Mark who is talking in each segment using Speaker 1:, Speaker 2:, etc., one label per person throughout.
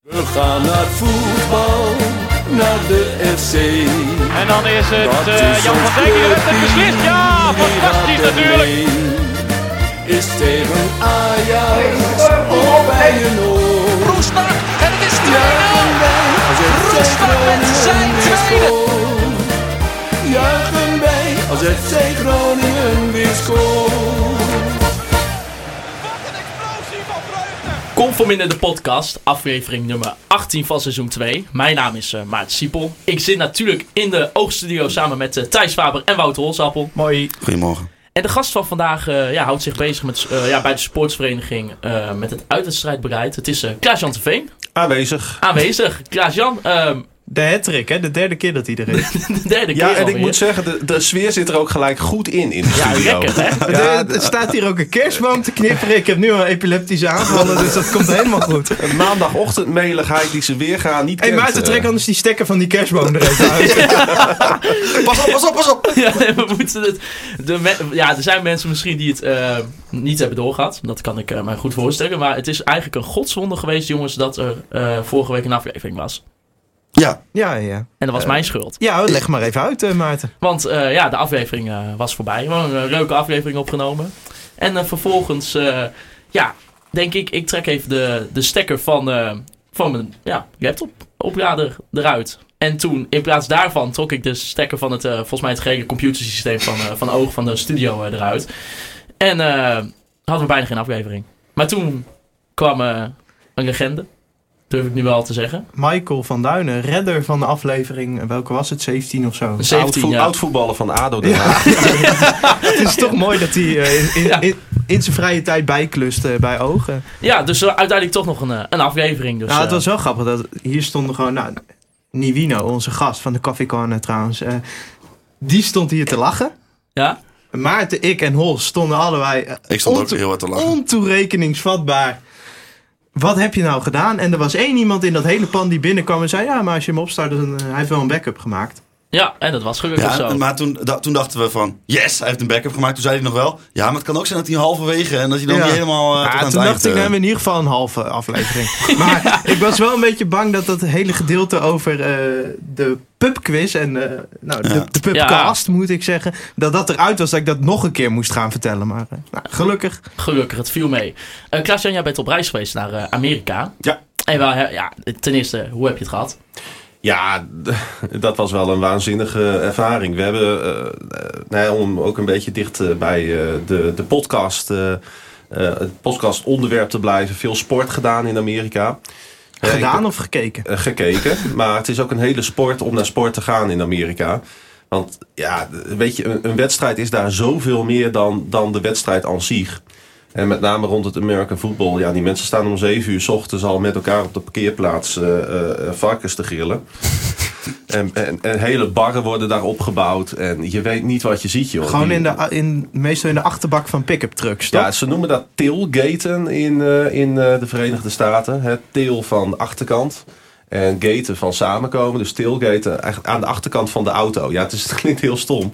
Speaker 1: We gaan naar voetbal, naar de FC.
Speaker 2: En dan is het
Speaker 1: Dat
Speaker 2: eh,
Speaker 1: is
Speaker 2: Jan
Speaker 1: ons
Speaker 2: van Dijk die de wedstrijd
Speaker 1: clubje,
Speaker 2: beslist. Ja,
Speaker 1: iedereen
Speaker 2: fantastisch
Speaker 1: gaat
Speaker 2: natuurlijk.
Speaker 1: ermee. Is tegen Ajax of bij een oor.
Speaker 3: Roestak en het is 2-0. Roestak met zijn tweede.
Speaker 1: tweede. Juichen wij als FC Groningen weer scoort.
Speaker 4: Conform in de podcast, aflevering nummer 18 van seizoen 2. Mijn naam is eh Maarten Siepel. Ik zit natuurlijk in de oogstudio samen met eh, Thijs Faber en Wouter Holsappel.
Speaker 5: Goedemorgen.
Speaker 4: En de gast van vandaag eh, ja, houdt zich bezig met, eh, ja, bij de sportsvereniging eh, met het uitwedstrijdbereid. Het is eh Klaas-Jan Veen
Speaker 5: Aanwezig.
Speaker 4: aanwezig. Klaas-Jan, ehm,
Speaker 6: De hat-trick, hè? De derde keer dat hij er is.
Speaker 4: de derde
Speaker 5: Ja,
Speaker 4: keer
Speaker 5: en ik
Speaker 4: alweer.
Speaker 5: moet zeggen, de, de sfeer zit er ook gelijk goed in in de
Speaker 4: Ja,
Speaker 5: studio.
Speaker 4: lekker hè?
Speaker 6: Er- er staat hier ook een kerstboom te knipperen. Ik heb nu al epileptische aanvallen, dus dat komt helemaal goed. Hé,
Speaker 5: Een maandagochtendmeligheid die ze weer gaan niet
Speaker 6: hey,
Speaker 5: kent,
Speaker 6: Maarten,
Speaker 5: eh.
Speaker 6: trek anders die stekker van die kerstboom er even uit.
Speaker 5: Pas op, pas op, pas op.
Speaker 4: Ja, nee, we moeten het. De me- ja, er zijn mensen misschien die het eh, niet hebben doorgehad. Dat kan ik eh, mij goed voorstellen. Maar het is eigenlijk een godswonde geweest, jongens, dat er eh, vorige week een aflevering was.
Speaker 5: Ja,
Speaker 6: Ja, ja.
Speaker 4: En dat was
Speaker 5: Eh,
Speaker 4: mijn schuld.
Speaker 6: Ja, leg maar even uit, eh, Maarten.
Speaker 4: Want eh, ja, de aflevering eh, was voorbij. Gewoon een leuke aflevering opgenomen. En eh, vervolgens, eh, ja, denk ik, ik trek even de, de stekker van, eh, van mijn ja, laptop oplader eruit. En toen, in plaats daarvan, trok ik de stekker van het, eh, volgens mij het gehele computersysteem van, eh, van Oog, van de studio eh, eruit. En eh, hadden we bijna geen aflevering. Maar toen kwam eh, een legende, durf ik nu wel te zeggen.
Speaker 6: Michael van Duinen, redder van de aflevering. eh, Welke was het? 17 of zo.
Speaker 4: Een
Speaker 5: oud,
Speaker 4: 17
Speaker 5: voet-
Speaker 4: jaar.
Speaker 5: oud voetballer van ADO Den Haag.
Speaker 6: Het is toch mooi dat hij eh, in, in, in, in zijn vrije tijd bijklust eh, bij ogen.
Speaker 4: Ja, dus eh, uiteindelijk toch nog een, eh, een aflevering. Dus,
Speaker 6: Nou, het
Speaker 4: eh,
Speaker 6: was wel grappig. Dat, hier stonden gewoon... Nou, Nivino, onze gast van de Coffee Corner trouwens. eh, die stond hier te lachen.
Speaker 4: ja?
Speaker 6: Maarten, ik en Hol stonden allebei eh,
Speaker 5: Ik stond ook
Speaker 6: onto-
Speaker 5: heel hard te lachen.
Speaker 6: ontoerekeningsvatbaar. Wat heb je nou gedaan? En er was één iemand in dat hele pan die binnenkwam en zei... Ja, maar als je hem opstart, dan eh, hij heeft wel een backup gemaakt.
Speaker 4: Ja, en dat was gelukkig
Speaker 7: Ja,
Speaker 4: zo.
Speaker 7: maar toen, da- toen dachten we van, yes, hij heeft een backup gemaakt. Toen zei hij nog wel, ja, maar het kan ook zijn dat hij halverwege en dat hij dan
Speaker 6: Ja.
Speaker 7: niet helemaal eh, tot aan
Speaker 6: Maar
Speaker 7: het
Speaker 6: toen
Speaker 7: eind,
Speaker 6: dacht ik,
Speaker 7: eh,
Speaker 6: nou, in ieder geval een halve aflevering. Maar ik was wel een beetje bang dat dat hele gedeelte over eh, de pubquiz en eh, nou, de,
Speaker 7: Ja.
Speaker 6: de pubcast, moet ik zeggen... dat dat eruit was dat ik dat nog een keer moest gaan vertellen. Maar eh, nou, gelukkig.
Speaker 4: Gelukkig, het viel mee. Eh Klaas-Jan, jij bent op reis geweest naar eh, Amerika.
Speaker 5: Ja.
Speaker 4: En wel, hè, ja, ten eerste, hoe heb je het gehad?
Speaker 5: Ja, d- dat was wel een waanzinnige ervaring. We hebben, eh, eh, nou ja, om ook een beetje dicht eh, bij eh, de, de podcast, eh, eh, het podcastonderwerp te blijven, veel sport gedaan in Amerika. Eh, ik
Speaker 6: Gedaan of gekeken?
Speaker 5: eh, gekeken. Maar het is ook een hele sport om naar sport te gaan in Amerika. Want ja, weet je, een, een wedstrijd is daar zoveel meer dan, dan de wedstrijd aan zich. En met name rond het American Football. Ja, die mensen staan om 7 uur s ochtends al met elkaar op de parkeerplaats eh, eh, eh, varkens te grillen. en, en, en hele barren worden daar opgebouwd. En je weet niet wat je ziet, joh.
Speaker 6: Gewoon
Speaker 5: Die-
Speaker 6: in de, a- in, meestal in de achterbak van pick-up trucks, toch?
Speaker 5: Dus ja, ze noemen dat tailgaten in, eh, in eh, de Verenigde Staten. Het tail van achterkant en gaten van samenkomen. Dus tailgaten echt aan de achterkant van de auto. Ja, het, is, het klinkt heel stom.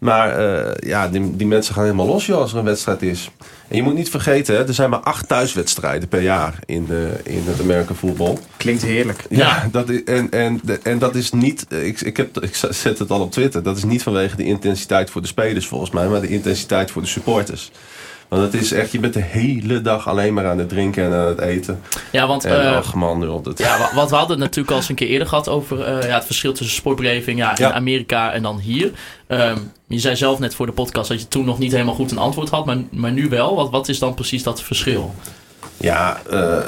Speaker 5: Maar eh, ja, die, die mensen gaan helemaal los joh, als er een wedstrijd is. En je moet niet vergeten, hè, er zijn maar acht thuiswedstrijden per jaar in, de, in het American voetbal.
Speaker 6: Klinkt heerlijk.
Speaker 5: Ja, dat is, en, en, en dat is niet. eh, Ik, ik, heb, ik zet het al op Twitter. Dat is niet vanwege de intensiteit voor de spelers volgens mij, maar de intensiteit voor de supporters. Want het is echt, je bent de hele dag alleen maar aan het drinken en aan het eten.
Speaker 4: Ja, want
Speaker 5: En
Speaker 4: eh,
Speaker 5: ach man, joh, dat,
Speaker 4: ja, wa- wat we hadden het natuurlijk al eens een keer eerder gehad over eh, ja, het verschil tussen sportbeleving ja, in
Speaker 5: Ja.
Speaker 4: Amerika en dan hier. Ehm, je zei zelf net voor de podcast dat je toen nog niet helemaal goed een antwoord had, maar, maar nu wel. Wat, wat is dan precies dat verschil?
Speaker 5: Ja, eh,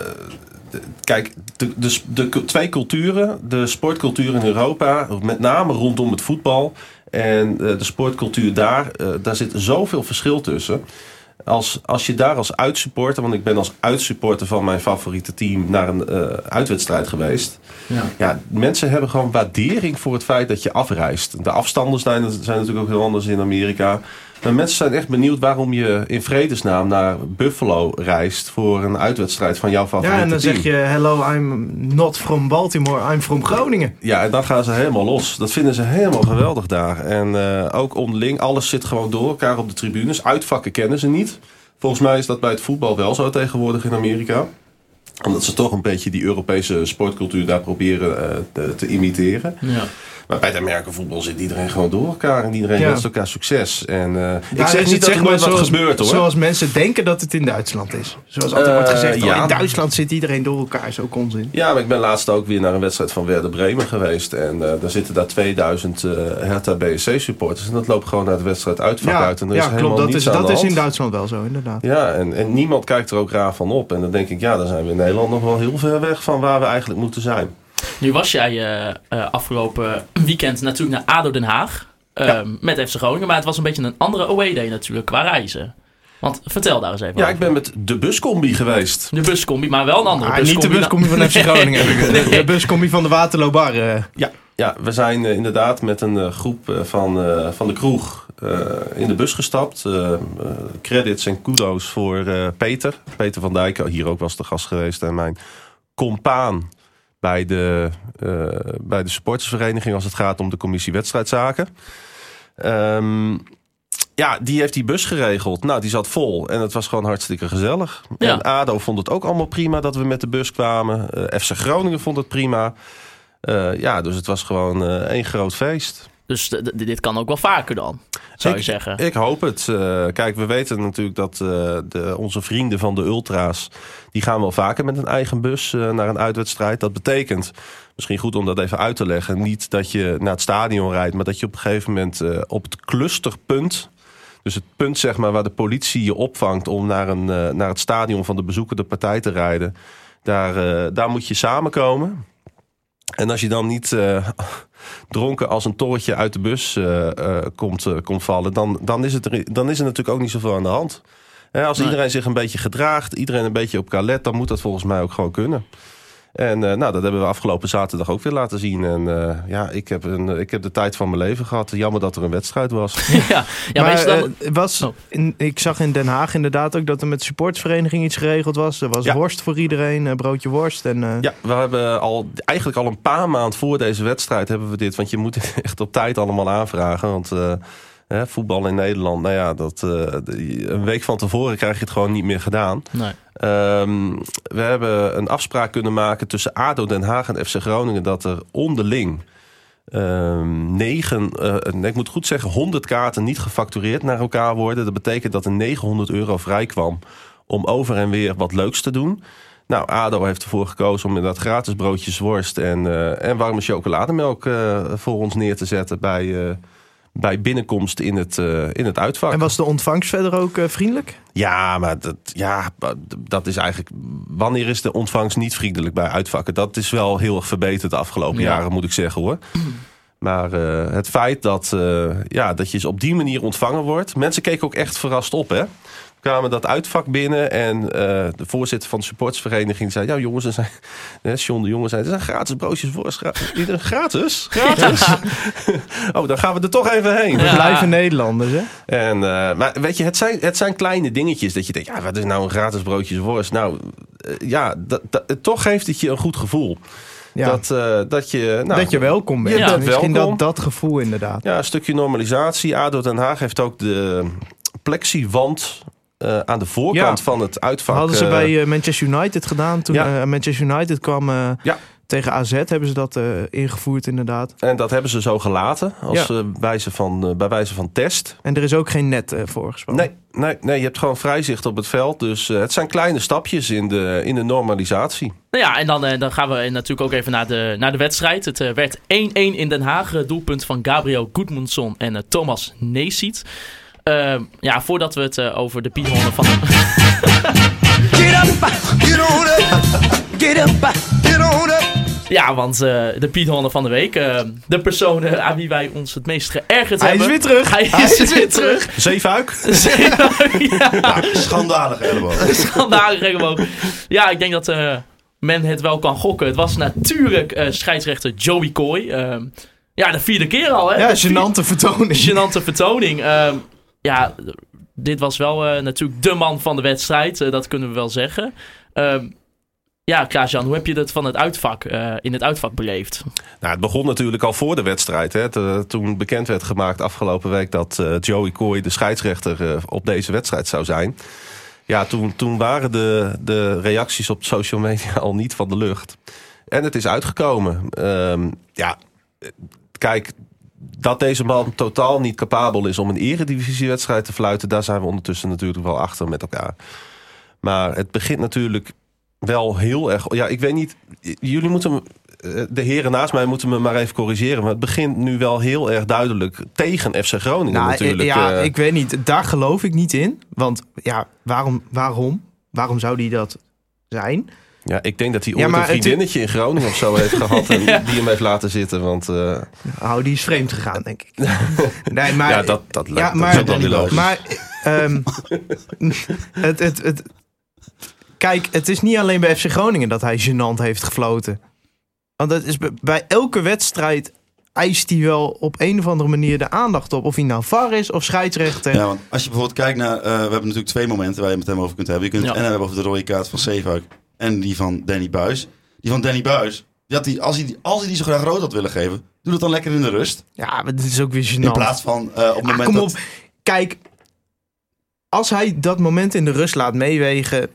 Speaker 5: de- kijk, de, de, s- de cu- twee culturen, de sportcultuur in Europa, met name rondom het voetbal, en eh, de sportcultuur daar, eh, daar zit zoveel verschil tussen. Als, als je daar als uitsupporter, want ik ben als uitsupporter van mijn favoriete team naar een eh, uitwedstrijd geweest.
Speaker 4: Ja.
Speaker 5: Ja, mensen hebben gewoon waardering voor het feit dat je afreist. De afstanden zijn, zijn natuurlijk ook heel anders in Amerika. Maar mensen zijn echt benieuwd waarom je in vredesnaam naar Buffalo reist voor een uitwedstrijd van jouw favoriete
Speaker 6: Ja, en dan
Speaker 5: team.
Speaker 6: zeg je: Hello, I'm not from Baltimore, I'm from Groningen.
Speaker 5: Ja, en dan gaan ze helemaal los. Dat vinden ze helemaal geweldig daar. En eh, ook onderling, alles zit gewoon door elkaar op de tribunes. Uitvakken kennen ze niet. Volgens mij is dat bij het voetbal wel zo tegenwoordig in Amerika. Omdat ze toch een beetje die Europese sportcultuur daar proberen eh, te, te imiteren.
Speaker 4: Ja.
Speaker 5: Maar bij het Amerikaanse voetbal zit iedereen gewoon door elkaar. En iedereen
Speaker 6: Ja.
Speaker 5: wenst elkaar succes. En, eh, ik
Speaker 6: Daar
Speaker 5: zeg
Speaker 6: is
Speaker 5: niet
Speaker 6: het
Speaker 5: zeg
Speaker 6: ook
Speaker 5: maar
Speaker 6: nooit
Speaker 5: wat
Speaker 6: zo-
Speaker 5: er gebeurt hoor.
Speaker 6: Zoals mensen denken dat het in Duitsland is. Zoals altijd
Speaker 5: Eh,
Speaker 6: wordt gezegd, oh,
Speaker 5: ja.
Speaker 6: in Duitsland zit iedereen door elkaar. is ook onzin.
Speaker 5: Ja, maar ik ben laatst ook weer naar een wedstrijd van Werder Bremen geweest. En eh, daar zitten daar 2000 eh Hertha BSC supporters. En dat loopt gewoon naar de wedstrijd uitvak uit. En er is
Speaker 6: ja
Speaker 5: helemaal
Speaker 6: klopt. Dat,
Speaker 5: niets
Speaker 6: is,
Speaker 5: aan
Speaker 6: dat
Speaker 5: de
Speaker 6: is in
Speaker 5: hand.
Speaker 6: Duitsland wel zo, inderdaad.
Speaker 5: Ja, en, en niemand kijkt er ook raar van op. En dan denk ik, ja, dan zijn we in Nederland nog wel heel ver weg van waar we eigenlijk moeten zijn.
Speaker 4: Nu was jij eh, eh, afgelopen weekend natuurlijk naar ADO Den Haag. eh, Met FC Groningen. Maar het was een beetje een andere away day natuurlijk qua reizen. Want vertel daar eens even
Speaker 5: Ja,
Speaker 4: over.
Speaker 5: ik ben met de buscombi geweest.
Speaker 4: De buscombi, maar wel een andere
Speaker 6: Ah,
Speaker 4: buscombi.
Speaker 6: niet de buscombi van FC Groningen. heb ik. De buscombi van de Waterloo Bar. eh.
Speaker 5: Ja, we zijn eh, inderdaad met een eh, groep eh, van, eh, van de kroeg eh, in de bus gestapt. Eh, eh, credits en kudo's voor eh, Peter. Peter van Dijk, oh, hier ook was de gast geweest. En mijn compaan bij de, eh, bij de supportersvereniging als het gaat om de commissie wedstrijdzaken. Ehm, ja, die heeft die bus geregeld. Nou, die zat vol en het was gewoon hartstikke gezellig.
Speaker 4: Ja.
Speaker 5: En ADO vond het ook allemaal prima dat we met de bus kwamen. Eh, FC Groningen vond het prima. Eh, ja, dus het was gewoon eh, één groot feest.
Speaker 4: Dus d- d- dit kan ook wel vaker dan, zou je
Speaker 5: Ik-
Speaker 4: zeggen.
Speaker 5: Ik hoop het. Eh, kijk, we weten natuurlijk dat eh, de, onze vrienden van de Ultra's... die gaan wel vaker met een eigen bus eh, naar een uitwedstrijd. Dat betekent, misschien goed om dat even uit te leggen... niet dat je naar het stadion rijdt... maar dat je op een gegeven moment eh, op het clusterpunt... dus het punt zeg maar, waar de politie je opvangt... om naar, een, eh, naar het stadion van de bezoekende partij te rijden... daar, eh, daar moet je samenkomen... En als je dan niet eh, dronken als een torretje uit de bus eh, eh, komt, eh, komt vallen, dan, dan, is het er, dan is er natuurlijk ook niet zoveel aan de hand. Hè, als
Speaker 4: Nee.
Speaker 5: iedereen zich een beetje gedraagt, iedereen een beetje op kalet, dan moet dat volgens mij ook gewoon kunnen. En eh, nou, dat hebben we afgelopen zaterdag ook weer laten zien. En eh, ja, ik heb, een, ik heb de tijd van mijn leven gehad. Jammer dat er een wedstrijd was.
Speaker 4: ja, ja maar is
Speaker 6: maar
Speaker 4: het dan...
Speaker 6: eh, was,
Speaker 4: Oh.
Speaker 6: in- ik zag in Den Haag inderdaad ook dat er met de supportvereniging iets geregeld was. Er was
Speaker 5: Ja.
Speaker 6: worst voor iedereen, eh, broodje worst. En, eh,
Speaker 5: Ja, we hebben al, eigenlijk al een paar maanden voor deze wedstrijd hebben we dit. Want je moet het echt op tijd allemaal aanvragen. Want eh, hè, voetbal in Nederland, nou ja, dat, eh, die- een week van tevoren krijg je het gewoon niet meer gedaan.
Speaker 4: Nee.
Speaker 5: Ehm, we hebben een afspraak kunnen maken tussen ADO Den Haag en FC Groningen... dat er onderling ehm, negen, eh, nee, ik moet goed zeggen, 100 kaarten niet gefactureerd naar elkaar worden. Dat betekent dat er 900 euro vrij kwam om over en weer wat leuks te doen. Nou, ADO heeft ervoor gekozen om inderdaad gratis broodjes worst en, eh, en warme chocolademelk eh, voor ons neer te zetten... bij, eh, bij binnenkomst in het, eh, in het uitvak.
Speaker 6: en was de ontvangst verder ook eh, vriendelijk?
Speaker 5: Ja, maar dat, ja, dat is eigenlijk. Wanneer is de ontvangst niet vriendelijk bij uitvakken? Dat is wel heel erg verbeterd de afgelopen
Speaker 4: Ja.
Speaker 5: jaren, moet ik zeggen hoor. Maar eh, het feit dat, eh, ja, dat je eens op die manier ontvangen wordt. Mensen keken ook echt verrast op, hè? We kwamen dat uitvak binnen en eh, de voorzitter van de supportsvereniging zei: Ja, jongens, er zijn, hè, John de jongen zei: Er zijn gratis broodjes voor. Gra iedereen- gratis? Gratis? oh, dan gaan we er toch even heen.
Speaker 4: Ja.
Speaker 6: Blijven Nederlanders, hè?
Speaker 5: En, eh, maar weet je, het zijn, het zijn kleine dingetjes dat je denkt, ja, wat is nou een gratis broodjes worst? Nou, eh, ja, dat, dat- het- toch geeft het je een goed gevoel.
Speaker 6: Ja.
Speaker 5: Dat, eh, dat je, nou,
Speaker 6: dat je welkom bent.
Speaker 5: Ja,
Speaker 6: Misschien
Speaker 5: dat welkom.
Speaker 6: Dat, dat gevoel inderdaad.
Speaker 5: ja, een stukje normalisatie. ADO Den Haag heeft ook de plexiwand eh, aan de voorkant
Speaker 6: Ja.
Speaker 5: van het uitvak.
Speaker 6: Hadden ze
Speaker 5: eh,
Speaker 6: bij eh, Manchester United gedaan. Toen
Speaker 5: Ja.
Speaker 6: eh, Manchester United kwam eh,
Speaker 5: Ja.
Speaker 6: tegen AZ, hebben ze dat eh, ingevoerd inderdaad.
Speaker 5: en dat hebben ze zo gelaten, als,
Speaker 6: Ja.
Speaker 5: eh, wijze van, eh, bij wijze van test.
Speaker 6: En er is ook geen net eh, voor gespannen.
Speaker 5: Nee, nee, nee, je hebt gewoon vrij zicht op het veld. Dus eh, het zijn kleine stapjes in de, in de normalisatie.
Speaker 4: Nou ja, en dan, eh, dan gaan we eh, natuurlijk ook even naar de, naar de wedstrijd. Het eh, werd 1-1 in Den Haag. eh, doelpunt van Gabriel Goedmundsson en eh, Thomas Neesiet. Ehm, ja, voordat we het eh, over de piehonden van...
Speaker 3: Get up, get on up, get up, get on up.
Speaker 4: Ja, want eh, de piehonden van de week. eh, de personen aan wie wij ons het meest geërgerd
Speaker 6: Hij is
Speaker 4: hebben.
Speaker 6: weer terug.
Speaker 4: Hij is, weer terug.
Speaker 5: Zeefuik?
Speaker 4: ja.
Speaker 7: Schandalig elleboog.
Speaker 4: Schandalig regenboog. Ja, ik denk dat eh, men het wel kan gokken. Het was natuurlijk eh, scheidsrechter Joey Coy. Ehm, ja, de vierde keer al, hè?
Speaker 6: Ja,
Speaker 4: De vier-
Speaker 6: gênante vertoning.
Speaker 4: Gênante vertoning. Ehm, ja, dit was wel eh, natuurlijk de man van de wedstrijd. eh, dat kunnen we wel zeggen. Ehm, ja, Klaas-Jan, hoe heb je dat van het uitvak, eh, in het uitvak beleefd?
Speaker 5: Nou, het begon natuurlijk al voor de wedstrijd. Hè. Te- toen bekend werd gemaakt afgelopen week dat eh, Joey Coy de scheidsrechter eh, op deze wedstrijd zou zijn. Ja, toen, toen waren de, de reacties op social media al niet van de lucht. En het is uitgekomen. Ehm, ja, eh, kijk, dat deze man totaal niet capabel is om een eredivisiewedstrijd te fluiten... daar zijn we ondertussen natuurlijk wel achter met elkaar. Maar het begint natuurlijk wel heel erg... Ja, ik weet niet, j- jullie moeten... me- eh, De heren naast mij moeten me maar even corrigeren. Maar het begint nu wel heel erg duidelijk tegen FC Groningen
Speaker 6: eh,
Speaker 5: natuurlijk.
Speaker 6: ja,
Speaker 5: eh.
Speaker 6: ik weet niet. Daar geloof ik niet in. Want ja, waarom, waarom, waarom zou die dat zijn?
Speaker 5: Ja, ik denk dat hij
Speaker 6: Ja,
Speaker 5: ooit
Speaker 6: maar
Speaker 5: een
Speaker 6: het-
Speaker 5: vriendinnetje in Groningen of zo heeft gehad. En die hem heeft laten zitten. Want eh,
Speaker 6: Nou, die is vreemd gegaan, denk ik. Nee, maar,
Speaker 5: ja, dat, dat, lijkt-
Speaker 6: ja,
Speaker 5: dat
Speaker 6: maar-
Speaker 5: is ook wel weer logisch.
Speaker 6: Maar ehm, het, het, het, kijk, het is niet alleen bij FC Groningen dat hij gênant heeft gefloten. Want dat is bij- bij elke wedstrijd eist hij wel op een of andere manier de aandacht op. Of hij nou VAR is of scheidsrechter.
Speaker 7: Ja, want als je bijvoorbeeld kijkt naar... eh, we hebben natuurlijk twee momenten waar je het met hem over kunt hebben. Je kunt
Speaker 4: Ja.
Speaker 7: het en hebben over de rode kaart van Zeefuik en die van Danny Buis. Die van Danny Buis, die had die, als, hij die, als hij die zo graag rood had willen geven... doe dat dan lekker in de rust.
Speaker 6: Ja, maar dit is ook weer gênant.
Speaker 7: In plaats van eh, op het
Speaker 6: Ah,
Speaker 7: moment
Speaker 6: kom
Speaker 7: dat...
Speaker 6: op. Kijk, als hij dat moment in de rust laat meewegen...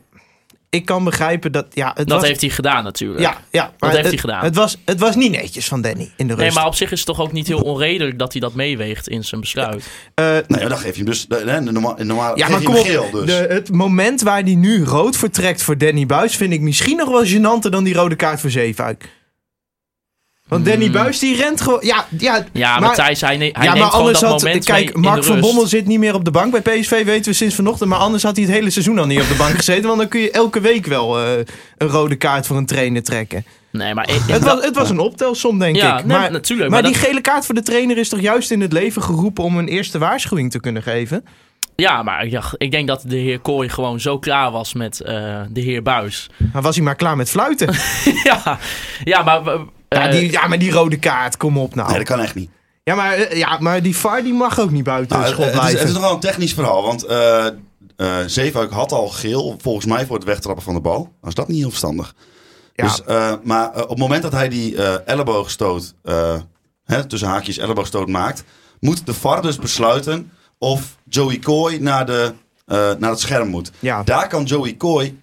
Speaker 6: Ik kan begrijpen dat... Ja, het
Speaker 4: Dat
Speaker 6: was,
Speaker 4: heeft hij gedaan natuurlijk.
Speaker 6: ja, ja, maar
Speaker 4: heeft hij
Speaker 6: het,
Speaker 4: gedaan.
Speaker 6: Het was, het was niet netjes van Danny in de rust.
Speaker 4: Nee, maar op zich is het toch ook niet heel onredelijk dat hij dat meeweegt in zijn besluit.
Speaker 6: Eh,
Speaker 7: Nou ja, dan geef je hem dus... eh, nee, normaal, normaal,
Speaker 6: Ja,
Speaker 7: geef
Speaker 6: maar
Speaker 7: je
Speaker 6: kom
Speaker 7: hem
Speaker 6: op.
Speaker 7: geel dus.
Speaker 6: De, het moment waar hij nu rood vertrekt voor Danny Buis vind ik misschien nog wel gênanter dan die rode kaart voor Zeefuik.
Speaker 7: Hmm.
Speaker 6: Want Danny Buis die rent gewoon. Ja, ja,
Speaker 4: Ja, maar, Thijs, hij, ne- hij
Speaker 6: ja, maar
Speaker 4: neemt gewoon
Speaker 6: anders
Speaker 4: dat
Speaker 6: had.
Speaker 4: moment mee
Speaker 6: Kijk,
Speaker 4: in de
Speaker 6: Mark van
Speaker 4: rust.
Speaker 6: Bommel zit niet meer op de bank bij PSV, weten we sinds vanochtend. Maar anders had hij het hele seizoen al niet op de bank gezeten. Want dan kun je elke week wel eh, een rode kaart voor een trainer trekken.
Speaker 4: Nee, maar e- ik- ik-
Speaker 6: Het was, het was een optelsom, denk
Speaker 4: ja,
Speaker 6: ik.
Speaker 4: nee,
Speaker 6: Maar,
Speaker 4: natuurlijk.
Speaker 6: maar
Speaker 4: maar
Speaker 6: die
Speaker 4: dat-
Speaker 6: gele kaart voor de trainer is toch juist in het leven geroepen om een eerste waarschuwing te kunnen geven?
Speaker 4: Ja, maar ik dacht- ik denk dat de heer Kooi gewoon zo klaar was met eh, de heer Buis.
Speaker 6: Maar was hij maar klaar met fluiten?
Speaker 4: ja, ja, maar. eh,
Speaker 6: Ja, die, ja, maar die rode kaart, kom op nou.
Speaker 7: Nee, dat kan echt niet.
Speaker 6: ja, maar, eh, ja, maar die VAR die mag ook niet buiten
Speaker 7: Nou,
Speaker 6: de schot
Speaker 7: het, is,
Speaker 6: blijven.
Speaker 7: het is nog wel een technisch verhaal, want eh eh, Zeefuik had al geel, volgens mij voor het wegtrappen van de bal. Nou is dat niet heel verstandig.
Speaker 6: Ja.
Speaker 7: Dus, eh, maar eh, op het moment dat hij die eh elleboogstoot, eh, hè, tussen haakjes elleboogstoot maakt, moet de VAR dus besluiten of Joey Coy naar, de, eh, naar het scherm moet.
Speaker 6: ja.
Speaker 7: Daar kan Joey Coy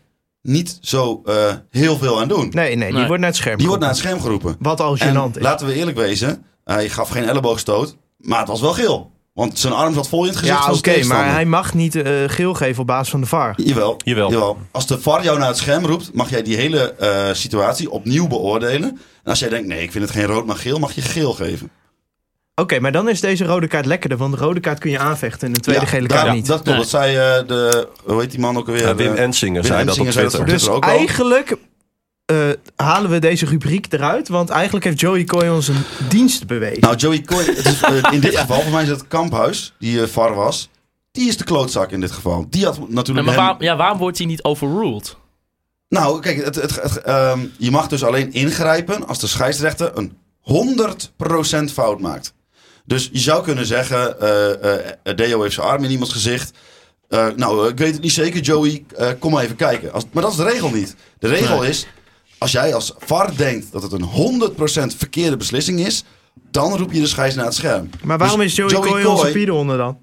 Speaker 7: niet zo eh, heel veel aan doen.
Speaker 6: Nee, nee, die
Speaker 4: Nee.
Speaker 6: wordt naar het scherm
Speaker 7: Die wordt naar het
Speaker 6: geroepen.
Speaker 7: scherm geroepen.
Speaker 6: Wat al
Speaker 7: En
Speaker 6: gênant is.
Speaker 7: laten we eerlijk wezen, hij gaf geen elleboogstoot, maar het was wel geel. Want zijn arm zat vol in het gezicht
Speaker 6: Ja,
Speaker 7: van
Speaker 6: oké,
Speaker 7: zijn tegenstander.
Speaker 6: maar hij mag niet eh, geel geven op basis van de VAR.
Speaker 7: Jawel,
Speaker 5: Jawel.
Speaker 7: Als de VAR jou naar het scherm roept, mag jij die hele eh, situatie opnieuw beoordelen. En als jij denkt, nee, ik vind het geen rood, maar geel, mag je geel geven.
Speaker 6: Oké, maar dan is deze rode kaart lekkerder, want de rode kaart kun je aanvechten en de tweede
Speaker 7: Ja,
Speaker 6: gele
Speaker 7: daar-
Speaker 6: kaart niet.
Speaker 7: Dat klopt,
Speaker 4: Nee.
Speaker 7: dat zei eh, de, hoe heet die man ook alweer?
Speaker 5: Ja, Wim
Speaker 7: Eh,
Speaker 5: Ensinger
Speaker 7: Wim
Speaker 5: zei dat op
Speaker 7: Ensinger zei dat
Speaker 5: Twitter.
Speaker 7: op
Speaker 6: dus
Speaker 7: er ook al.
Speaker 6: eigenlijk eh, halen we deze rubriek eruit, want eigenlijk heeft Joey Coy ons een dienst bewezen.
Speaker 7: Nou, Joey Coy, het is, eh, in dit geval, voor mij is het Kamphuis, die eh, VAR was. Die is de klootzak in dit geval. Die had natuurlijk...
Speaker 4: eh, maar
Speaker 7: hem-
Speaker 4: waarom, ja, waarom wordt hij niet overruled?
Speaker 7: Nou, kijk, het, het, het- ehm, je mag dus alleen ingrijpen als de scheidsrechter een 100% fout maakt. Dus je zou kunnen zeggen, eh, eh, eh, Deo heeft zijn arm in iemands gezicht. Eh, nou, eh, ik weet het niet zeker, Joey, eh, kom maar even kijken. Als, maar dat is de regel niet. De regel is, als jij als VAR denkt dat het een 100% verkeerde beslissing is... dan roep je de scheids naar het scherm.
Speaker 6: maar waarom
Speaker 7: Dus
Speaker 6: is Joey, Coy onze pieder onder dan?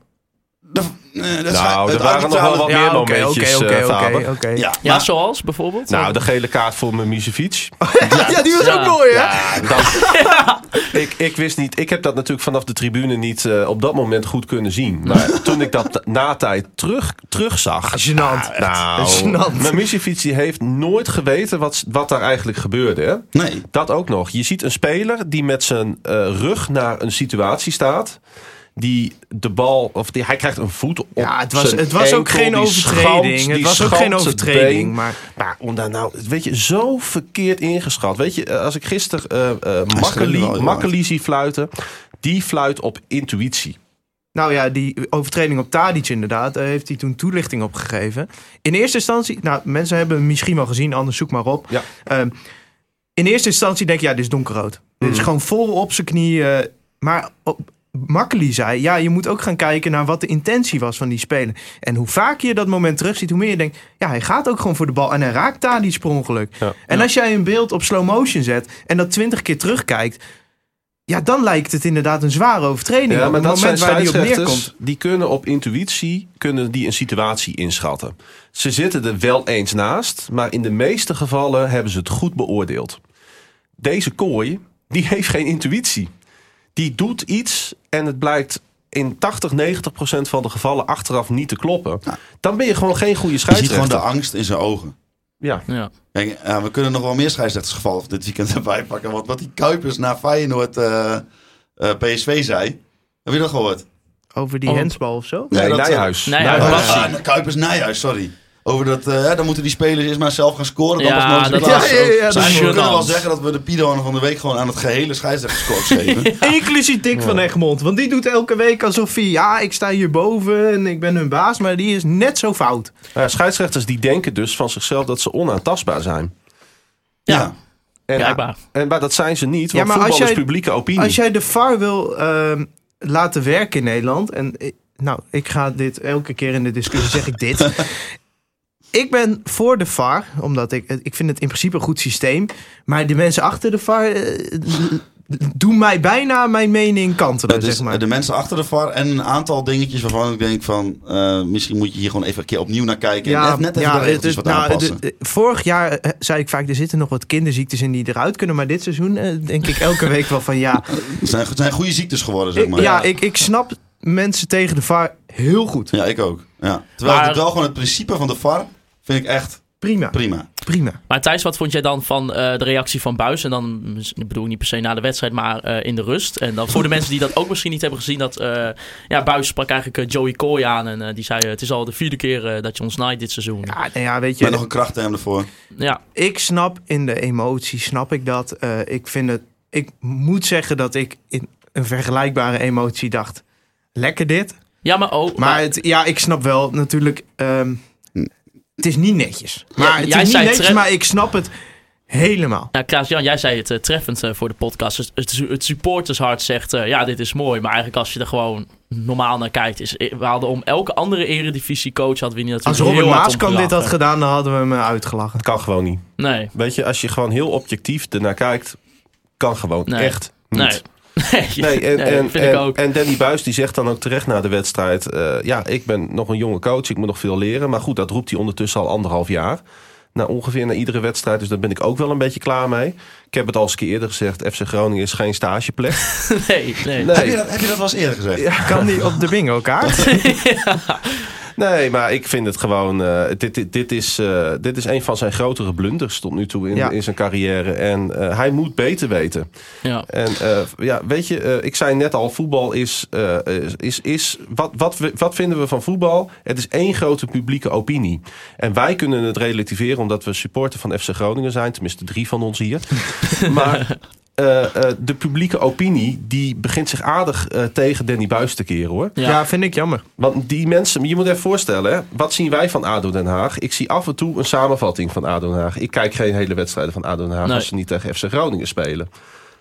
Speaker 7: de- eh, de schei-
Speaker 5: Nou,
Speaker 7: het
Speaker 5: er waren nog wel
Speaker 7: arbitrale-
Speaker 5: wat meer momentjes, eh, Faber.
Speaker 6: oké.
Speaker 7: Ja,
Speaker 4: Ja,
Speaker 7: maar-
Speaker 4: zoals bijvoorbeeld.
Speaker 5: Nou, de gele kaart voor Mimicevic.
Speaker 6: Ah, Ja, die was
Speaker 4: Ja.
Speaker 6: ook mooi, hè?
Speaker 5: Ja, dan, ik, ik wist niet. Ik heb dat natuurlijk vanaf de tribune niet eh, op dat moment goed kunnen zien. Maar toen ik dat na tijd terug, terugzag.
Speaker 6: Ah, Gênant.
Speaker 5: Nou,
Speaker 6: Gênant.
Speaker 5: Mimicevic die heeft nooit geweten wat, wat daar eigenlijk gebeurde. Hè?
Speaker 7: Nee,
Speaker 5: Dat ook nog. Je ziet een speler die met zijn eh, rug naar een situatie staat. Die de bal, of die, hij krijgt een voet op.
Speaker 6: Ja, het was,
Speaker 5: zijn
Speaker 6: het was ook
Speaker 5: enkel,
Speaker 6: geen
Speaker 5: die
Speaker 6: overtreding.
Speaker 5: schampt-
Speaker 6: het
Speaker 5: die
Speaker 6: was ook
Speaker 5: schampt
Speaker 6: geen
Speaker 5: het
Speaker 6: overtreding.
Speaker 5: been.
Speaker 6: Maar
Speaker 5: Ja, om daar nou, weet je, zo verkeerd ingeschat. Weet je, eh, als ik gisteren eh eh Makkeli-
Speaker 7: wel heel
Speaker 5: Makkeli zie fluiten, die fluit op intuïtie.
Speaker 6: nou ja, die overtreding op Tadic inderdaad, daar heeft hij toen toelichting op gegeven. In eerste instantie, nou mensen hebben hem misschien wel gezien, anders zoek maar op.
Speaker 5: Ja.
Speaker 6: Ehm, in eerste instantie denk je, ja, dit is donkerrood. Dit
Speaker 5: Mm.
Speaker 6: is gewoon vol op zijn knie. eh, maar op, Makkeli zei, ja, je moet ook gaan kijken naar wat de intentie was van die speler. En hoe vaker je dat moment terugziet, hoe meer je denkt, ja, hij gaat ook gewoon voor de bal en hij raakt Tadic per ongeluk.
Speaker 5: Ja.
Speaker 6: En als jij een beeld op slow motion zet en dat twintig keer terugkijkt, Ja, dan lijkt het inderdaad een zware overtreding.
Speaker 5: Ja,
Speaker 6: Op
Speaker 5: maar
Speaker 6: het
Speaker 5: dat zijn
Speaker 6: moment waar die op
Speaker 5: scheidsrechters.
Speaker 6: neerkomt.
Speaker 5: Die kunnen op intuïtie kunnen die een situatie inschatten. Ze zitten er wel eens naast, maar in de meeste gevallen hebben ze het goed beoordeeld. Deze kooi, die heeft geen intuïtie. Die doet iets en het blijkt in 80, 90 procent van de gevallen achteraf niet te kloppen.
Speaker 7: Ja.
Speaker 5: Dan ben je gewoon geen goede
Speaker 7: Je ziet gewoon de
Speaker 5: scheidsrechter.
Speaker 7: angst in zijn ogen.
Speaker 5: Ja.
Speaker 4: Ja.
Speaker 7: Kijk, eh, we kunnen nog wel meer scheidsrechtersgevallen van dit weekend erbij pakken. Want wat die Kuipers na Feyenoord eh, eh, PSV zei. Heb je dat gehoord?
Speaker 6: Over die
Speaker 4: Oh.
Speaker 6: handsbal of zo?
Speaker 5: Nee,
Speaker 7: Ja, dat-
Speaker 5: Nijhuis.
Speaker 4: Nijhuis.
Speaker 5: Nijhuis.
Speaker 4: Passie.
Speaker 7: Ah, Kuipers Nijhuis, sorry. Over dat, eh, hè, dan moeten die spelers eerst maar zelf gaan scoren. Dan
Speaker 4: Ja,
Speaker 7: pas mogen ze
Speaker 4: dat
Speaker 7: klaar.
Speaker 4: was
Speaker 6: Ja, ja, ja,
Speaker 7: Dus
Speaker 6: dat
Speaker 4: is
Speaker 7: we kunnen wel
Speaker 4: gênant.
Speaker 7: zeggen dat we de Pidoan van de week gewoon aan het gehele scheidsrechterskorps geven.
Speaker 6: Inclusief Dick van Egmond. Want die doet elke week alsof hij... Ja, ik sta hierboven en ik ben hun baas. Maar die is net zo fout.
Speaker 5: Nou ja, scheidsrechters die denken dus van zichzelf dat ze onaantastbaar zijn.
Speaker 7: Ja.
Speaker 5: En,
Speaker 4: Blijkbaar.
Speaker 5: en, maar dat zijn ze niet, want
Speaker 6: maar als
Speaker 5: voetbal is
Speaker 6: jij-
Speaker 5: publieke opinie.
Speaker 6: Als jij de VAR wil ehm, laten werken in Nederland... En ik- nou, ik ga dit elke keer in de discussie zeg ik dit. Ik ben voor de VAR, omdat ik, ik vind het in principe een goed systeem. Maar de mensen achter de VAR eh, doen mij bijna mijn mening kantelen,
Speaker 7: Dus
Speaker 6: zeg maar.
Speaker 7: de mensen achter de VAR en een aantal dingetjes waarvan ik denk van... eh, misschien moet je hier gewoon even een keer opnieuw naar kijken. en net, net even de regeltjes
Speaker 6: het-
Speaker 7: wat
Speaker 6: nou,
Speaker 7: aanpassen.
Speaker 6: het- het- vorig jaar eh, zei ik vaak, er zitten nog wat kinderziektes in die eruit kunnen. Maar dit seizoen eh, denk ik elke week wel van ja.
Speaker 7: Het zijn, het zijn goede ziektes geworden, zeg
Speaker 6: Ik-
Speaker 7: maar.
Speaker 6: ja, ik, ik snap mensen tegen de VAR heel goed.
Speaker 7: Ja, ik ook. Ja. Terwijl
Speaker 4: Maar-
Speaker 7: het wel gewoon het principe van de VAR vind ik echt
Speaker 6: Prima,
Speaker 7: prima.
Speaker 6: prima.
Speaker 4: Maar Thijs, wat vond jij dan van eh, de reactie van Buis? En dan mm, ik bedoel ik niet per se na de wedstrijd, maar eh, in de rust. En dan voor de mensen die dat ook misschien niet hebben gezien, dat eh, ja, Buis sprak eigenlijk eh, Joey Kooi aan. En eh, die zei: eh, Het is al de vierde keer eh, dat je ons naait dit seizoen.
Speaker 6: Ja,
Speaker 4: Ja,
Speaker 6: nou ja, weet je.
Speaker 7: Met nog een krachtterm ervoor.
Speaker 6: ik snap in de emotie, snap ik dat. Eh, ik vind het, ik moet zeggen dat ik in een vergelijkbare emotie dacht. Lekker dit.
Speaker 4: Ja, maar oh, ook.
Speaker 6: Maar het, ja, ik snap wel natuurlijk. ehm, het is niet netjes. Maar het
Speaker 4: jij
Speaker 6: is niet
Speaker 4: zei
Speaker 6: netjes,
Speaker 4: tre-
Speaker 6: maar ik snap het helemaal.
Speaker 4: Ja, Klaas-Jan, Nou, jij zei het eh, treffend eh, voor de podcast. Het, het, het supportershart zegt, eh, ja, dit is mooi. Maar eigenlijk als je er gewoon normaal naar kijkt... Is, eh, we hadden om elke andere eredivisiecoach... hadden we niet
Speaker 6: Als
Speaker 4: natuurlijk
Speaker 6: Robert
Speaker 4: heel hard
Speaker 6: Maaskamp
Speaker 4: om
Speaker 6: dit had
Speaker 4: gelachen.
Speaker 6: gedaan, dan hadden we hem eh, uitgelachen.
Speaker 5: Het kan gewoon niet.
Speaker 4: Nee,
Speaker 5: Weet je, als je gewoon heel objectief ernaar kijkt, kan gewoon
Speaker 4: Nee.
Speaker 5: echt niet.
Speaker 4: nee. Nee,
Speaker 5: Nee, en,
Speaker 4: nee,
Speaker 5: en,
Speaker 4: vind
Speaker 5: en,
Speaker 4: ik ook.
Speaker 5: en Danny Buis die zegt dan ook terecht na de wedstrijd: eh, Ja, ik ben nog een jonge coach, ik moet nog veel leren. Maar goed, dat roept hij ondertussen al anderhalf jaar. Nou, ongeveer na iedere wedstrijd, dus daar ben ik ook wel een beetje klaar mee. Ik heb het al eens een keer eerder gezegd: FC Groningen is geen stageplek.
Speaker 4: Nee, nee.
Speaker 5: Nee.
Speaker 7: Heb, je dat, heb je dat wel eens eerder gezegd?
Speaker 6: Kan die op de bingo kaart?
Speaker 5: Nee, maar ik vind het gewoon. eh, dit, dit, dit, is, eh, dit is een van zijn grotere blunders tot nu toe in,
Speaker 6: Ja.
Speaker 5: in zijn carrière. En eh, hij moet beter weten.
Speaker 4: Ja.
Speaker 5: En eh, ja, weet je, eh, ik zei net al: voetbal is. eh, is, is, is wat, wat, we- wat vinden we van voetbal? Het is één grote publieke opinie. En wij kunnen het relativeren omdat we supporter van FC Groningen zijn. Tenminste, drie van ons hier. maar. eh, eh, de publieke opinie die begint zich aardig eh, tegen Danny Buis te keren hoor.
Speaker 6: Ja.
Speaker 4: Ja.
Speaker 6: vind ik jammer.
Speaker 5: Want die mensen, je moet even voorstellen, hè, wat zien wij van ADO Den Haag? Ik zie af en toe een samenvatting van ADO Den Haag. Ik kijk geen hele wedstrijden van ADO Den Haag
Speaker 4: Nee.
Speaker 5: als ze niet tegen FC Groningen spelen.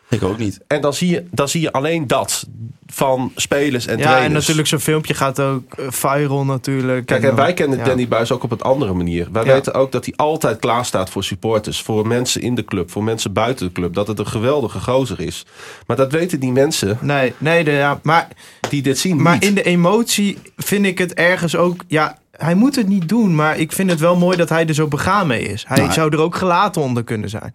Speaker 7: Ik ook niet.
Speaker 5: En dan zie je, dan zie je alleen dat van spelers en
Speaker 6: Ja,
Speaker 5: trainers.
Speaker 6: en natuurlijk zo'n filmpje gaat ook eh, viral natuurlijk.
Speaker 5: Kijk,
Speaker 6: en
Speaker 5: en wij kennen
Speaker 6: ja.
Speaker 5: Danny Buis ook op een andere manier. Wij
Speaker 6: Ja.
Speaker 5: weten ook dat hij altijd klaar staat voor supporters, voor mensen in de club, voor mensen buiten de club. Dat het een geweldige gozer is. Maar dat weten die mensen
Speaker 6: Nee, nee de, ja, maar,
Speaker 5: die dit zien
Speaker 6: maar
Speaker 5: niet.
Speaker 6: in de emotie vind ik het ergens ook... Ja, hij moet het niet doen, maar ik vind het wel mooi dat hij er zo begaan mee is. Hij
Speaker 7: Nou, hij-
Speaker 6: zou er ook gelaten onder kunnen zijn.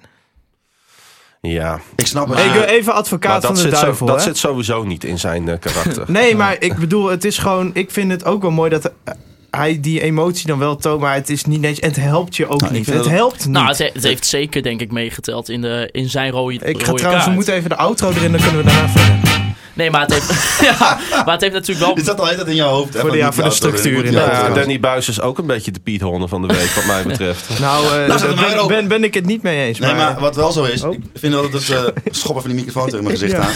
Speaker 5: Ja,
Speaker 7: Ik snap het.
Speaker 6: Hey, ik eh, wil
Speaker 7: Ja.
Speaker 6: even
Speaker 5: maar
Speaker 6: advocaat van
Speaker 5: dat,
Speaker 6: de
Speaker 5: zit, zo-
Speaker 6: duivel.
Speaker 5: dat
Speaker 6: hè?
Speaker 5: zit sowieso niet in zijn eh, karakter.
Speaker 6: Nee, maar ik bedoel, het is gewoon. Ik vind het ook wel mooi dat eh, hij die emotie dan wel toont. Maar het is niet netjes. En het helpt je ook
Speaker 7: Nou, ik
Speaker 6: niet.
Speaker 7: vind
Speaker 6: Het
Speaker 7: dat-
Speaker 6: helpt niet.
Speaker 4: Nou, het, he- het heeft zeker, denk ik, meegeteld in, de, in zijn rode,
Speaker 6: ik ga
Speaker 4: rode
Speaker 6: trouwens,
Speaker 4: kaart.
Speaker 6: we moeten even de outro erin, dan kunnen we daarna verder.
Speaker 4: Nee, maar het heeft, ja, maar het heeft natuurlijk wel...
Speaker 7: Is dat al altijd in je hoofd? hè,
Speaker 6: Voor de-
Speaker 7: van
Speaker 6: ja,
Speaker 7: niet
Speaker 6: voor de
Speaker 7: die auto
Speaker 6: structuur
Speaker 7: erin, moet
Speaker 6: eh,
Speaker 7: die
Speaker 5: Nou,
Speaker 6: inderdaad.
Speaker 7: auto
Speaker 5: ja,
Speaker 7: erin.
Speaker 5: Danny Buis is ook een beetje de Piet Honden van de week, wat mij betreft.
Speaker 6: Nou, eh,
Speaker 7: Laat het
Speaker 6: ben-
Speaker 7: maar
Speaker 6: ben,
Speaker 7: open.
Speaker 6: ben, ik het niet mee eens.
Speaker 7: Nee,
Speaker 6: maar,
Speaker 7: maar wat wel zo is,
Speaker 6: Oh.
Speaker 7: ik vind dat het eh schoppen van die microfoon tegen mijn gezicht
Speaker 6: Ja.
Speaker 7: aan.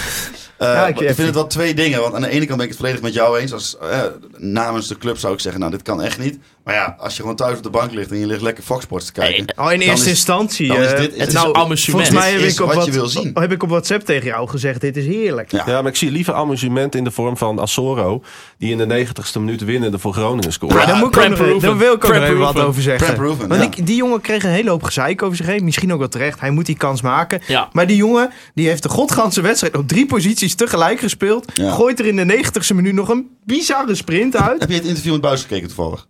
Speaker 7: Eh,
Speaker 6: Ja, ik-
Speaker 7: ik, vind het wel twee dingen. Want aan de ene kant ben ik het volledig met jou eens. Als, eh, namens de club zou ik zeggen, nou dit kan echt niet. Maar ja, als je gewoon thuis op de bank ligt en je ligt lekker Fox Sports te kijken.
Speaker 6: Oh, in eerste
Speaker 7: is-
Speaker 6: instantie.
Speaker 7: dan is
Speaker 6: eh,
Speaker 7: dit- het
Speaker 4: is
Speaker 6: nou,
Speaker 4: een amusement.
Speaker 6: Volgens mij
Speaker 7: Dit
Speaker 6: heb
Speaker 7: is
Speaker 6: ik, op
Speaker 7: wat je
Speaker 6: wat
Speaker 7: wil zien.
Speaker 6: heb ik op WhatsApp tegen jou gezegd: dit is heerlijk.
Speaker 7: Ja.
Speaker 5: Ja, maar ik zie liever amusement in de vorm van Asoro. Die in de 90ste minuut winnende voor Groningen scoort.
Speaker 6: daar, moet ik
Speaker 4: Prem
Speaker 6: ook nog-
Speaker 4: Proeven.
Speaker 6: daar wil ik ook
Speaker 4: Prem
Speaker 6: nog even wat
Speaker 4: Proeven.
Speaker 6: over zeggen.
Speaker 7: Prem Proeven,
Speaker 6: Want
Speaker 7: ja.
Speaker 6: ik- die jongen kreeg een hele hoop gezeik over zich heen. Misschien ook wel terecht. Hij moet die kans maken.
Speaker 4: Ja.
Speaker 6: Maar die jongen die heeft de godganse wedstrijd op drie posities tegelijk gespeeld.
Speaker 7: Ja.
Speaker 6: Gooit er in de 90ste minuut nog een bizarre sprint uit.
Speaker 7: Heb je het interview met Buis gekeken toevallig?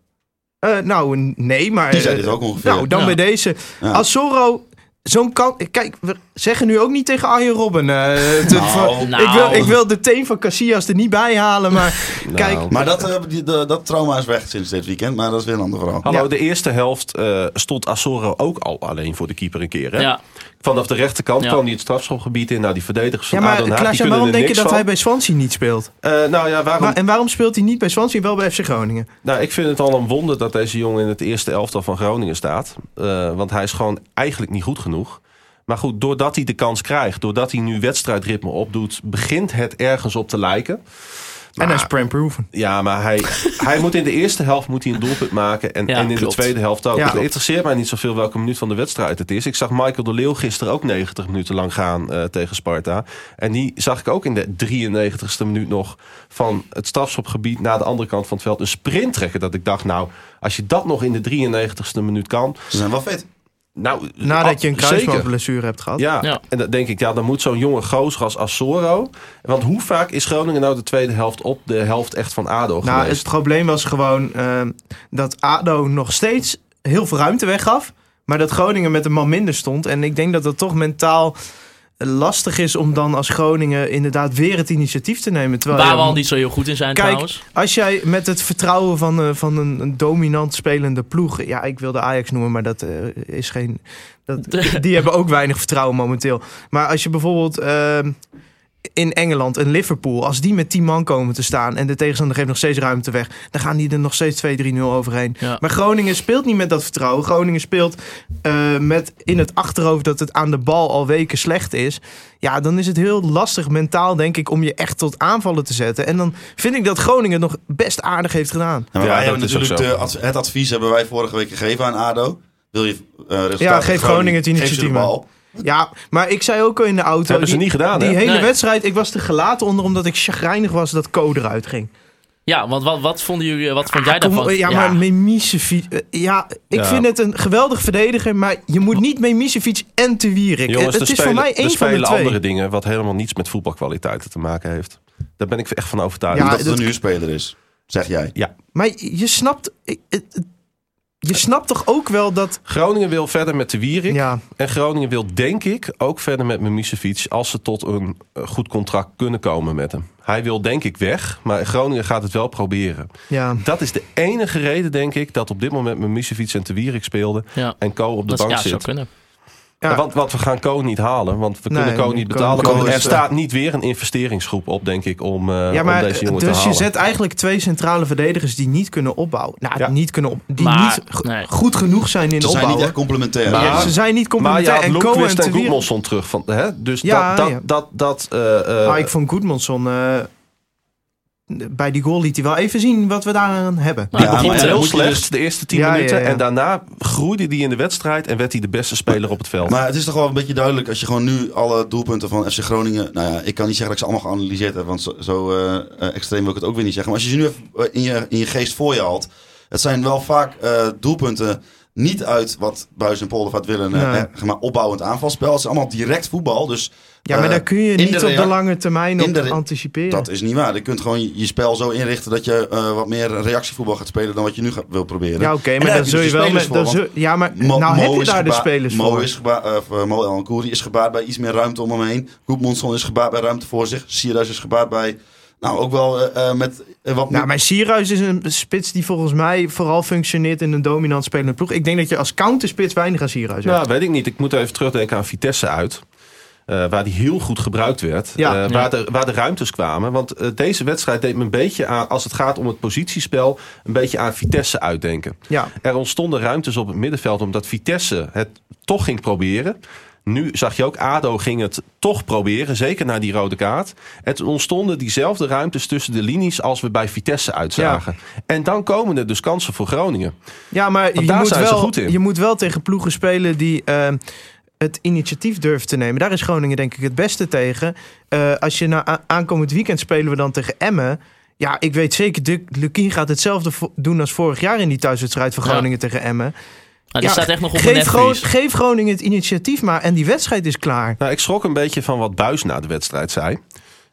Speaker 6: Eh, nou, n- nee, maar...
Speaker 7: Die zei
Speaker 6: eh,
Speaker 7: dit ook ongeveer.
Speaker 6: Nou, dan
Speaker 4: Ja.
Speaker 6: bij deze.
Speaker 7: Ja.
Speaker 6: Als Zorro zo'n kan... Kijk, we zeggen nu ook niet tegen Arjen Robben. eh, te- van-
Speaker 4: nou.
Speaker 6: ik, wil, ik wil de teen van Casillas er niet bij halen, maar...
Speaker 5: Nou.
Speaker 6: kijk,
Speaker 7: Maar dat, eh, die, de- dat trauma is weg sinds dit weekend, maar dat is weer een ander verhaal.
Speaker 5: Hallo,
Speaker 6: Ja.
Speaker 5: de eerste helft eh, stond Asoro ook al alleen voor de keeper een keer. Hè?
Speaker 4: Ja.
Speaker 5: Vanaf de rechterkant
Speaker 4: Ja.
Speaker 5: kwam hij het strafschopgebied in. Nou, die verdedigers van
Speaker 6: ja,
Speaker 5: ja,
Speaker 6: maar
Speaker 5: Den Haag, die
Speaker 6: Klaas,
Speaker 5: kunnen
Speaker 6: waarom
Speaker 5: er
Speaker 6: denk je
Speaker 5: niks
Speaker 6: dat
Speaker 5: van.
Speaker 6: hij bij Swansea niet speelt?
Speaker 5: Eh, nou ja, waarom...
Speaker 6: Maar, en waarom speelt hij niet bij Swansea, wel bij FC Groningen?
Speaker 5: Nou, ik vind het al een wonder dat deze jongen in het eerste elftal van Groningen staat. Eh, want hij is gewoon eigenlijk niet goed genoeg. Maar goed, doordat hij de kans krijgt, doordat hij nu wedstrijdritme opdoet, begint het ergens op te lijken.
Speaker 6: en hij is prem-proven.
Speaker 5: Ja, maar hij, hij moet in de eerste helft moet hij een doelpunt maken. En,
Speaker 4: Ja,
Speaker 5: en in
Speaker 4: klopt.
Speaker 5: de tweede helft ook.
Speaker 6: Ja.
Speaker 5: het interesseert mij niet zoveel welke minuut van de wedstrijd het is. Ik zag Michael de Leeuw gisteren ook 90 minuten lang gaan eh, tegen Sparta. En die zag ik ook in de 93ste minuut nog van het strafschopgebied naar de andere kant van het veld een sprint trekken. Dat ik dacht, nou, als je dat nog in de 93ste minuut kan. eh,
Speaker 7: Ze zijn wel fit.
Speaker 5: Nou,
Speaker 6: Nadat
Speaker 5: ah,
Speaker 6: je een
Speaker 5: zeker.
Speaker 6: kruisbandblessure hebt gehad.
Speaker 5: Ja,
Speaker 4: Ja.
Speaker 5: en dan denk ik, ja, dan moet zo'n jonge gozer als Asoro. Want hoe vaak is Groningen nou de tweede helft op de helft echt van ADO
Speaker 6: Nou,
Speaker 5: geweest?
Speaker 6: het probleem was gewoon ehm, dat ADO nog steeds heel veel ruimte weggaf. Maar dat Groningen met een man minder stond. En ik denk dat dat toch mentaal lastig is om dan als Groningen inderdaad weer het initiatief te nemen. Terwijl
Speaker 4: Waar we
Speaker 6: je-
Speaker 4: al niet zo heel goed in zijn
Speaker 6: Kijk,
Speaker 4: trouwens.
Speaker 6: als jij met het vertrouwen van, eh, van een, een dominant spelende ploeg... Ja, ik wilde Ajax noemen, maar dat eh, is geen... Dat, die hebben ook weinig vertrouwen momenteel. Maar als je bijvoorbeeld ehm, in Engeland, in Liverpool... als die met 10 man komen te staan en de tegenstander geeft nog steeds ruimte weg... dan gaan die er nog steeds 2-3-0 overheen.
Speaker 4: Ja.
Speaker 6: Maar Groningen speelt niet met dat vertrouwen. Groningen speelt eh, met in het achterhoofd dat het aan de bal al weken slecht is. Ja, dan is het heel lastig mentaal, denk ik, om je echt tot aanvallen te zetten. En dan vind ik dat Groningen het nog best aardig heeft gedaan.
Speaker 7: Ja, maar
Speaker 5: Ja,
Speaker 7: wij
Speaker 5: dat
Speaker 7: hebben
Speaker 5: is ook
Speaker 7: natuurlijk
Speaker 5: zo.
Speaker 7: de adv- het advies hebben wij vorige week gegeven aan ADO. Wil je eh resultaat
Speaker 6: Ja, geef
Speaker 7: tegen
Speaker 6: Groningen het
Speaker 7: geef ze de
Speaker 6: initiatief, man.
Speaker 7: bal.
Speaker 6: Ja, maar ik zei ook al in de auto...
Speaker 5: Hebben ze
Speaker 6: die-
Speaker 5: niet gedaan,
Speaker 6: Die
Speaker 5: hè?
Speaker 6: hele
Speaker 4: Nee.
Speaker 6: wedstrijd, ik was er gelaten onder omdat ik chagrijnig was dat Co eruit ging.
Speaker 4: Ja, want wat, wat vonden jullie, wat vond jij
Speaker 6: Ah, Kom,
Speaker 4: daarvan?
Speaker 6: ja, maar Memisevic... eh, Ja, ik
Speaker 5: Ja.
Speaker 6: vind het een geweldig verdediger, maar je moet niet Memisevic en Te Wierik.
Speaker 5: Jongens,
Speaker 6: eh, het
Speaker 5: er
Speaker 6: is
Speaker 5: spelen,
Speaker 6: voor mij één
Speaker 5: er
Speaker 6: van de
Speaker 5: spelen
Speaker 6: twee.
Speaker 5: andere dingen wat helemaal niets met voetbalkwaliteiten te maken heeft. Daar ben ik echt van overtuigd.
Speaker 6: Ja,
Speaker 7: dat het
Speaker 6: dat-
Speaker 7: een huurspeler is, zeg jij.
Speaker 6: Maar je snapt... ik- het- het- Je snapt toch ook wel dat...
Speaker 5: Groningen wil verder met de Wierik.
Speaker 6: Ja,
Speaker 5: En Groningen wil, denk ik, ook verder met Mimicevic... als ze tot een eh, goed contract kunnen komen met hem. Hij wil, denk ik, weg. Maar Groningen gaat het wel proberen.
Speaker 6: ja.
Speaker 7: Eh,
Speaker 5: Dat is de enige reden, denk ik... dat op dit moment Mimicevic en de Wierik speelden...
Speaker 4: Ja.
Speaker 5: en Co op de
Speaker 4: Dat
Speaker 5: bank
Speaker 4: ja, zou
Speaker 5: zit.
Speaker 4: kunnen.
Speaker 6: Ja.
Speaker 5: Want, want we gaan Co niet halen. Want we
Speaker 6: Nee,
Speaker 5: kunnen Co niet
Speaker 6: Co-
Speaker 5: betalen.
Speaker 6: Co
Speaker 5: er
Speaker 7: is, eh,
Speaker 5: staat niet weer een investeringsgroep op, denk ik... om, eh,
Speaker 6: Ja,
Speaker 5: om
Speaker 6: maar
Speaker 5: deze jongen te
Speaker 6: dus
Speaker 5: halen.
Speaker 6: je zet eigenlijk twee centrale verdedigers die niet kunnen opbouwen. Nou,
Speaker 5: Ja.
Speaker 6: niet kunnen op, die
Speaker 4: Maar,
Speaker 6: niet go-
Speaker 4: nee.
Speaker 6: goed genoeg zijn
Speaker 7: Ze
Speaker 6: in
Speaker 7: zijn niet
Speaker 6: opbouwen.
Speaker 7: echt complementair.
Speaker 5: Maar-
Speaker 6: Ja, ze zijn niet
Speaker 5: Maar je
Speaker 6: complementair.
Speaker 5: had
Speaker 6: En Cohen
Speaker 5: Lundqvist
Speaker 6: te
Speaker 5: en
Speaker 6: Wierik-
Speaker 5: Gudmundsson terug. Van, hè? Dus
Speaker 6: Ja,
Speaker 5: dat... dat,
Speaker 6: ja.
Speaker 5: dat, dat eh, eh,
Speaker 6: Ah, ik vond Goedmanson eh, bij die goal liet hij wel even zien wat we daaraan hebben.
Speaker 4: Nou,
Speaker 7: Ja,
Speaker 4: hij
Speaker 5: Hij
Speaker 4: begint
Speaker 5: begon
Speaker 7: maar-
Speaker 4: heel
Speaker 5: heel
Speaker 7: moet je dus
Speaker 5: slecht de eerste 10
Speaker 6: dus- Ja,
Speaker 5: minuten.
Speaker 6: ja, ja.
Speaker 5: En daarna groeide hij in de wedstrijd en werd hij de beste speler op het veld.
Speaker 7: Maar het is toch wel een beetje duidelijk als je gewoon nu alle doelpunten van FC Groningen. Nou ja, ik kan niet zeggen dat ik ze allemaal geanalyseerd heb, want zo, zo, eh, eh, extreem wil ik het ook weer niet zeggen. Maar als je ze nu even, eh, in, je, in je geest voor je haalt, het zijn wel vaak eh, doelpunten niet uit wat Buis en Poldervaart willen, eh,
Speaker 6: Nee.
Speaker 7: eh, zeg maar opbouwend aanvalspel. Het is allemaal direct voetbal, dus
Speaker 6: Ja, maar
Speaker 7: eh,
Speaker 6: daar kun je
Speaker 7: in de
Speaker 6: niet op de
Speaker 7: rea-
Speaker 6: lange termijn
Speaker 7: in
Speaker 6: op
Speaker 7: de re-
Speaker 6: anticiperen.
Speaker 7: dat is niet waar. Je kunt gewoon je spel zo inrichten dat je eh, wat meer reactievoetbal gaat spelen dan wat je nu gaat, wil proberen.
Speaker 6: ja, oké,
Speaker 7: En
Speaker 6: maar
Speaker 7: daar heb
Speaker 6: dan
Speaker 7: je
Speaker 6: zul je
Speaker 7: dus de
Speaker 6: wel
Speaker 7: spelers
Speaker 6: met.
Speaker 7: voor,
Speaker 6: dan
Speaker 7: want-
Speaker 6: zul- ja, maar
Speaker 7: Mo-
Speaker 6: nou
Speaker 7: Eh, Mo
Speaker 6: heb je
Speaker 7: is
Speaker 6: daar de
Speaker 7: gebaar-
Speaker 6: spelers
Speaker 7: Mo
Speaker 6: voor.
Speaker 7: Is gebaar, eh, of, eh, Mo El Nkouri is gebaard bij iets meer ruimte om hem heen. Goedmonson is gebaard bij ruimte voor zich. Sierhuis is gebaard bij... Nou, ook wel eh, eh, met eh, wat...
Speaker 6: Nou, maar Sierhuis is een spits die volgens mij vooral functioneert in een dominant spelende ploeg. Ik denk dat je als counterspits weinig aan Sierhuis hebt.
Speaker 5: Nou, weet ik niet. Ik moet even terugdenken aan Vitesse uit. eh, waar die heel goed gebruikt werd.
Speaker 6: Ja. Ja.
Speaker 5: Eh, waar, de, waar de ruimtes kwamen. Want eh, deze wedstrijd deed me een beetje aan, als het gaat om het positiespel, een beetje aan Vitesse uitdenken.
Speaker 6: Ja.
Speaker 5: Er ontstonden ruimtes op het middenveld omdat Vitesse het toch ging proberen. Nu zag je ook, ADO ging het toch proberen, zeker na die rode kaart. En toen ontstonden diezelfde ruimtes tussen de linies als we bij Vitesse uitzagen. En dan komen er dus kansen voor Groningen.
Speaker 6: Ja, maar je
Speaker 5: daar
Speaker 6: moet,
Speaker 5: zijn ze
Speaker 6: wel,
Speaker 5: goed in.
Speaker 6: je moet wel tegen ploegen spelen die ehm, het initiatief durven te nemen. Daar is Groningen denk ik het beste tegen. Eh, als je na a- aankomend weekend spelen we dan tegen Emmen. Ja, ik weet zeker, Duk- Lukien gaat hetzelfde vo- doen als vorig jaar in die thuiswedstrijd van
Speaker 4: Ja.
Speaker 6: Groningen tegen Emmen.
Speaker 4: Nou, die
Speaker 6: Ja,
Speaker 4: staat echt nog op de
Speaker 6: Geef, Gro-
Speaker 4: netvlies.
Speaker 6: geef Groningen het initiatief maar en die wedstrijd is klaar.
Speaker 5: Nou, ik schrok een beetje van wat Buis na de wedstrijd zei.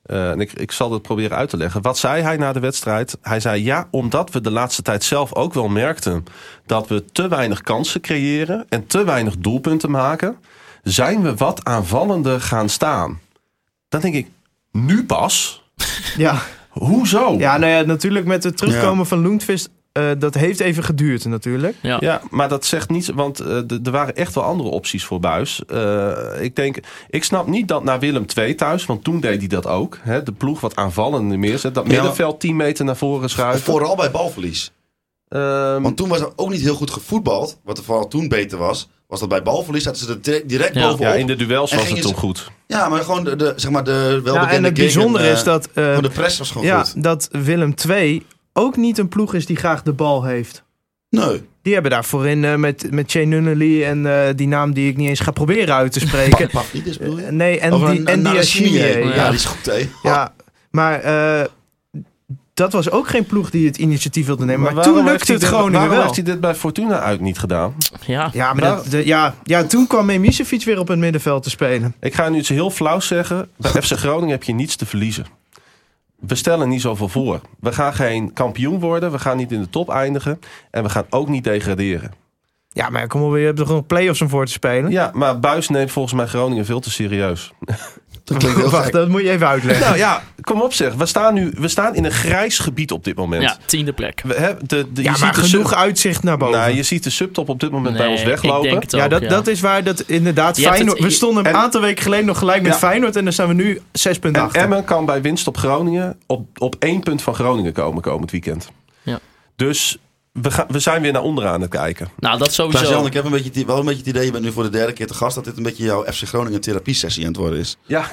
Speaker 5: Eh, en ik, ik zal dat proberen uit te leggen. Wat zei hij na de wedstrijd? Hij zei ja, omdat we de laatste tijd zelf ook wel merkten dat we te weinig kansen creëren en te weinig doelpunten maken, zijn we wat aanvallender gaan staan. Dan denk ik, nu pas?
Speaker 6: Ja,
Speaker 5: Hoezo?
Speaker 6: ja nou ja, natuurlijk met het terugkomen
Speaker 7: Ja.
Speaker 6: van Loentvist. eh, dat heeft even geduurd natuurlijk.
Speaker 5: Ja, maar dat zegt niets, want eh, d- er waren echt wel andere opties voor Buis. Eh, ik denk, ik snap niet dat naar Willem II thuis, want toen deed hij dat ook. Hè, de ploeg wat aanvallender neerzet, dat
Speaker 7: Ja, maar-
Speaker 5: middenveld 10 meter naar voren schuiven.
Speaker 7: Vooral bij balverlies.
Speaker 5: Ehm,
Speaker 7: Want toen was er ook niet heel goed gevoetbald. Wat er vooral toen beter was, was dat bij balverlies zaten ze er direct, direct
Speaker 4: Ja.
Speaker 7: bovenop.
Speaker 5: ja,
Speaker 7: Ja,
Speaker 5: in de duels
Speaker 7: En
Speaker 5: was het
Speaker 7: gingen
Speaker 5: toen
Speaker 7: ze-
Speaker 5: goed.
Speaker 7: maar gewoon de, de- zeg maar de
Speaker 6: Ja,
Speaker 7: welbekende
Speaker 6: Nou, en het
Speaker 7: gingen,
Speaker 6: bijzondere
Speaker 7: eh,
Speaker 6: is dat... eh,
Speaker 7: gewoon de press was gewoon
Speaker 6: ja,
Speaker 7: goed.
Speaker 6: dat Willem II ook niet een ploeg is die graag de bal heeft.
Speaker 7: Nee.
Speaker 6: Die hebben daar voorin eh, met, met Shane Nunnally en eh, die naam die ik niet eens ga proberen uit te spreken.
Speaker 7: Pavlidis bedoel je?
Speaker 6: nee, en
Speaker 7: Of
Speaker 6: die,
Speaker 7: een-
Speaker 6: en
Speaker 7: een
Speaker 6: die
Speaker 7: Narashimiye.
Speaker 6: Ashimiye.
Speaker 7: Ja,
Speaker 6: Ja.
Speaker 7: die is goed, hè?
Speaker 6: Ja, maar eh, dat was ook geen ploeg die het initiatief wilde nemen. Maar,
Speaker 5: waarom
Speaker 6: toen
Speaker 5: heeft
Speaker 6: lukte
Speaker 5: hij
Speaker 6: het
Speaker 5: dit-
Speaker 6: Groningen
Speaker 5: Waarom
Speaker 6: wel.
Speaker 5: heeft hij dit bij Fortuna uit niet gedaan?
Speaker 4: Ja.
Speaker 6: Ja, maar dat, de- ja, ja, toen kwam Memisevic weer op het middenveld te spelen.
Speaker 5: Ik ga nu iets heel flauws zeggen. Bij FC Groningen heb je niets te verliezen. We stellen niet zoveel voor. We gaan geen kampioen worden. We gaan niet in de top eindigen. En we gaan ook niet degraderen.
Speaker 6: Ja, maar kom op, je hebt toch nog play-offs om voor te spelen?
Speaker 5: Ja, maar Buis neemt volgens mij Groningen veel te serieus.
Speaker 7: Dat klinkt heel
Speaker 6: Wacht,
Speaker 7: gek.
Speaker 6: dat moet je even uitleggen.
Speaker 5: Nou ja, kom op zeg. We staan nu we staan in een grijs gebied op dit moment.
Speaker 4: ja, tiende plek.
Speaker 5: We, hè, de, de,
Speaker 6: ja, maar
Speaker 5: je ziet dus de
Speaker 6: genoeg
Speaker 5: sub-
Speaker 6: uitzicht naar boven.
Speaker 5: Nou, je ziet de subtop op dit moment bij
Speaker 4: Nee,
Speaker 5: ons
Speaker 4: Ik
Speaker 5: weglopen.
Speaker 4: denk het ook,
Speaker 6: Ja, dat, dat is waar dat inderdaad
Speaker 4: Je hebt
Speaker 6: Feyenoord...
Speaker 4: het-
Speaker 6: we stonden een
Speaker 5: en-
Speaker 6: aantal weken geleden nog gelijk met
Speaker 5: Ja.
Speaker 6: Feyenoord... en dan staan we nu 6 punten
Speaker 5: En
Speaker 6: achter.
Speaker 5: Emmen kan bij winst op Groningen op, op één punt van Groningen komen komend weekend.
Speaker 4: Ja.
Speaker 5: Dus we, gaan, we zijn weer naar onderaan aan het kijken.
Speaker 4: Nou, dat
Speaker 7: Klaas
Speaker 4: sowieso.
Speaker 7: Jan, ik heb een beetje, het i- wel een beetje het idee, je bent nu voor de derde keer te gast, dat dit een beetje jouw FC Groningen therapie-sessie aan het worden is.
Speaker 5: Ja,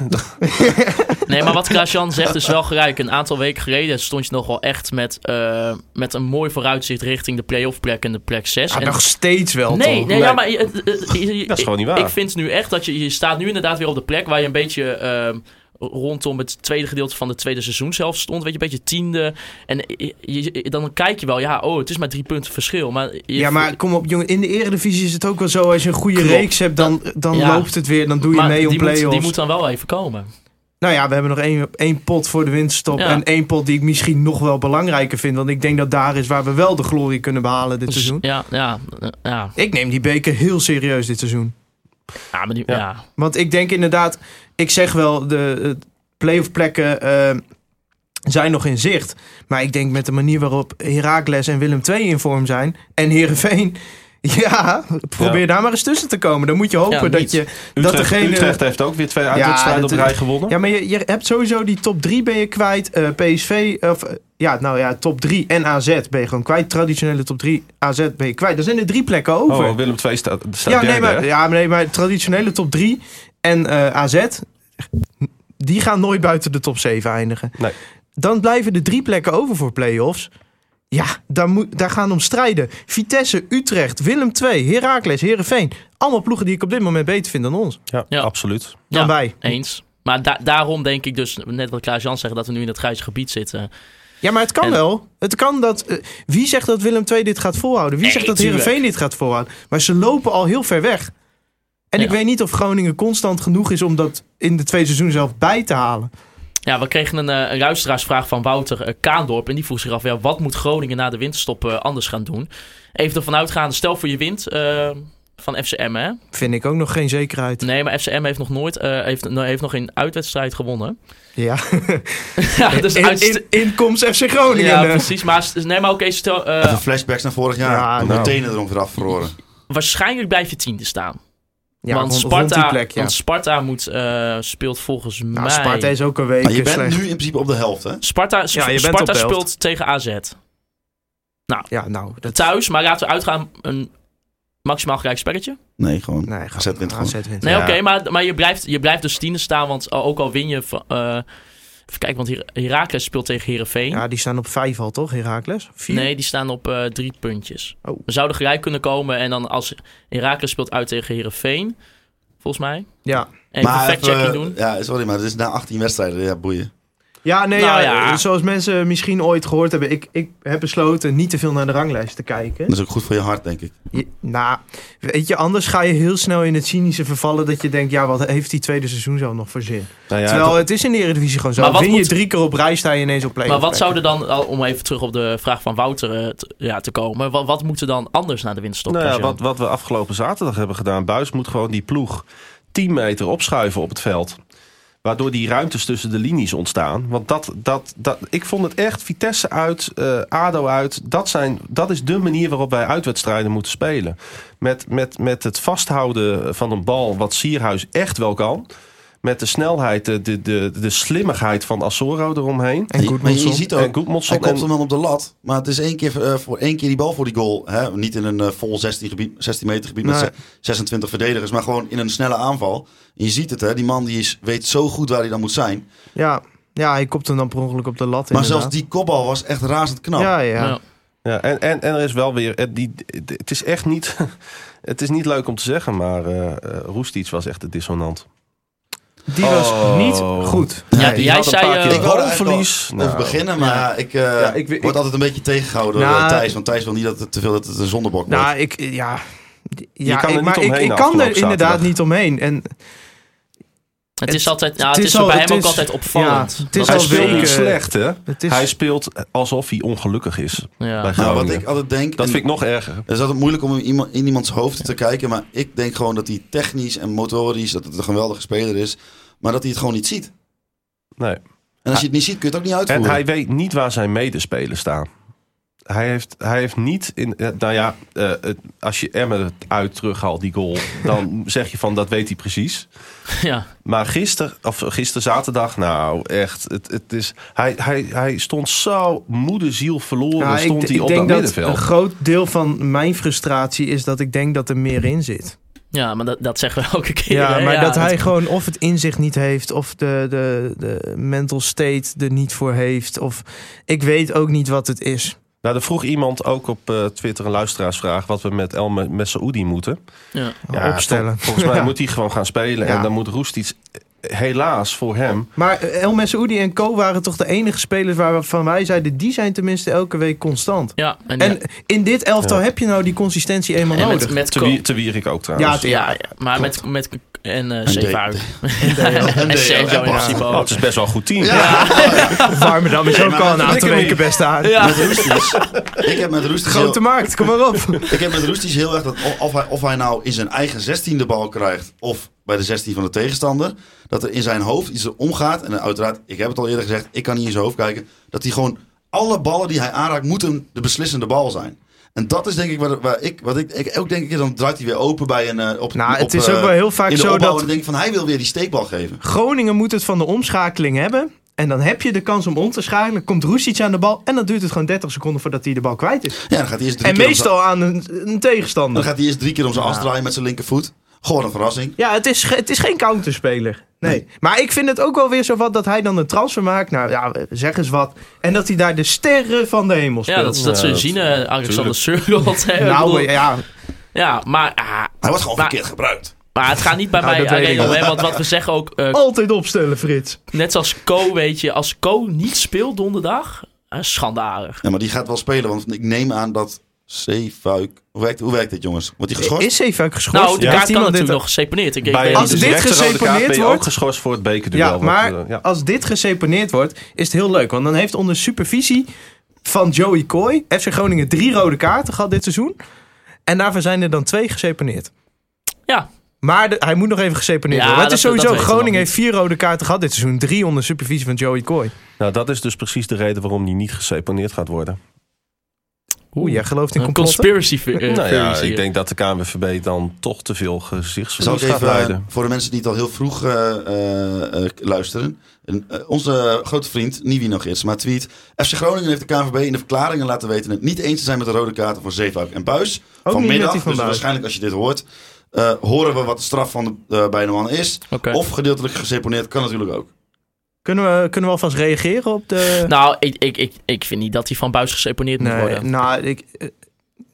Speaker 4: Nee, maar wat Klaas Jan zegt is wel gelijk. Een aantal weken geleden stond je nog wel echt met, eh, met een mooi vooruitzicht richting de play-off plek en de plek 6.
Speaker 6: Ja,
Speaker 4: en
Speaker 6: nog steeds wel,
Speaker 4: Nee,
Speaker 6: toch?
Speaker 4: nee, ja, maar je- het- het- je-
Speaker 5: Dat is gewoon niet waar.
Speaker 4: Ik vind nu echt dat je, je staat nu inderdaad weer op de plek waar je een beetje ehm, rondom het tweede gedeelte van het tweede seizoen zelf stond. Weet je, een beetje tiende. En je- je- dan kijk je wel, ja, oh, het is maar drie punten verschil. Maar je-
Speaker 6: Ja, maar kom op, jongen. In de eredivisie is het ook wel zo... als je een goede
Speaker 4: Klopt.
Speaker 6: reeks hebt, dan, dan
Speaker 4: Ja.
Speaker 6: loopt het weer. Dan doe je
Speaker 4: maar
Speaker 6: mee om
Speaker 4: die,
Speaker 6: play-offs.
Speaker 4: moet, die moet dan wel even komen.
Speaker 6: Nou ja, we hebben nog één, één pot voor de winststop...
Speaker 4: Ja.
Speaker 6: en één pot die ik misschien nog wel belangrijker vind... want ik denk dat daar is waar we wel de glorie kunnen behalen dit
Speaker 4: Dus,
Speaker 6: seizoen.
Speaker 4: ja, ja, eh, ja.
Speaker 6: Ik neem die beker heel serieus dit seizoen.
Speaker 4: Ja, maar die,
Speaker 5: Ja.
Speaker 4: ja.
Speaker 6: Want ik denk inderdaad, ik zeg wel, de eh, playoff plekken eh, zijn nog in zicht. Maar ik denk met de manier waarop Heracles en Willem II in vorm zijn en Herenveen. Ja, probeer
Speaker 5: Ja.
Speaker 6: daar maar eens tussen te komen. Dan moet je
Speaker 4: Ja,
Speaker 6: hopen dat
Speaker 4: niet.
Speaker 6: je.
Speaker 5: Utrecht,
Speaker 6: degene-
Speaker 5: Utrecht heeft ook weer twee uitwedstrijden op
Speaker 6: dat-
Speaker 5: rij gewonnen.
Speaker 6: Ja, maar je, je hebt sowieso die top 3 ben je kwijt. eh, PSV, of eh, ja, nou ja, top 3 en AZ ben je gewoon kwijt. Traditionele top 3 AZ ben je kwijt. Dan zijn er drie plekken over.
Speaker 5: oh, Willem II staat, staat
Speaker 6: Ja,
Speaker 5: derde.
Speaker 6: nee, maar,
Speaker 5: hè?
Speaker 6: ja, maar nee, maar traditionele top 3 en eh, AZ, die gaan nooit buiten de top 7 eindigen.
Speaker 5: Nee.
Speaker 6: Dan blijven er drie plekken over voor play-offs. Ja, daar, moet, daar gaan om strijden. Vitesse, Utrecht, Willem II, Heracles, Herenveen. Allemaal ploegen die ik op dit moment beter vind dan ons.
Speaker 5: Ja,
Speaker 4: Ja.
Speaker 5: absoluut. Nou
Speaker 6: Dan
Speaker 4: Ja,
Speaker 6: wij.
Speaker 4: Eens. Maar da- daarom denk ik dus, net wat Klaas Jan zegt, dat we nu in het grijze gebied zitten.
Speaker 6: Ja, maar het kan
Speaker 4: En-
Speaker 6: wel. Het kan dat. eh, wie zegt dat Willem II dit gaat volhouden? Wie
Speaker 4: Nee,
Speaker 6: zegt dat
Speaker 4: tuurlijk.
Speaker 6: Herenveen dit gaat volhouden? Maar ze lopen al heel ver weg. En ik
Speaker 4: Ja.
Speaker 6: weet niet of Groningen constant genoeg is om dat in de tweede seizoen zelf bij te halen.
Speaker 4: Ja, we kregen een, eh, een luisteraarsvraag van Wouter eh, Kaandorp. En die vroeg zich af, ja, wat moet Groningen na de winterstop eh, anders gaan doen? Even ervan uitgaande, stel voor je wint eh, van FCM, hè?
Speaker 6: Vind ik ook nog geen zekerheid.
Speaker 4: Nee, maar FCM heeft nog nooit, eh, heeft, nou, heeft nog geen uitwedstrijd gewonnen.
Speaker 6: Ja.
Speaker 4: ja, dus
Speaker 6: In,
Speaker 4: uitst-
Speaker 6: in, inkomst FC Groningen.
Speaker 4: ja, precies. Maar, st- nee, maar oké, stel, eh,
Speaker 7: Even flashbacks naar vorig jaar.
Speaker 6: Ja,
Speaker 7: Ja,
Speaker 5: nou.
Speaker 7: Meteen erom weer afverroren.
Speaker 4: waarschijnlijk blijf je tiende staan.
Speaker 6: Ja,
Speaker 4: want,
Speaker 6: rond- rond
Speaker 4: Sparta,
Speaker 6: die plek, ja.
Speaker 4: want Sparta moet, eh, speelt volgens
Speaker 6: Nou,
Speaker 4: mij...
Speaker 6: Sparta is ook een week
Speaker 7: Maar je bent
Speaker 6: slecht.
Speaker 7: nu in principe op de helft, hè?
Speaker 4: Sparta,
Speaker 6: Ja, je bent
Speaker 4: Sparta
Speaker 6: op de helft.
Speaker 4: speelt tegen AZ.
Speaker 6: Ja, nou, dat...
Speaker 4: Thuis, maar laten we uitgaan een maximaal gelijk spelletje?
Speaker 7: Nee, gewoon.
Speaker 6: Nee,
Speaker 7: AZ wint gewoon.
Speaker 6: AZ wint.
Speaker 4: Nee,
Speaker 5: Ja.
Speaker 4: oké, maar, maar je, blijft, je blijft dus tiende staan, want al- ook al win je van... eh, even kijken, want Her- Heracles speelt tegen Herenveen.
Speaker 6: Ja, die staan op vijf al, toch? Herakles? Vier?
Speaker 4: Nee, die staan op eh, drie puntjes.
Speaker 6: Oh.
Speaker 4: We zouden gelijk kunnen komen en dan als Heracles speelt uit tegen Herenveen, volgens mij.
Speaker 6: Ja.
Speaker 4: En even
Speaker 7: even,
Speaker 4: fact-checking doen.
Speaker 7: Ja, sorry, maar het is na 18 wedstrijden. Ja, boeien.
Speaker 6: Ja, nee,
Speaker 4: Nou
Speaker 6: ja,
Speaker 4: ja.
Speaker 6: zoals mensen misschien ooit gehoord hebben, ik, ik heb besloten niet te veel naar de ranglijst te kijken.
Speaker 7: Dat is ook goed voor je hart, denk ik.
Speaker 6: Je- nou, weet je, anders ga je heel snel in het cynische vervallen dat je denkt, ja, wat heeft die tweede seizoen zo nog voor zin?
Speaker 5: Nou ja,
Speaker 6: Terwijl het is in de Eredivisie gewoon zo.
Speaker 4: Maar wat
Speaker 6: Win je
Speaker 4: moet-
Speaker 6: drie keer op rij, sta je ineens op play.
Speaker 4: Maar wat zou er dan, al- om even terug op de vraag van Wouter eh, te, ja, te komen, wat, wat moet er dan anders naar de winterstop?
Speaker 5: Nou ja,
Speaker 4: Marcel?
Speaker 5: wat, wat we afgelopen zaterdag hebben gedaan. Buis moet gewoon die ploeg 10 meter opschuiven op het veld. Waardoor die ruimtes tussen de linies ontstaan. Want dat, dat, dat, ik vond het echt Vitesse uit, eh, ADO uit. Dat, zijn, dat is de manier waarop wij uitwedstrijden moeten spelen. Met, met, met het vasthouden van een bal wat Sierhuis echt wel kan. Met de snelheid, de, de, de, de slimmigheid van Assoro eromheen.
Speaker 6: En
Speaker 7: je, maar je
Speaker 6: Goedmanson.
Speaker 7: ziet ook,
Speaker 5: en
Speaker 7: hij
Speaker 5: Goedmanson en-
Speaker 7: komt hem dan op de lat. Maar het is één keer, eh, voor één keer die bal voor die goal. Hè? Niet in een eh, vol 16, gebied, 16 meter gebied met
Speaker 6: Nee.
Speaker 7: ze- 26 verdedigers. Maar gewoon in een snelle aanval. En je ziet het, hè? die man die is, weet zo goed waar hij dan moet zijn.
Speaker 6: Ja, ja, hij kopt hem dan per ongeluk op de lat
Speaker 7: Maar
Speaker 6: inderdaad.
Speaker 7: zelfs die kopbal was echt razend knap.
Speaker 6: Ja, ja.
Speaker 4: Ja.
Speaker 5: Ja, en, en, en er is wel weer. Het, die, het is echt niet. Het is niet leuk om te zeggen, maar eh eh, Roestic was echt de dissonant.
Speaker 6: Die was
Speaker 5: Oh.
Speaker 6: niet goed.
Speaker 4: Ja,
Speaker 5: die
Speaker 4: jij
Speaker 5: had een
Speaker 4: zei,
Speaker 5: paar
Speaker 4: eh,
Speaker 5: keer
Speaker 7: Ik wou er eigenlijk
Speaker 5: balverlies.
Speaker 7: wel
Speaker 5: Nou,
Speaker 7: over beginnen, maar
Speaker 4: Ja.
Speaker 7: ik, eh,
Speaker 5: Ja, ik weet-
Speaker 7: word
Speaker 5: ik-
Speaker 7: altijd een beetje tegengehouden door
Speaker 6: Nou,
Speaker 7: eh, Thijs. Want Thijs wil niet dat het te veel dat het een zondebok wordt.
Speaker 6: Nou, ik, ja. ja
Speaker 5: kan er
Speaker 6: ik,
Speaker 5: niet
Speaker 6: maar ik,
Speaker 5: omheen
Speaker 6: ik kan
Speaker 5: afgelopen
Speaker 6: er inderdaad
Speaker 5: zaterdag.
Speaker 6: niet omheen. En
Speaker 4: Het is altijd, ja, het,
Speaker 6: het
Speaker 4: is,
Speaker 6: is al-
Speaker 4: bij hem
Speaker 6: het
Speaker 4: ook
Speaker 6: is-
Speaker 4: altijd opvallend.
Speaker 6: ja, het
Speaker 4: Dat
Speaker 6: is
Speaker 5: hij
Speaker 6: al
Speaker 5: speelt
Speaker 6: weken-
Speaker 5: niet slecht, hè?
Speaker 6: het is...
Speaker 5: Hij speelt alsof hij ongelukkig is.
Speaker 4: ja.
Speaker 5: Bij
Speaker 7: Nou, wat
Speaker 5: Groningen.
Speaker 7: ik altijd denk.
Speaker 5: Dat
Speaker 7: en-
Speaker 5: vind ik nog erger.
Speaker 7: Het is altijd moeilijk om in, iemand, in iemands hoofd te kijken. Maar ik denk gewoon dat hij technisch en motorisch dat het een geweldige speler is. Maar dat hij het gewoon niet ziet.
Speaker 5: Nee.
Speaker 7: En als je het niet ziet, kun je het ook niet
Speaker 5: En
Speaker 7: uitvoeren.
Speaker 5: hij weet niet waar zijn medespelers staan. Hij heeft, hij heeft niet in. eh, Nou ja, eh, het- als je Emmen uit terughaalt, die goal. dan zeg je van dat weet hij precies.
Speaker 4: Ja.
Speaker 5: Maar gisteren, of gisteren zaterdag, nou echt, het, het is, hij, hij, hij stond zo moederziel verloren,
Speaker 6: Ja,
Speaker 5: stond
Speaker 6: ik,
Speaker 5: hij
Speaker 6: ik
Speaker 5: op dat
Speaker 6: denk dat een
Speaker 5: middenveld.
Speaker 6: groot deel van mijn frustratie is dat ik denk dat er meer in zit.
Speaker 4: Ja, maar dat, dat zeggen we elke keer.
Speaker 6: Ja,
Speaker 4: hè?
Speaker 6: maar dat hij
Speaker 4: het-
Speaker 6: gewoon of het inzicht niet heeft, of de, de, de mental state er niet voor heeft, of ik weet ook niet wat het is.
Speaker 5: Nou, er vroeg iemand ook op eh, Twitter een luisteraarsvraag wat we met El Me- met Saoedi moeten.
Speaker 4: Ja.
Speaker 6: Oh, opstellen.
Speaker 5: vol- volgens mij
Speaker 6: Ja.
Speaker 5: moet hij gewoon gaan spelen
Speaker 6: Ja.
Speaker 5: en dan moet Roest iets, helaas voor hem.
Speaker 6: Maar eh, El Messoudi en Co waren toch de enige spelers waarvan wij zeiden, die zijn tenminste elke week constant.
Speaker 4: Ja, en, ja.
Speaker 6: En in dit elftal
Speaker 5: Ja.
Speaker 6: heb je nou die consistentie eenmaal
Speaker 4: En
Speaker 6: nodig.
Speaker 4: met, met
Speaker 5: Te,
Speaker 4: Co-
Speaker 5: wie, te Wierik ook
Speaker 6: ja,
Speaker 5: trouwens.
Speaker 6: het- ja,
Speaker 4: maar met, met en eh
Speaker 7: D-
Speaker 4: Zeefuik.
Speaker 7: en
Speaker 4: en
Speaker 7: D-
Speaker 4: Sergio
Speaker 7: en
Speaker 4: in
Speaker 7: Bas.
Speaker 4: principe
Speaker 5: Oh,
Speaker 4: ook.
Speaker 5: het is best wel een goed team.
Speaker 6: Warmerdam is ook al een aantal
Speaker 5: Dikke
Speaker 6: weken best aan.
Speaker 4: Ja.
Speaker 7: ik heb met Roestig heel,
Speaker 6: Grote markt, kom maar op.
Speaker 7: ik heb met Roestic heel erg dat of- of hij, of hij nou in zijn eigen 16 de bal krijgt of bij de 16 van de tegenstander, dat er in zijn hoofd iets omgaat. En uiteraard, ik heb het al eerder gezegd, ik kan niet in zijn hoofd kijken, dat hij gewoon alle ballen die hij aanraakt moeten de beslissende bal zijn. En dat is denk ik waar, waar ik, wat ik, ik ook denk, ik, dan draait hij weer open bij een eh, op.
Speaker 6: Nou,
Speaker 7: op,
Speaker 6: het is
Speaker 7: eh,
Speaker 6: ook wel heel vaak
Speaker 7: in de
Speaker 6: zo
Speaker 7: opbouw
Speaker 6: dat-
Speaker 7: en denk ik van hij wil weer die steekbal geven.
Speaker 6: Groningen moet het van de omschakeling hebben. En dan heb je de kans om om te schakelen. Komt Roestic aan de bal. En dan duurt het gewoon 30 seconden voordat hij de bal kwijt is.
Speaker 7: Ja, dan gaat hij eerst drie
Speaker 6: en
Speaker 7: keer om
Speaker 6: meestal aan een, een
Speaker 7: zijn- dan
Speaker 6: tegenstander.
Speaker 7: gaat hij eerst drie keer om zijn as draaien met zijn linkervoet. Gewoon een verrassing.
Speaker 6: Ja, het is, ge- het is geen counterspeler. Nee. Maar ik vind het ook wel weer zo wat dat hij dan een transfer maakt. Nou ja, zeg eens wat. En dat hij daar de sterren van de hemel speelt.
Speaker 4: Ja, dat, dat ze zien eh, Alexander Surgot.
Speaker 6: nou, ja,
Speaker 4: ja, maar, ah,
Speaker 7: Hij wordt gewoon
Speaker 4: Maar-
Speaker 7: verkeerd gebruikt.
Speaker 4: maar het gaat niet bij
Speaker 6: Nou,
Speaker 4: mij
Speaker 6: dat weet
Speaker 4: alleen
Speaker 6: ik.
Speaker 4: om. Hè, want wat we zeggen ook, eh,
Speaker 6: altijd opstellen, Frits.
Speaker 4: net als Co, weet je. Als Co niet speelt donderdag, eh, schandalig.
Speaker 7: Ja, maar die gaat wel spelen, want ik neem aan dat Zeefuik... Hoe werkt, hoe werkt dit, jongens? Wordt hij geschorst?
Speaker 6: Is even geschorst.
Speaker 4: Nou, de
Speaker 6: Heeft
Speaker 4: kaart kan
Speaker 6: iemand
Speaker 4: natuurlijk
Speaker 6: dit- eh,
Speaker 4: nog geseponeerd. Ik, ik
Speaker 5: Bij
Speaker 4: weet
Speaker 6: Als
Speaker 5: de
Speaker 4: niet.
Speaker 6: dit
Speaker 5: directe rode dus kaart
Speaker 6: geseponeerd
Speaker 5: ben je ook
Speaker 6: wordt-
Speaker 5: geschorst voor het bekerduel.
Speaker 6: Ja,
Speaker 5: wat,
Speaker 6: maar
Speaker 5: eh, ja.
Speaker 6: als dit geseponeerd wordt, is het heel leuk. Want dan heeft onder supervisie van Joey Kooi FC Groningen drie rode kaarten gehad dit seizoen. En daarvan zijn er dan twee geseponeerd.
Speaker 4: Ja.
Speaker 6: Maar de- hij moet nog even geseponeerd
Speaker 4: Ja,
Speaker 6: worden. Maar het
Speaker 4: dat-
Speaker 6: is sowieso,
Speaker 4: dat weten we
Speaker 6: Groningen
Speaker 4: nog
Speaker 6: heeft vier rode kaarten gehad dit seizoen. Drie onder supervisie van Joey Kooi.
Speaker 5: Nou, dat is dus precies de reden waarom die niet geseponeerd gaat worden.
Speaker 6: Oeh, jij gelooft in
Speaker 4: Een
Speaker 6: complotten?
Speaker 4: conspiracy the- eh,
Speaker 5: nou ja,
Speaker 4: theory.
Speaker 5: ik denk dat de KNVB dan toch te veel
Speaker 7: Zal ik
Speaker 5: gezichtsverlies gaat
Speaker 7: even, eh,
Speaker 5: leiden.
Speaker 7: voor de mensen die het al heel vroeg eh, eh, eh, luisteren. En, eh, onze grote vriend, Niwi nog eerst, maar tweet. FC Groningen heeft de KNVB in de verklaringen laten weten het niet eens te zijn met de rode kaarten voor Zeefuik en Buis.
Speaker 6: met die
Speaker 7: Vanmiddag,
Speaker 6: van
Speaker 7: dus
Speaker 6: Buijs.
Speaker 7: waarschijnlijk als je dit hoort, eh, horen we wat de straf van de eh, bij de man is.
Speaker 4: Oké.
Speaker 7: Of gedeeltelijk geseponeerd, kan natuurlijk ook.
Speaker 6: Oh, Kunnen we, kunnen we alvast reageren op de...
Speaker 4: Nou, ik, ik, ik, ik vind niet dat hij van buis geseponeerd moet
Speaker 6: nee,
Speaker 4: worden.
Speaker 6: nou, ik, eh,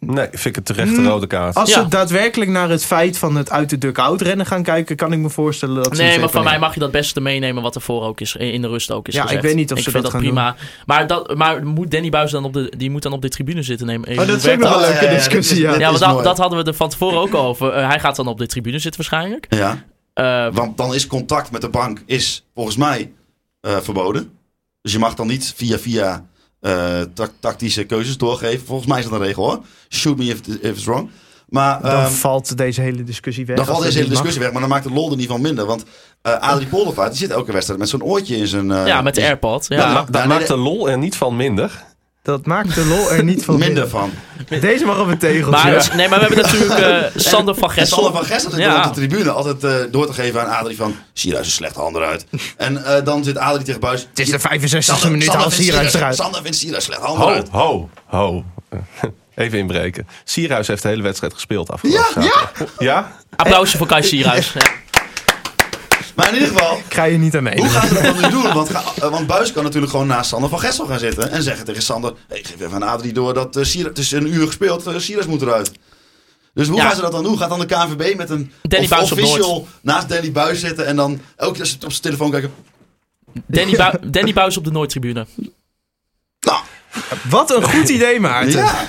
Speaker 5: Nee, vind ik het terecht de
Speaker 6: Mm.
Speaker 5: rode kaart.
Speaker 6: als
Speaker 4: Ja.
Speaker 6: ze daadwerkelijk naar het feit van het uit de duck-out rennen gaan kijken, kan ik me voorstellen dat ze
Speaker 4: Nee,
Speaker 6: hem
Speaker 4: maar van mij
Speaker 6: seponeren.
Speaker 4: mag je dat beste meenemen wat ervoor ook is. In de rust ook is
Speaker 6: Ja, ik
Speaker 4: gezegd.
Speaker 6: weet niet of ze
Speaker 4: vind
Speaker 6: dat
Speaker 4: dat
Speaker 6: gaan
Speaker 4: prima. Maar, dat, maar moet Danny Buis dan op de, die moet dan op de tribune zitten nemen?
Speaker 6: Oh, dat is ook nog een
Speaker 7: Ja, ja,
Speaker 6: leuke
Speaker 7: ja,
Speaker 6: discussie,
Speaker 7: dit
Speaker 6: ja.
Speaker 7: is-
Speaker 4: ja, want dat,
Speaker 7: mooi.
Speaker 4: dat hadden we er van tevoren ook al over. Eh, hij gaat dan op de tribune zitten waarschijnlijk.
Speaker 7: Ja,
Speaker 4: Eh,
Speaker 7: want dan is contact met de bank is volgens mij eh, verboden. Dus je mag dan niet via via eh, tac- tactische keuzes doorgeven. Volgens mij is dat een regel hoor. Shoot me if, if it's wrong. Maar
Speaker 6: Dan
Speaker 7: ehm,
Speaker 6: valt deze hele discussie weg.
Speaker 7: dan
Speaker 6: als
Speaker 7: valt
Speaker 6: dat
Speaker 7: deze hele
Speaker 6: niet mag.
Speaker 7: discussie weg. Maar dan maakt de lol er niet van minder. Want eh Adrie Poldervaart die zit elke wedstrijd met zo'n oortje in zijn... eh,
Speaker 4: ja, met de
Speaker 6: dus-
Speaker 4: AirPod.
Speaker 5: Dat, ma-
Speaker 4: Ja.
Speaker 5: dat
Speaker 7: Ja, nee,
Speaker 5: maakt
Speaker 7: de-
Speaker 5: de lol er niet van minder.
Speaker 6: Dat maakt de lol er niet van.
Speaker 7: Minder van.
Speaker 6: Deze mag op een tegeltje.
Speaker 4: Maar, nee, maar we hebben natuurlijk eh, Sander van
Speaker 7: En Sander
Speaker 4: Gessel.
Speaker 7: van Gessel zit
Speaker 4: Ja.
Speaker 7: dan op de tribune altijd eh, door te geven aan Adrie van... Zie je daar zijn slechte handen uit. En eh, dan zit Adrie tegen Buis...
Speaker 6: Het is de 65e minuut,
Speaker 7: Sander
Speaker 6: haal
Speaker 7: vindt
Speaker 6: Sierhuis
Speaker 7: Sierhuis-
Speaker 6: eruit.
Speaker 7: Sander vindt Sierhuis slecht handen
Speaker 5: Ho,
Speaker 7: uit.
Speaker 5: ho, ho. Even inbreken. Sierhuis heeft de hele wedstrijd gespeeld
Speaker 7: Ja,
Speaker 5: afgelopen
Speaker 7: ja.
Speaker 5: zaterdag. Ja?
Speaker 4: Applausje voor Kai Sierhuis. Ja.
Speaker 7: Maar in ieder geval...
Speaker 6: Ga je niet aan mee.
Speaker 7: Hoe gaan ze dat dan nu doen? Want, ga- eh, want Buis kan natuurlijk gewoon naast Sander van Gessel gaan zitten. En zeggen tegen Sander: hey, geef even aan Adrie door dat eh Sierra- het is een uur gespeeld, eh, Sierras moet eruit. Dus hoe
Speaker 4: Ja.
Speaker 7: gaan ze dat dan doen? Gaat dan de KNVB met een
Speaker 4: Danny
Speaker 7: of-
Speaker 4: Buijs op
Speaker 7: official naast Danny Buis zitten en dan elke keer als ze op zijn telefoon kijken.
Speaker 4: Danny, Bui- Danny Buis op de Nooit-tribune.
Speaker 7: Nou,
Speaker 6: Wat een goed idee, Maarten.
Speaker 7: ja.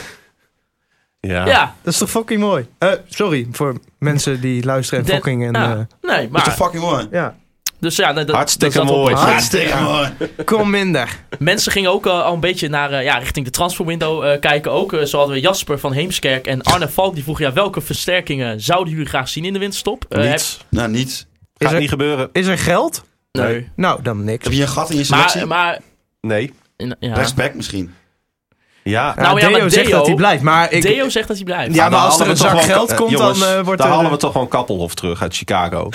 Speaker 5: Ja.
Speaker 4: Ja,
Speaker 6: Dat is toch fucking mooi? Eh, sorry voor mensen die luisteren en
Speaker 4: Dan-
Speaker 6: fucking. En,
Speaker 4: ja.
Speaker 6: eh,
Speaker 4: nee,
Speaker 7: Dat is toch
Speaker 4: maar.
Speaker 7: fucking mooi.
Speaker 6: ja.
Speaker 4: Dus ja, nee, dat,
Speaker 5: Hartstikke
Speaker 4: dat zat op-
Speaker 5: mooi.
Speaker 4: op-
Speaker 7: Hartstikke mooi.
Speaker 6: Kom minder.
Speaker 4: Mensen gingen ook eh, al een beetje naar, eh, ja, richting de transferwindow eh, kijken. Ook eh, zo hadden we Jasper van Heemskerk en Arne Valk. Die vroegen, ja, welke versterkingen zouden jullie graag zien in de winterstop? Eh, heb-
Speaker 5: Niets.
Speaker 7: Nou, niet.
Speaker 6: Is
Speaker 5: Gaat
Speaker 6: er,
Speaker 5: niet gebeuren.
Speaker 6: is er geld?
Speaker 4: nee.
Speaker 6: Nou, dan niks.
Speaker 7: Heb je een gat in je selectie?
Speaker 4: Maar, maar
Speaker 5: Nee.
Speaker 4: in- ja.
Speaker 7: Respect misschien.
Speaker 5: Ja.
Speaker 6: Ja,
Speaker 4: Nou ja,
Speaker 6: Deo
Speaker 4: maar
Speaker 6: zegt
Speaker 4: Deo-
Speaker 6: dat hij blijft, maar ik...
Speaker 4: Deo zegt dat hij blijft.
Speaker 6: Ja, maar
Speaker 5: Dan
Speaker 6: Eh, als
Speaker 5: halen
Speaker 6: er
Speaker 5: we
Speaker 6: een
Speaker 5: toch
Speaker 6: zak
Speaker 5: wel
Speaker 6: geld
Speaker 5: Ka-
Speaker 6: komt,
Speaker 5: jongens,
Speaker 6: dan eh, wordt
Speaker 5: Daar
Speaker 6: er...
Speaker 5: halen we toch gewoon Kappelhof terug uit Chicago.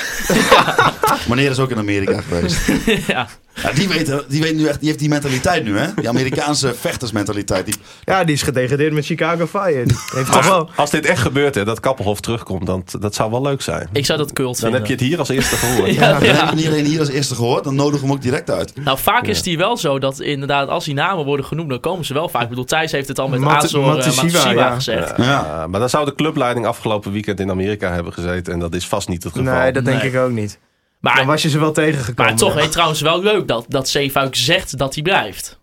Speaker 7: Meneer is ook in Amerika geweest.
Speaker 4: Ja.
Speaker 7: Ja, die, weet, eh, die, weet nu echt, die heeft die mentaliteit nu, hè? Die Amerikaanse vechtersmentaliteit. Die,
Speaker 6: Ja, die is gedegradeerd met Chicago Fire. Die Heeft toch
Speaker 5: Maar
Speaker 6: wel...
Speaker 5: als dit echt gebeurt, hè, dat Kappelhof terugkomt, dan, dat zou wel leuk zijn.
Speaker 4: Ik zou dat kult
Speaker 5: Dan
Speaker 4: vinden.
Speaker 5: heb je het hier als eerste gehoord.
Speaker 4: Ja,
Speaker 7: We
Speaker 4: ja.
Speaker 7: hebben hem niet alleen hier als eerste gehoord, dan nodigen we hem ook direct uit.
Speaker 4: Nou, vaak is die wel zo dat inderdaad, als die namen worden genoemd, dan komen ze wel vaak. Ik bedoel, Thijs heeft het al met
Speaker 6: Mat-
Speaker 4: Azor en
Speaker 6: Matsushima, ja.
Speaker 4: gezegd.
Speaker 7: Ja.
Speaker 5: Uh, maar dan zou de clubleiding afgelopen weekend in Amerika hebben gezeten. En dat is vast niet het geval.
Speaker 6: Nee, dat denk
Speaker 4: Nee.
Speaker 6: ik ook niet. Dan
Speaker 4: Maar,
Speaker 6: was je ze wel tegengekomen.
Speaker 4: Ah, maar toch, hey, trouwens wel leuk dat, dat Zeefuik zegt dat hij blijft.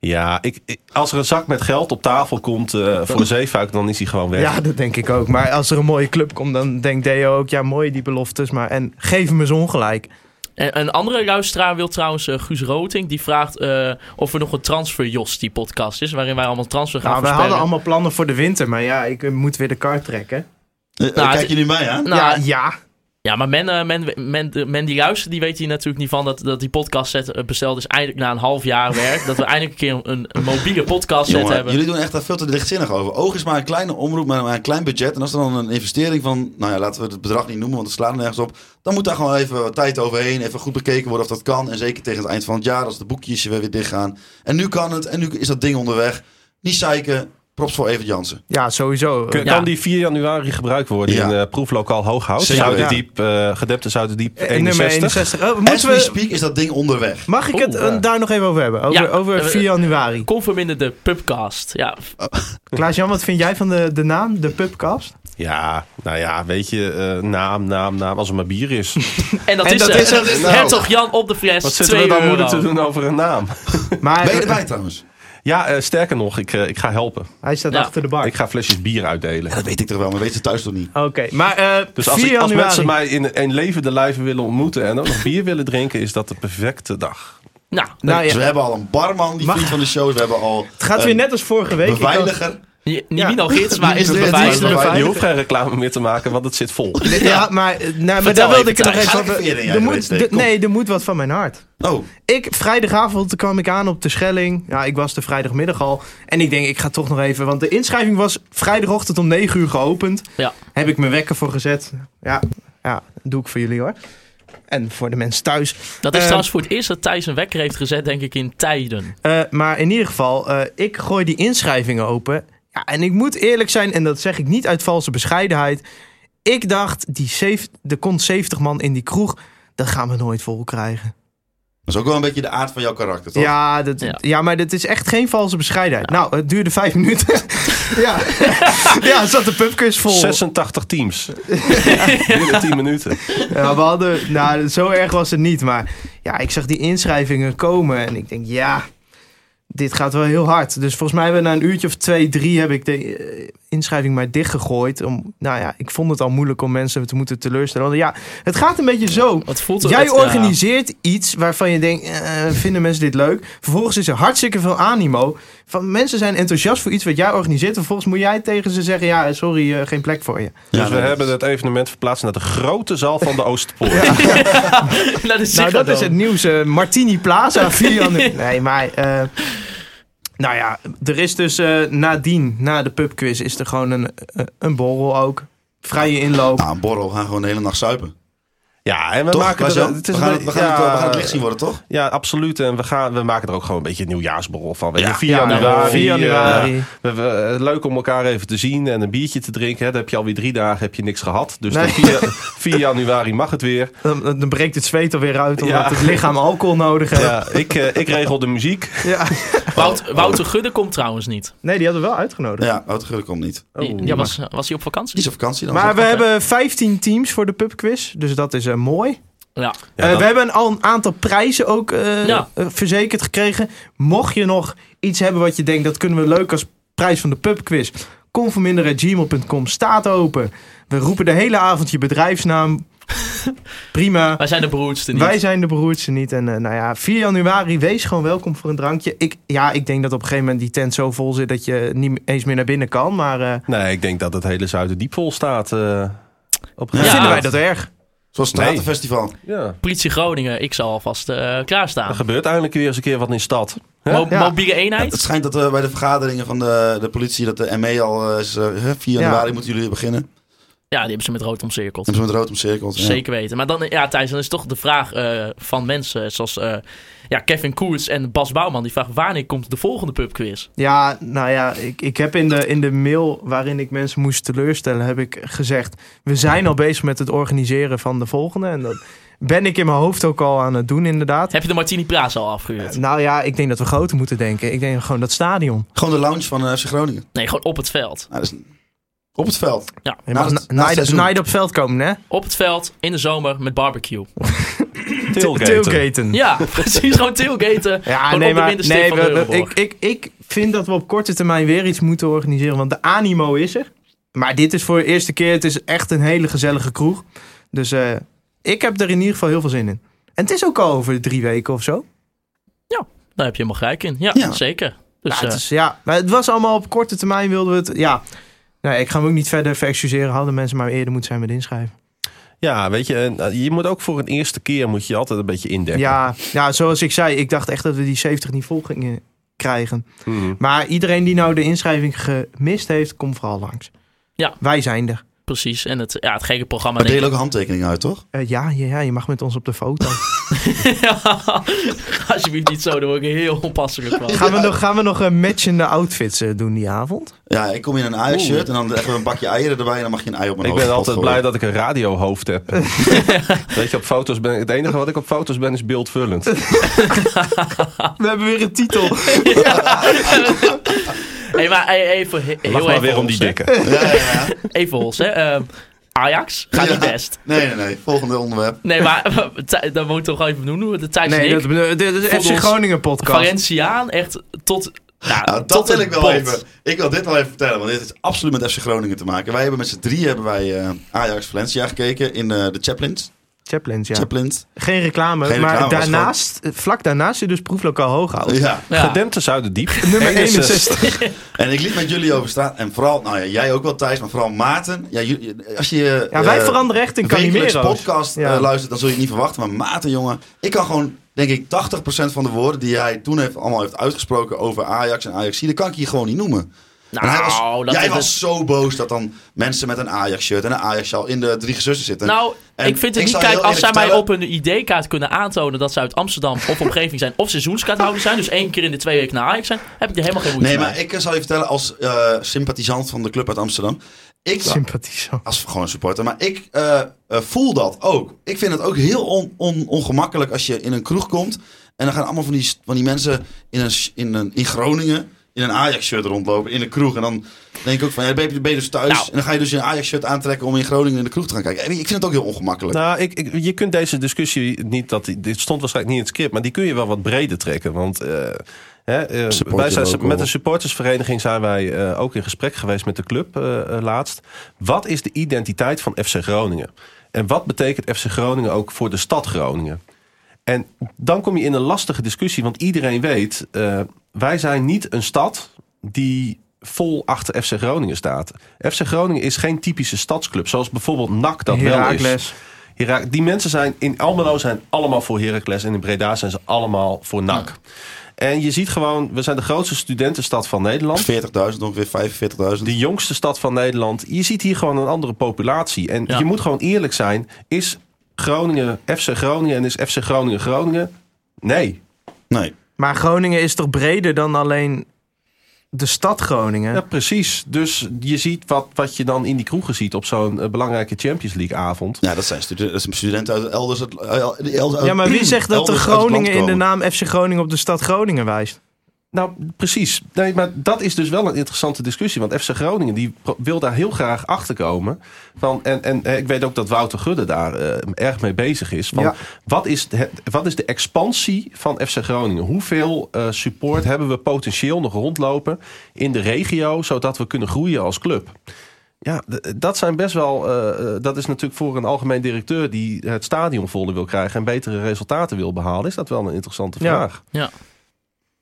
Speaker 5: Ja, ik, ik- als er een zak met geld op tafel komt eh, voor de zeefuik, dan is hij gewoon weg.
Speaker 6: Ja, dat denk ik ook. Maar als er een mooie club komt, dan denkt Deo ook... Ja, mooi die beloftes, maar... En geef hem eens ongelijk. Nou,
Speaker 4: En, een andere luisteraar wil trouwens eh, Guus Roting. Die vraagt eh, of er nog een transfer Jos die podcast is. Waarin wij allemaal transfer gaan
Speaker 6: Nou, we
Speaker 4: voorspellen.
Speaker 6: hadden allemaal plannen voor de winter, maar ja, ik eh, moet weer de kaart trekken.
Speaker 7: Eh, eh,
Speaker 4: Nou,
Speaker 7: Kijk
Speaker 4: het-
Speaker 7: je nu mij aan?
Speaker 4: Nou,
Speaker 6: ja,
Speaker 4: ja,
Speaker 6: ja.
Speaker 4: maar men, eh, men, men, de- men die luistert, die weet hier natuurlijk niet van dat, dat die podcast set eh, besteld is. Eindelijk na een half jaar werk. dat we eindelijk een keer een, een mobiele podcast set
Speaker 7: Jongen,
Speaker 4: hebben.
Speaker 7: jullie doen echt daar veel te lichtzinnig over. Oog is maar een kleine omroep, maar maar een klein budget. En als er dan een investering van, nou ja, laten we het bedrag niet noemen, want het slaat er nergens op. Dan moet daar gewoon even wat tijd overheen, even goed bekeken worden of dat kan. En zeker tegen het eind van het jaar, als de boekjes weer weer dichtgaan. En nu kan het, en nu is dat ding onderweg. Niet zeiken, props voor Evert Jansen.
Speaker 6: Ja, sowieso.
Speaker 5: Kun-
Speaker 4: Ja.
Speaker 5: Kan die 4 januari gebruikt worden
Speaker 7: Ja.
Speaker 5: in eh, proeflokaal Hooghout?
Speaker 7: Zeker.
Speaker 5: Zuiderdiep, eh gedempte Zuiderdiep
Speaker 6: Eh, nummer
Speaker 5: 61.
Speaker 6: 61. Oh,
Speaker 7: As
Speaker 6: moeten
Speaker 7: we
Speaker 6: we,
Speaker 7: speak is dat ding onderweg.
Speaker 6: mag ik het
Speaker 5: Oeh,
Speaker 6: eh,
Speaker 5: ja.
Speaker 6: daar nog even over hebben? Over,
Speaker 4: Ja,
Speaker 6: over
Speaker 4: eh,
Speaker 6: 4 januari.
Speaker 4: Kom verminder de pubcast. Ja,
Speaker 6: Klaas-Jan, wat vind jij van de, de naam, de pubcast?
Speaker 5: Ja, nou ja, weet je, eh, naam, naam, naam, als er maar bier is.
Speaker 4: en dat
Speaker 6: En
Speaker 4: is
Speaker 6: dat
Speaker 4: het.
Speaker 6: is
Speaker 7: het. Nou.
Speaker 4: Hertog Jan op de fles.
Speaker 5: Wat zitten we
Speaker 4: 2
Speaker 5: dan
Speaker 4: euro.
Speaker 5: moeilijk te doen over een naam?
Speaker 6: Maar eh,
Speaker 7: Ben je erbij trouwens?
Speaker 5: Ja, eh, sterker nog, ik, eh, ik ga helpen.
Speaker 6: hij staat
Speaker 4: Ja.
Speaker 6: achter de bar.
Speaker 5: Ik ga flesjes bier uitdelen.
Speaker 7: Ja, dat weet ik toch wel, maar weet ze thuis toch niet?
Speaker 6: Oké, maar eh
Speaker 5: Dus als,
Speaker 6: 4
Speaker 5: ik, als
Speaker 6: januari.
Speaker 5: mensen mij in een levende lijve willen ontmoeten en ook nog bier willen drinken, is dat de perfecte dag.
Speaker 4: Nou,
Speaker 6: nou,
Speaker 7: Dus we
Speaker 6: ja,
Speaker 7: hebben al een barman, die
Speaker 6: Mag-
Speaker 7: vriend van de show. is. We hebben al
Speaker 6: het gaat
Speaker 7: eh,
Speaker 6: weer net als vorige week. Ik had-
Speaker 7: beveiliger.
Speaker 4: Je- Niet
Speaker 6: Ja.
Speaker 4: Minal Gids, maar is het
Speaker 6: Dit is
Speaker 4: bewijs.
Speaker 6: de
Speaker 5: Je
Speaker 6: veilige-
Speaker 5: hoeft geen reclame meer te maken, want het zit vol.
Speaker 6: Ja, maar, eh, nou, maar
Speaker 4: Vertel
Speaker 6: daar wilde
Speaker 4: even,
Speaker 6: ik het nog
Speaker 4: Thijs.
Speaker 6: even
Speaker 7: Ga ik
Speaker 6: over.
Speaker 7: verder, ja,
Speaker 6: Er
Speaker 7: je
Speaker 6: moet-
Speaker 7: weet het,
Speaker 6: de-
Speaker 7: kom.
Speaker 6: nee, er moet wat van mijn hart.
Speaker 7: Oh,
Speaker 6: Ik, vrijdagavond kwam ik aan op de Schelling. Ja, ik was de vrijdagmiddag al. En ik denk, ik ga toch nog even. Want de inschrijving was vrijdagochtend om 9 uur geopend.
Speaker 4: Ja.
Speaker 6: Heb ik mijn wekker voor gezet. Ja, ja, doe ik voor jullie hoor. En voor de mensen thuis.
Speaker 4: Dat is
Speaker 6: Eh,
Speaker 4: trouwens voor het eerst dat Thijs een wekker heeft gezet, denk ik, in tijden.
Speaker 6: Eh, maar in ieder geval, eh, ik gooi die inschrijvingen open. Ja, en ik moet eerlijk zijn, en dat zeg ik niet uit valse bescheidenheid. Ik dacht, die zeef- er komt 70 man in die kroeg. Dat gaan we nooit vol krijgen.
Speaker 7: dat is ook wel een beetje de aard van jouw karakter, toch?
Speaker 6: Ja, dat,
Speaker 4: Ja.
Speaker 6: ja. maar dat is echt geen valse bescheidenheid. Nou, het duurde vijf minuten. ja. ja, het zat de pubquiz vol.
Speaker 5: 86 teams. Binnen 10 minuten.
Speaker 6: Ja, we hadden, nou, zo erg was het niet. Maar ja, ik zag die inschrijvingen komen. En ik denk, ja, dit gaat wel heel hard. Dus volgens mij hebben we na een uurtje of twee, drie... heb ik de eh, inschrijving maar dichtgegooid. Om, nou ja, ik vond het al moeilijk om mensen te moeten teleurstellen. Want ja, het gaat een beetje zo.
Speaker 4: Wat voelt het?
Speaker 6: Jij
Speaker 4: Ja.
Speaker 6: organiseert iets waarvan je denkt, eh, vinden mensen dit leuk? Vervolgens is er hartstikke veel animo. Van, mensen zijn enthousiast voor iets wat jij organiseert. Vervolgens moet jij tegen ze zeggen, ja, sorry, eh, geen plek voor je.
Speaker 7: Ja,
Speaker 5: dus we
Speaker 7: nee, dat-
Speaker 5: hebben het evenement verplaatst naar de grote zaal van de Oosterpoort.
Speaker 4: Nou, dat is,
Speaker 6: Nou, dat is het nieuws. eh, Martini Plaza, 4 januari. Nee, maar... eh, nou ja, er is dus eh, nadien, na de pubquiz, is er gewoon een, eh, een borrel ook. Vrije inloop.
Speaker 7: Ah, een borrel, we gaan gewoon de hele nacht zuipen.
Speaker 5: Ja, en we
Speaker 7: Toch?
Speaker 5: maken
Speaker 7: Basjo?
Speaker 5: er... Het is
Speaker 7: we, gaan
Speaker 5: een
Speaker 7: het, we,
Speaker 5: be-
Speaker 7: gaan het,
Speaker 5: ja,
Speaker 7: we gaan het licht zien worden, toch?
Speaker 5: Ja, absoluut. En we, gaan, we maken er ook gewoon een beetje een nieuwjaarsborrel van. Weet je,
Speaker 7: Ja, nou,
Speaker 6: ja,
Speaker 5: 4 januari.
Speaker 6: 4 januari.
Speaker 5: eh, we- we- eh, leuk om elkaar even te zien en een biertje te drinken. Hè. Dan heb je alweer drie dagen heb je niks gehad. Dus
Speaker 6: Nee.
Speaker 5: de 4, 4 januari mag het weer.
Speaker 6: Dan, dan breekt het zweet alweer uit, omdat
Speaker 5: Ja.
Speaker 6: het lichaam alcohol nodig heeft. Ja.
Speaker 5: Ja, ik, eh, ik regel de muziek.
Speaker 4: Wout, Wouter Gudde komt trouwens niet.
Speaker 6: Nee, die hadden we wel uitgenodigd.
Speaker 7: Ja, oh, Autogeur komt niet.
Speaker 4: Die,
Speaker 5: Oh.
Speaker 4: ja, was, was hij op vakantie?
Speaker 7: Die is op vakantie dan.
Speaker 6: Maar
Speaker 7: toch?
Speaker 6: we hebben 15 teams voor de pubquiz, dus dat is eh, mooi.
Speaker 4: Ja.
Speaker 5: Ja,
Speaker 6: Eh,
Speaker 5: dat-
Speaker 6: we hebben al een aantal prijzen ook eh,
Speaker 4: Ja.
Speaker 6: eh, verzekerd gekregen. Mocht je nog iets hebben wat je denkt, dat kunnen we leuk als prijs van de pubquiz. Conforminder.gmail.com staat open. We roepen de hele avond je bedrijfsnaam. Prima.
Speaker 4: Wij zijn de beroerdste niet.
Speaker 6: Wij zijn de beroerdste niet. En eh, nou ja, 4 januari, wees gewoon welkom voor een drankje. Ik, ja, ik denk dat op een gegeven moment die tent zo vol zit dat je niet eens meer naar binnen kan. Maar eh,
Speaker 5: Nee, ik denk dat het hele Zuiderdiep vol staat. eh, op een
Speaker 7: Ja.
Speaker 5: gegeven
Speaker 6: vinden wij
Speaker 5: moment.
Speaker 6: dat erg?
Speaker 7: Zo'n stratenfestival.
Speaker 5: Ja.
Speaker 4: Politie Groningen, ik zal alvast eh,
Speaker 5: Er
Speaker 4: klaarstaan.
Speaker 5: gebeurt eindelijk weer eens een keer wat in de stad. Hè?
Speaker 4: Mo-
Speaker 6: Ja.
Speaker 4: Mobiele
Speaker 7: Ja, het
Speaker 4: eenheid?
Speaker 7: schijnt dat eh, bij de vergaderingen van de, de politie, dat de ME al eh, is, eh, hè, 4 januari moeten jullie beginnen. Dan
Speaker 4: Ja, die hebben ze met rood omcirkeld.
Speaker 7: hebben ze met rood omcirkeld. Ja.
Speaker 4: Zeker weten. Maar dan, ja, Thijs, dan is toch de vraag eh, van mensen zoals eh, ja, Kevin Koerts en Bas Bouwman. Die vragen wanneer komt de volgende pubquiz?
Speaker 6: Ja, nou ja, ik, ik heb in de, in de mail waarin ik mensen moest teleurstellen, heb ik gezegd, we zijn al bezig met het organiseren van de volgende. En dat ben ik in mijn hoofd ook al aan het doen, inderdaad.
Speaker 4: Heb je de Martini Praat al afgehuurd?
Speaker 6: Nou ja, ik denk dat we groter moeten denken. Ik denk gewoon dat stadion.
Speaker 7: Gewoon de lounge van eh FC Groningen.
Speaker 4: Nee, gewoon op het veld.
Speaker 7: Nou, dat is- op het veld.
Speaker 6: Je
Speaker 7: Na
Speaker 6: mag
Speaker 7: het- na
Speaker 6: na-
Speaker 7: het
Speaker 6: naaid
Speaker 7: seizoen.
Speaker 6: naaid op het veld komen, hè?
Speaker 4: Op het veld, in de zomer, met barbecue.
Speaker 5: Tailgaten.
Speaker 4: Ja, precies. Gewoon tailgaten.
Speaker 6: Ja,
Speaker 4: Gewoon
Speaker 6: nee,
Speaker 4: op de
Speaker 6: maar
Speaker 4: winterstip
Speaker 6: nee,
Speaker 4: van
Speaker 6: we-
Speaker 4: de
Speaker 6: we-
Speaker 4: Euroborg.
Speaker 6: ik, ik, ik vind dat we op korte termijn weer iets moeten organiseren. Want de animo is er. Maar dit is voor de eerste keer. Het is echt een hele gezellige kroeg. Dus eh, ik heb er in ieder geval heel veel zin in. En het is ook al over drie weken of zo.
Speaker 4: Daar heb je helemaal gelijk in. Ja,
Speaker 7: Ja.
Speaker 4: zeker. Dus,
Speaker 6: ja, het
Speaker 4: eh,
Speaker 6: is, ja, maar het was allemaal op korte termijn wilden we het... Ja, nee, ik ga hem ook niet verder verexcuseren. Hadden mensen maar eerder moeten zijn met inschrijven.
Speaker 5: Ja, weet je, en, eh, je moet ook voor een eerste keer moet je altijd een beetje indekken.
Speaker 6: Ja, ja, zoals ik zei. Ik dacht echt dat we die 70 niet vol gingen krijgen.
Speaker 5: Mhm.
Speaker 6: Maar iedereen die nou de inschrijving gemist heeft, kom vooral langs.
Speaker 4: Ja.
Speaker 6: Wij zijn er.
Speaker 4: precies. En het, ja, het gekke programma.
Speaker 7: Maar
Speaker 4: denk
Speaker 7: delen ook handtekeningen uit, toch?
Speaker 6: Eh, ja, ja, ja, je mag met ons op de foto.
Speaker 4: ik. Ja, Alsjeblieft niet zo, dan word ik heel onpasselijk van.
Speaker 6: gaan, we nog, gaan we nog eh, matchende outfits eh, doen die avond?
Speaker 7: Ja, ik kom in een Ajax-shirt en dan leggen we een bakje eieren erbij en dan mag je een ei op mijn
Speaker 5: Ik
Speaker 7: hoofd
Speaker 5: ben altijd
Speaker 7: gooien.
Speaker 5: blij dat ik een radiohoofd heb. Weet je, op foto's ben ik- het enige wat ik op foto's ben is beeldvullend.
Speaker 6: We hebben weer een titel.
Speaker 4: Hey, maar hey, even, he- heel
Speaker 5: Lach maar
Speaker 4: even
Speaker 5: weer om die
Speaker 4: Hols, hè.
Speaker 5: dikke.
Speaker 7: Ja, ja, ja.
Speaker 4: Even hols, hè. Ehm, Ajax, gaat niet
Speaker 7: Ja.
Speaker 4: best.
Speaker 7: Nee, nee, nee. Volgende onderwerp.
Speaker 4: Nee, maar Thij- dat moet toch even noemen. hoe we De Thijs
Speaker 6: Nee,
Speaker 4: en
Speaker 6: dat,
Speaker 4: ik,
Speaker 6: dit is
Speaker 4: Volgens
Speaker 6: FC Groningen podcast.
Speaker 4: Valenciaan, echt tot... Nou,
Speaker 7: Nou, dat
Speaker 4: tot
Speaker 7: wil
Speaker 4: het
Speaker 7: ik wel
Speaker 4: bot.
Speaker 7: even. Ik wil dit wel even vertellen, want dit is absoluut met FC Groningen te maken. Wij hebben met z'n drie hebben wij eh, Ajax Valencia gekeken in eh, de Chaplins.
Speaker 6: Chaplins, ja.
Speaker 7: Chaplins.
Speaker 6: Geen reclame,
Speaker 7: Geen
Speaker 6: maar
Speaker 7: reclame, was
Speaker 6: daarnaast, eh, vlak daarnaast zit dus proeflokaal Hooghout.
Speaker 7: Ja.
Speaker 4: Ja.
Speaker 5: Gedempte Zuiderdiep.
Speaker 6: Nummer 61.
Speaker 7: En ik liep met jullie over straat. En vooral, nou ja, jij ook wel Thijs, maar vooral Maarten. Ja, jullie- als je,
Speaker 6: Ja, wij
Speaker 7: eh,
Speaker 6: veranderen echt in
Speaker 7: wekelijks
Speaker 6: Calimero's.
Speaker 7: podcast
Speaker 6: Ja.
Speaker 7: eh, luistert, dan zul je het niet verwachten. Maar Maarten, jongen, ik kan gewoon, denk ik, 80% van de woorden die hij toen heeft, allemaal heeft uitgesproken over Ajax en ajax dat kan ik hier gewoon niet noemen.
Speaker 4: Nou,
Speaker 7: En hij was,
Speaker 4: dat
Speaker 7: jij
Speaker 4: is-
Speaker 7: was zo boos dat dan mensen met een Ajax-shirt en een Ajax-sjaal in de drie gezussen zitten.
Speaker 4: Nou,
Speaker 7: En
Speaker 4: ik vind het
Speaker 7: ik
Speaker 4: niet.
Speaker 7: zal
Speaker 4: Kijk,
Speaker 7: heel
Speaker 4: als zij
Speaker 7: eerlijk
Speaker 4: mij op
Speaker 7: vertellen-
Speaker 4: een ID-kaart kunnen aantonen dat ze uit Amsterdam of omgeving zijn, of seizoenskaarthouder zijn, dus één keer in de twee weken naar Ajax zijn, heb ik er helemaal geen moeite
Speaker 7: nee,
Speaker 4: mee.
Speaker 7: maar ik eh, zal je vertellen, als eh, sympathisant van de club uit Amsterdam, ik,
Speaker 6: Sympathie zo.
Speaker 7: als gewoon supporter. Maar ik eh, eh, voel dat ook. Ik vind het ook heel on- on- ongemakkelijk als je in een kroeg komt. En dan gaan allemaal van die, van die mensen in, een, sh- in, een, in Groningen in een Ajax-shirt rondlopen in een kroeg. En dan denk ik ook van, ja, ben, je, ben je dus thuis?
Speaker 4: Nou.
Speaker 7: En dan ga je dus je Ajax-shirt aantrekken om in Groningen in de kroeg te gaan kijken. Ik vind het ook heel ongemakkelijk.
Speaker 5: Nou, ik, ik- je kunt deze discussie niet, dat, die- dit stond waarschijnlijk niet in het script, maar die kun je wel wat breder trekken. Want eh, hè, eh,
Speaker 7: Supporter
Speaker 5: wij zijn,
Speaker 7: local.
Speaker 5: met de supportersvereniging zijn wij eh, ook in gesprek geweest met de club eh, eh, laatst. Wat is de identiteit van FC Groningen? En wat betekent FC Groningen ook voor de stad Groningen? En dan kom je in een lastige discussie, want iedereen weet, eh, wij zijn niet een stad die vol achter FC Groningen staat. FC Groningen is geen typische stadsclub, zoals bijvoorbeeld NAC dat wel is.
Speaker 6: Heracles.
Speaker 5: Herak- die mensen zijn in Almelo zijn allemaal voor Heracles en in Breda zijn ze allemaal voor NAC. En je ziet gewoon, we zijn de grootste studentenstad van Nederland.
Speaker 7: 40.000, ongeveer 45.000.
Speaker 5: De jongste stad van Nederland. Je ziet hier gewoon een andere populatie. En
Speaker 4: Ja.
Speaker 5: je moet gewoon eerlijk zijn. Is Groningen FC Groningen en is FC Groningen Groningen? Nee.
Speaker 7: Nee.
Speaker 6: Maar Groningen is toch breder dan alleen de stad Groningen?
Speaker 5: Ja, precies. Dus je ziet wat, wat je dan in die kroegen ziet op zo'n eh, belangrijke Champions League avond.
Speaker 7: Ja, dat zijn studen- dat zijn studenten uit elders. uit- el- die elders uit-
Speaker 6: Ja, maar wie zegt dat de
Speaker 7: elders Eh, uit het land
Speaker 6: Groningen in de
Speaker 7: komen?
Speaker 6: naam FC Groningen op de stad Groningen wijst?
Speaker 5: Nou, precies. Nee, maar dat is dus wel een interessante discussie. Want FC Groningen die pro- wil daar heel graag achter komen. Van, en, en eh, ik weet ook dat Wouter Gudde daar eh, erg mee bezig is. Van,
Speaker 6: Ja.
Speaker 5: wat, is de, wat is de expansie van FC Groningen? Hoeveel eh, support hebben we potentieel nog rondlopen in de regio, zodat we kunnen groeien als club? Ja, d- dat zijn best wel. eh, eh, dat is natuurlijk voor een algemeen directeur die het stadion voller wil krijgen en betere resultaten wil behalen, is dat wel een interessante
Speaker 6: Ja.
Speaker 5: vraag.
Speaker 4: Ja.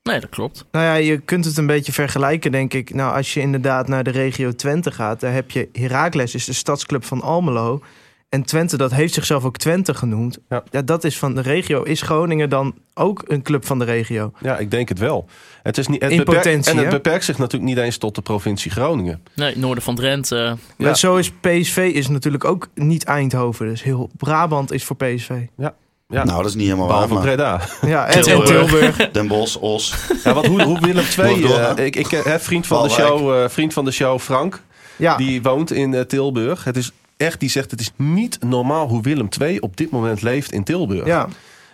Speaker 4: Nee, dat klopt.
Speaker 6: Nou ja, je kunt het een beetje vergelijken, denk ik. Nou, als je inderdaad naar de regio Twente gaat, daar heb je Heracles, is de stadsclub van Almelo. En Twente, dat heeft zichzelf ook Twente genoemd.
Speaker 5: Ja.
Speaker 6: Ja. dat is van de regio. Is Groningen dan ook een club van de regio?
Speaker 5: Ja, ik denk het wel. Het is niet, het
Speaker 6: In
Speaker 5: beperkt-
Speaker 6: potentie,
Speaker 5: en het
Speaker 6: hè?
Speaker 5: beperkt zich natuurlijk niet eens tot de provincie Groningen.
Speaker 4: Nee, Noorden van Drenthe. eh,
Speaker 5: Ja.
Speaker 6: Maar zo is PSV is natuurlijk ook niet Eindhoven. Dus heel Brabant is voor PSV.
Speaker 5: Ja.
Speaker 7: Nou, dat is niet helemaal waar.
Speaker 5: Behalve
Speaker 7: maar
Speaker 5: Breda.
Speaker 6: Ja, en en
Speaker 4: Tilburg.
Speaker 6: Tilburg.
Speaker 7: Den Bosch, Os.
Speaker 5: Ja, want hoe, hoe Willem II... eh,
Speaker 7: doorgaan?
Speaker 5: ik, ik, hè, vriend, van de
Speaker 7: Waalwijk.
Speaker 5: show, eh, vriend van de show Frank,
Speaker 6: Ja,
Speaker 5: die woont in eh, Tilburg. Het is echt, die zegt, het is niet normaal hoe Willem II op dit moment leeft in Tilburg.
Speaker 6: ja.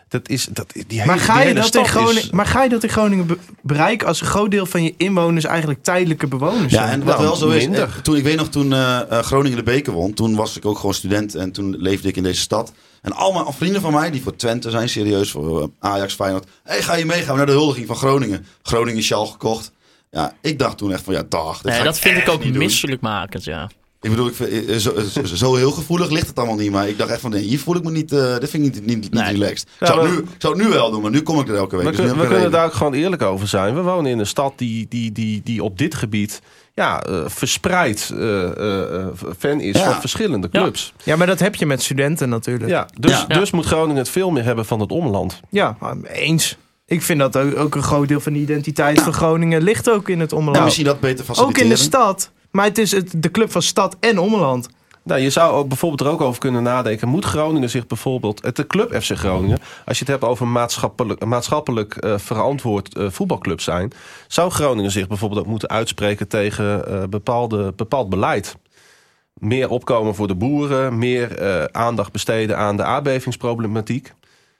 Speaker 5: Dat is, dat, die hele,
Speaker 6: Maar, ga
Speaker 5: die
Speaker 6: je
Speaker 5: hele
Speaker 6: dat in
Speaker 5: stad is-
Speaker 6: Groningen, maar ga je dat in Groningen be- bereiken als een groot deel van je inwoners eigenlijk tijdelijke bewoners
Speaker 7: Ja,
Speaker 6: zijn?
Speaker 7: en wat
Speaker 5: Nou,
Speaker 7: wel zo is,
Speaker 5: minder.
Speaker 7: eh, toen, ik weet nog toen eh, eh, Groningen de beker won, toen was ik ook gewoon student en toen leefde ik in deze stad. En allemaal vrienden van mij, die voor Twente zijn, serieus, voor eh, Ajax, Feyenoord. Hé, hey, ga je meegaan naar de huldiging van Groningen? Groningen sjaal gekocht. Ja, ik dacht toen echt van, ja, dag.
Speaker 4: nee, dat vind ik ook
Speaker 7: mis.
Speaker 4: misselijkmakend, ja.
Speaker 7: Ik bedoel, ik vind, eh, eh, zo, eh, zo- zo heel gevoelig ligt het allemaal niet. Maar ik dacht echt van, nee, hier voel ik me niet, eh dit vind ik niet, niet, niet
Speaker 4: Nee.
Speaker 7: relaxed.
Speaker 5: Ja,
Speaker 7: ik, zou het
Speaker 5: maar-
Speaker 7: nu, ik zou het nu wel doen, maar nu kom ik er elke week.
Speaker 5: We,
Speaker 7: dus nu
Speaker 5: kun- we
Speaker 7: heb ik een
Speaker 5: kunnen
Speaker 7: reden.
Speaker 5: daar ook gewoon eerlijk over zijn. We wonen in een stad die, die, die, die op dit gebied ja, eh, verspreid eh, eh, eh, fan is
Speaker 7: Ja.
Speaker 5: van verschillende
Speaker 4: Ja.
Speaker 5: clubs.
Speaker 6: Ja, maar dat heb je met studenten natuurlijk. Ja,
Speaker 5: Ja, dus,
Speaker 7: Ja.
Speaker 5: dus moet Groningen het veel meer hebben van het omland.
Speaker 6: eens. Ik vind dat ook, ook een groot deel van de identiteit van Groningen ligt ook in het
Speaker 7: Nou,
Speaker 6: omland.
Speaker 7: misschien dat beter
Speaker 6: ook
Speaker 7: faciliteren.
Speaker 6: in de stad. Maar het is het, de club van stad en omland.
Speaker 5: Nou, je zou ook bijvoorbeeld er ook over kunnen nadenken. Moet Groningen zich bijvoorbeeld, het de club FC Groningen, als je het hebt over maatschappelijk, maatschappelijk eh, verantwoord eh, voetbalclub zijn, zou Groningen zich bijvoorbeeld ook moeten uitspreken tegen eh, bepaalde, bepaald beleid? Meer opkomen voor de boeren, meer eh, aandacht besteden aan de aardbevingsproblematiek.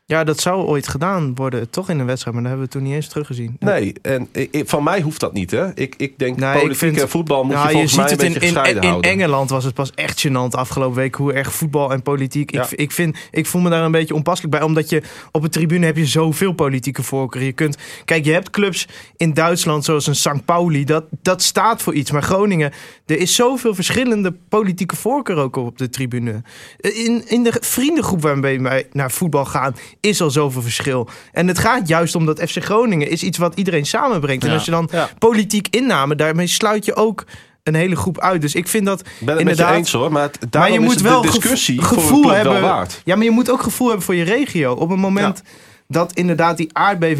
Speaker 6: Ja, dat zou ooit gedaan worden, toch in een wedstrijd, maar dat hebben we toen niet eens teruggezien.
Speaker 5: Nee, en ik- ik- van mij hoeft dat niet. Hè? Ik, ik denk,
Speaker 6: Nee, Nou, ik
Speaker 5: politiek
Speaker 6: vind-
Speaker 5: en voetbal moet je
Speaker 6: Nou, je,
Speaker 5: volgens
Speaker 6: ziet
Speaker 5: mij een
Speaker 6: het in,
Speaker 5: beetje
Speaker 6: in,
Speaker 5: gescheiden
Speaker 6: in
Speaker 5: houden.
Speaker 6: Engeland was het pas echt gênant afgelopen week hoe erg voetbal en politiek.
Speaker 5: Ja.
Speaker 6: Ik, ik, vind, ik voel me daar een beetje onpasselijk bij, omdat je op de tribune heb je zoveel politieke voorkeur. Je kunt, kijk, je hebt clubs in Duitsland zoals een St. Pauli, dat, dat staat voor iets. Maar Groningen, er is zoveel verschillende politieke voorkeur ook op de tribune. In, in de vriendengroep waarmee wij naar voetbal gaan, is al zoveel verschil. En het gaat juist om dat FC Groningen is iets wat iedereen samenbrengt. En
Speaker 4: Ja.
Speaker 6: als je dan
Speaker 5: Ja.
Speaker 6: politiek inname, daarmee sluit je ook een hele groep uit. Dus ik vind dat
Speaker 5: Ik ben het met je
Speaker 6: inderdaad.
Speaker 5: eens hoor, maar, het, daarom
Speaker 6: maar je moet
Speaker 5: is
Speaker 6: wel
Speaker 5: wel de
Speaker 6: gevo-
Speaker 5: discussie
Speaker 6: gevoel
Speaker 5: voor een club
Speaker 6: hebben.
Speaker 5: wel waard.
Speaker 6: Ja, maar je moet ook gevoel hebben voor je regio. Op het moment dat inderdaad die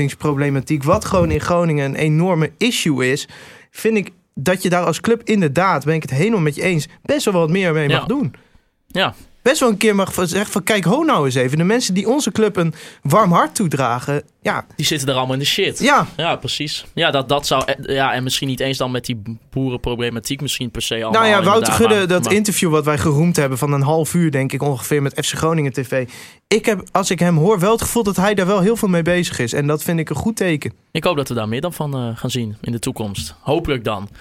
Speaker 6: aardbevingsproblematiek, wat gewoon in Groningen een enorme issue is, vind ik dat je daar als club inderdaad, ben ik het helemaal met je eens, best wel wat meer mee
Speaker 4: Ja.
Speaker 6: mag doen.
Speaker 4: Ja.
Speaker 6: Best wel een keer mag zeggen van kijk ho nou eens even. De mensen die onze club een warm hart toedragen. Ja,
Speaker 4: Die zitten er allemaal in de shit.
Speaker 6: ja
Speaker 4: Ja, precies. Ja, dat, dat zou. eh, Ja, en misschien niet eens dan met die boerenproblematiek, misschien per se. Allemaal,
Speaker 6: Nou ja, Wouter
Speaker 4: inderdaad,
Speaker 6: Gudde,
Speaker 4: maar-
Speaker 6: dat
Speaker 4: maar-
Speaker 6: interview wat wij geroemd hebben van een half uur, denk ik ongeveer, met FC Groningen TV. Ik heb, als ik hem hoor, wel het gevoel dat hij daar wel heel veel mee bezig is. En dat vind ik een goed teken.
Speaker 4: Ik hoop dat we daar meer dan van eh, gaan zien in de toekomst. Hopelijk dan. Ja,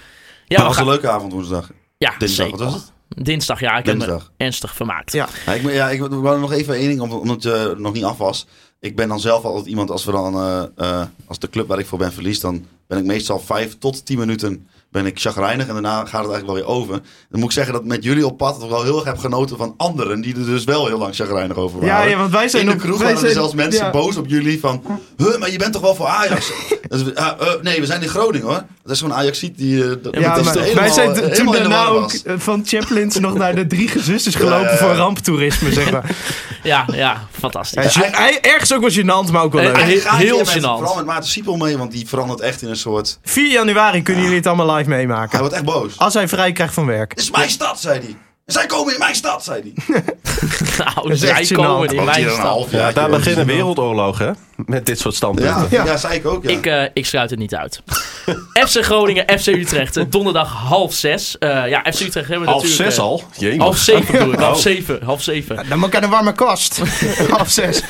Speaker 7: dat
Speaker 4: we
Speaker 7: was
Speaker 4: gaan-
Speaker 7: een leuke avond woensdag.
Speaker 4: ja
Speaker 7: Dinsdag,
Speaker 4: zeker.
Speaker 7: wat was het?
Speaker 4: Dinsdag, ja, ik heb me
Speaker 7: Dinsdag.
Speaker 4: ernstig vermaakt.
Speaker 6: Ja.
Speaker 7: Ja, ik, ja, ik wou nog even één ding, om- omdat je nog niet af was. Ik ben dan zelf altijd iemand, als, we dan, eh, eh, als de club waar ik voor ben verliest, dan ben ik meestal vijf tot tien minuten ben ik chagrijnig. En daarna gaat het eigenlijk wel weer over. Dan moet ik zeggen dat met jullie op pad dat ik wel heel erg heb genoten van anderen die er dus wel heel lang chagrijnig over waren.
Speaker 6: want wij
Speaker 7: In de
Speaker 6: nog-
Speaker 7: kroeg
Speaker 6: wij
Speaker 7: waren er
Speaker 6: zijn-
Speaker 7: zelfs mensen
Speaker 6: ja.
Speaker 7: boos op jullie van... Huh, maar je bent toch wel voor Ajax? Dat is- ah, eh, nee, we zijn in Groningen hoor. Dat is zo'n Ajaxiet die... eh, dat-
Speaker 6: Ja,
Speaker 7: dat is toch
Speaker 6: maar wij
Speaker 7: helemaal- eh,
Speaker 6: zijn t- toen
Speaker 7: helemaal in de
Speaker 6: daarna
Speaker 7: war
Speaker 6: ook
Speaker 7: was.
Speaker 6: eh, van Chaplins nog naar de drie gezusters gelopen
Speaker 7: ja, ja.
Speaker 6: voor ramptoerisme, zeg maar.
Speaker 4: Ja, ja, fantastisch.
Speaker 6: Ja, gen- hij- ergens ook wel gênant, maar ook wel
Speaker 4: Eh,
Speaker 6: leuk.
Speaker 4: eh.
Speaker 7: Eigenlijk ga ik
Speaker 4: heel
Speaker 7: hier met-
Speaker 4: gênant.
Speaker 7: Vooral met Maarten Siepel mee, want die verandert echt in een soort...
Speaker 6: 4 januari kunnen jullie het allemaal live
Speaker 7: Hij
Speaker 6: meemaken.
Speaker 7: wordt echt boos.
Speaker 4: Ah,
Speaker 6: Als hij vrij krijgt van werk.
Speaker 7: Dit is mijn stad, zei hij. Zij komen in mijn stad, zei hij.
Speaker 4: Nou,
Speaker 6: is echt
Speaker 4: zij komen
Speaker 6: gênant.
Speaker 4: in mijn stad.
Speaker 5: Ja, daar beginnen wereldoorlogen hè, met dit soort standpunten.
Speaker 7: Ja, ja. ja, zei ik ook. Ja.
Speaker 4: Ik, eh, ik sluit het niet uit. FC Groningen, FC Utrecht. eh, Donderdag half zes. Eh, ja, FC Utrecht hebben we
Speaker 5: Half
Speaker 4: natuurlijk...
Speaker 5: zes
Speaker 4: eh,
Speaker 5: al? Jemig.
Speaker 4: Half zeven bedoel ik. Half
Speaker 5: Oh.
Speaker 4: zeven. Half zeven.
Speaker 6: Dan moet ik aan een warme kast. Half zes.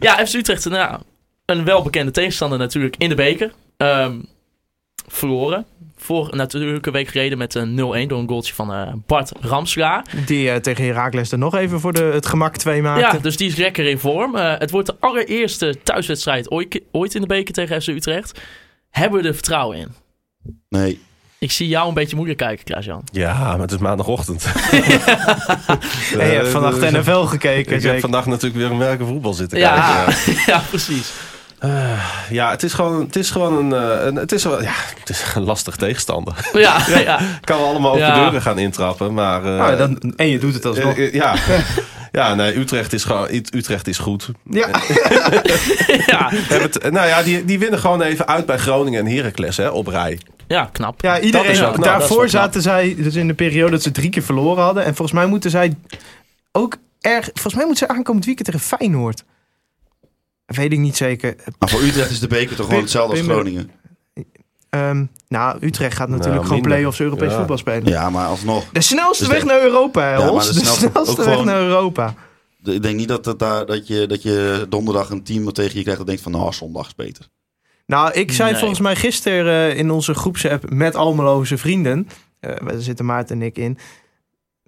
Speaker 4: Ja, FC Utrecht, nou, ja, een welbekende tegenstander natuurlijk in de beker. Ehm, verloren. Voor natuurlijk een week geleden met een 0-1 door een goaltje van eh, Bart Ramsla.
Speaker 6: Die eh, tegen Herakles er nog even voor de, het gemak twee maakte.
Speaker 4: Ja, dus die is lekker in vorm. Eh, het wordt de allereerste thuiswedstrijd ooit, ooit in de beker tegen FC Utrecht. Hebben we er vertrouwen in?
Speaker 7: Nee.
Speaker 4: Ik zie jou een beetje moeilijk kijken, Klaas-Jan.
Speaker 5: Ja, maar het is maandagochtend.
Speaker 6: En je hebt vannacht
Speaker 5: Eh,
Speaker 6: NFL gekeken.
Speaker 5: Ik heb
Speaker 6: zeker.
Speaker 5: vandaag natuurlijk weer een werk voetbal zitten kijken.
Speaker 4: Ja,
Speaker 5: Ja,
Speaker 4: ja, precies.
Speaker 5: ja het is gewoon, het is gewoon een, eh, een, het is wel, ja, het is een lastig tegenstander.
Speaker 4: Ja, ja. ja.
Speaker 5: Ik kan wel allemaal over
Speaker 4: Ja.
Speaker 5: deuren gaan intrappen, maar... eh,
Speaker 6: Nou, dan, en je doet het alsnog.
Speaker 5: eh, eh, ja, ja nee, Utrecht is gewoon, Ut- Utrecht is goed.
Speaker 6: ja.
Speaker 5: Hebben het- nou ja, die, die winnen gewoon even uit bij Groningen en Heracles hè, op rij.
Speaker 4: Ja, knap.
Speaker 6: ja,
Speaker 5: Dat is
Speaker 6: iedereen.
Speaker 5: wel knap, dat is wel
Speaker 6: nou, daarvoor
Speaker 5: knap.
Speaker 6: zaten zij dus in de periode dat ze drie keer verloren hadden. En volgens mij moeten zij ook erg. Volgens mij moeten ze aankomend weekend tegen Feyenoord. Weet ik niet zeker.
Speaker 7: Maar voor Utrecht is de beker toch gewoon hetzelfde als Groningen.
Speaker 6: Ehm, nou, Utrecht gaat natuurlijk
Speaker 5: Nou,
Speaker 6: gewoon
Speaker 5: minder.
Speaker 6: play-offs Europees
Speaker 5: Ja.
Speaker 6: voetbal spelen.
Speaker 7: Ja, maar alsnog.
Speaker 6: De snelste
Speaker 7: Dus
Speaker 6: weg
Speaker 7: de-
Speaker 6: naar Europa, hè,
Speaker 7: Ja, maar
Speaker 6: Os.
Speaker 7: de
Speaker 6: De
Speaker 7: snelste- ook
Speaker 6: snelste weg
Speaker 7: gewoon-
Speaker 6: naar Europa.
Speaker 7: Ik denk niet dat, dat, daar, dat, je, dat je donderdag een team tegen je krijgt dat denkt van nou, zondag is beter.
Speaker 6: Nou, ik zei
Speaker 4: Nee.
Speaker 6: volgens mij gisteren eh, in onze groepsapp met Almeloze vrienden. eh daar zitten Maarten en ik in.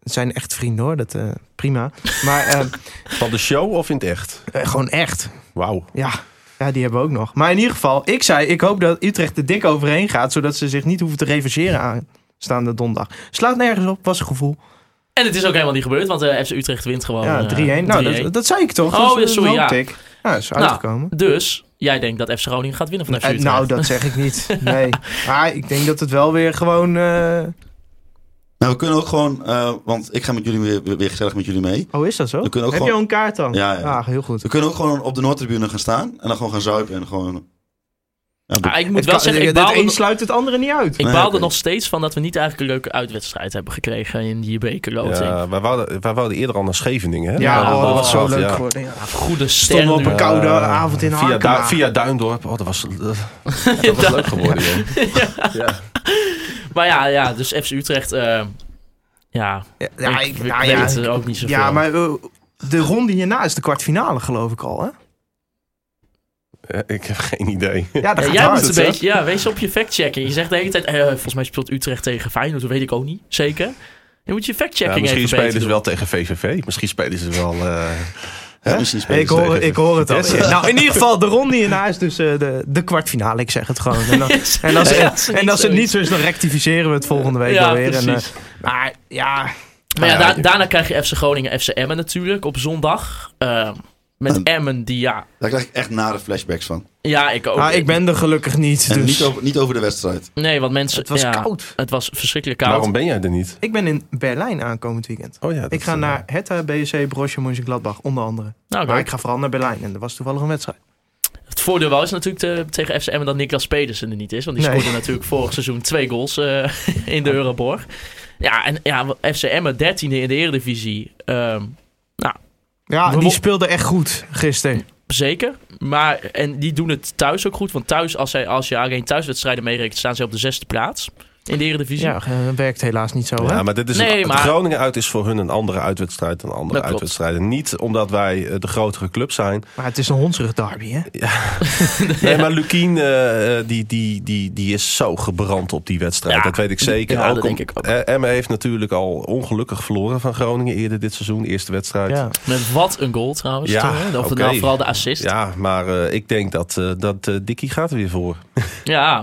Speaker 6: Het zijn echt vrienden hoor, dat eh, prima. Maar eh,
Speaker 5: Van de show of in het echt?
Speaker 6: eh, gewoon echt.
Speaker 5: Wauw.
Speaker 4: Oh,
Speaker 6: Ja. ja, die hebben we ook nog. Maar in ieder geval, ik zei, ik hoop dat Utrecht er dik overheen gaat. Zodat ze zich niet hoeven te reverseren aanstaande donderdag. Slaat nergens op, was een gevoel.
Speaker 4: En het is ook helemaal niet gebeurd, want eh, FC Utrecht wint gewoon.
Speaker 6: ja,
Speaker 4: eh,
Speaker 6: 3-1. nou,
Speaker 4: 3-1.
Speaker 6: dat, dat zei ik toch?
Speaker 4: Oh,
Speaker 6: Dat-
Speaker 4: ja,
Speaker 6: dat
Speaker 4: sorry,
Speaker 6: hoopte
Speaker 4: ja.
Speaker 6: ik. Ja, dat is
Speaker 4: Nou,
Speaker 6: uitgekomen.
Speaker 4: Dus jij denkt dat FC Groningen gaat winnen van FC
Speaker 6: Eh,
Speaker 4: Utrecht?
Speaker 6: nou, dat zeg ik niet. Nee. Maar ik denk dat het wel weer gewoon... eh,
Speaker 7: Nou, we kunnen ook gewoon, eh, want ik ga met jullie weer, weer gezellig met jullie mee.
Speaker 6: Oh, is dat zo?
Speaker 7: We
Speaker 6: Heb
Speaker 7: kunnen ook
Speaker 6: je
Speaker 7: gewoon,
Speaker 6: al een kaart dan?
Speaker 7: Ja, ja.
Speaker 6: Ah, heel goed.
Speaker 7: we kunnen ook gewoon op de Noordtribune gaan staan en dan gewoon gaan zuipen en gewoon. Ja,
Speaker 4: Ah, ik moet
Speaker 6: Het
Speaker 4: wel
Speaker 6: kan-
Speaker 4: zeggen, ik
Speaker 6: het
Speaker 4: baal,
Speaker 6: een
Speaker 4: er,
Speaker 6: sluit het andere niet uit.
Speaker 4: ik
Speaker 7: Nee,
Speaker 4: baal
Speaker 7: oké.
Speaker 4: er nog steeds van dat we niet eigenlijk een leuke uitwedstrijd hebben gekregen in die bekerloting.
Speaker 5: Ja, wij, wouden, wij wouden eerder al naar Scheveningen. Hè?
Speaker 6: Ja,
Speaker 5: Maar
Speaker 6: oh, dat
Speaker 5: was
Speaker 6: was zo
Speaker 5: gehad,
Speaker 6: leuk
Speaker 5: ja.
Speaker 6: geworden. Ja.
Speaker 4: Goede ster
Speaker 6: Stonden we op
Speaker 4: nu.
Speaker 6: een koude
Speaker 5: Eh,
Speaker 6: avond in
Speaker 5: Via,
Speaker 6: Harkema.
Speaker 5: Du- via Duindorp. Oh, dat was, dat, dat was leuk geworden. joh.
Speaker 4: Maar ja, ja, dus FC Utrecht, eh, ja,
Speaker 6: Ja,
Speaker 4: ik,
Speaker 6: ja, ik-
Speaker 4: ik
Speaker 6: nou
Speaker 4: weet
Speaker 6: ja,
Speaker 4: het ook niet zoveel.
Speaker 6: ja, maar eh, de ronde hierna is de kwartfinale geloof ik al, hè?
Speaker 5: Eh, Ik heb geen idee.
Speaker 6: Ja, dat
Speaker 4: Ja,
Speaker 6: gaat
Speaker 4: Eh, jij
Speaker 6: hard.
Speaker 4: moet een
Speaker 5: hè?
Speaker 4: beetje, ja, wees op je fact-checking. Je zegt de hele tijd, eh, volgens mij speelt Utrecht tegen Feyenoord, dat weet ik ook niet, zeker. Je moet je
Speaker 5: Ja,
Speaker 4: fact-checking
Speaker 5: misschien
Speaker 4: even
Speaker 5: spelen
Speaker 4: beter
Speaker 5: ze
Speaker 4: doen. Nou,
Speaker 5: wel tegen VVV. Misschien spelen ze wel. eh,
Speaker 7: Hè? Misschien spelen
Speaker 6: Ik
Speaker 5: ze
Speaker 6: hoor,
Speaker 5: tegen
Speaker 6: ik hoor het al.
Speaker 5: Vitesse.
Speaker 6: Nou, in ieder geval, de ronde hierna is dus eh, de, de kwartfinale. Ik zeg het gewoon. En, dan, en als,
Speaker 4: Ja, als ze
Speaker 6: en
Speaker 4: niet
Speaker 6: als het
Speaker 4: zo
Speaker 6: niet zo is, dan rectificeren we het volgende week
Speaker 4: Ja,
Speaker 6: alweer. En, eh,
Speaker 4: precies.
Speaker 6: maar ja,
Speaker 4: Maar ja,
Speaker 5: Nou ja,
Speaker 4: da- daarna krijg je FC Groningen, FC Emmen natuurlijk op zondag. Eh,
Speaker 6: Hm.
Speaker 4: met Emmen die, ja,
Speaker 7: Daar krijg ik echt nare flashbacks van.
Speaker 4: ja, ik ook.
Speaker 6: nou, ik ben er gelukkig niet.
Speaker 7: En
Speaker 6: Dus.
Speaker 7: niet, over, niet over de wedstrijd.
Speaker 4: Nee, want mensen...
Speaker 6: het was
Speaker 4: ja,
Speaker 6: koud.
Speaker 4: Het was verschrikkelijk koud.
Speaker 5: Waarom ben jij er niet?
Speaker 6: Ik ben in Berlijn aankomend weekend.
Speaker 5: Oh ja, dat,
Speaker 6: Ik ga
Speaker 5: eh,
Speaker 6: naar Hertha, BSC, Borussia Mönchengladbach, onder andere.
Speaker 4: Nou,
Speaker 6: Maar
Speaker 4: leuk.
Speaker 6: ik ga vooral naar Berlijn. En er was toevallig een wedstrijd.
Speaker 4: Het voordeel wel is natuurlijk te- tegen FC Emmen dat Niklas Pedersen er niet is. Want die
Speaker 6: Nee.
Speaker 4: scoorde natuurlijk vorig seizoen twee goals eh, in de Euroborg. Ja, en ja, FC Emmen 13e in de Eredivisie. Ehm,
Speaker 6: Ja, die
Speaker 4: Waarom-
Speaker 6: speelde echt goed gisteren.
Speaker 4: zeker. Maar, en die doen het thuis ook goed. Want thuis, als, zij, als je alleen thuiswedstrijden meerekent, staan ze op de zesde plaats in de Eredivisie.
Speaker 6: Ja, eh, werkt helaas niet zo. hè?
Speaker 5: Ja, maar dit is
Speaker 4: Nee,
Speaker 5: een,
Speaker 4: maar-
Speaker 5: Groningen uit is voor hun een andere uitwedstrijd dan andere
Speaker 4: Dat klopt.
Speaker 5: uitwedstrijden. Niet omdat wij eh, de grotere club zijn.
Speaker 6: Maar het is een hondsrug derby, hè?
Speaker 5: Nee, maar Lukien eh, eh, die, die, die, die is zo gebrand op die wedstrijd.
Speaker 4: Ja,
Speaker 5: dat weet ik zeker.
Speaker 4: ja, dat
Speaker 5: om-
Speaker 4: denk ik ook.
Speaker 5: eh, Emmen heeft natuurlijk al ongelukkig verloren van Groningen eerder dit seizoen. Eerste wedstrijd.
Speaker 6: Ja.
Speaker 5: Ja,
Speaker 4: Met wat een goal trouwens.
Speaker 5: Ja,
Speaker 4: toen, hè? of het
Speaker 5: oké.
Speaker 4: nou vooral de assist. Ja,
Speaker 5: maar eh, ik denk dat, eh, dat eh, Dikkie gaat er weer voor.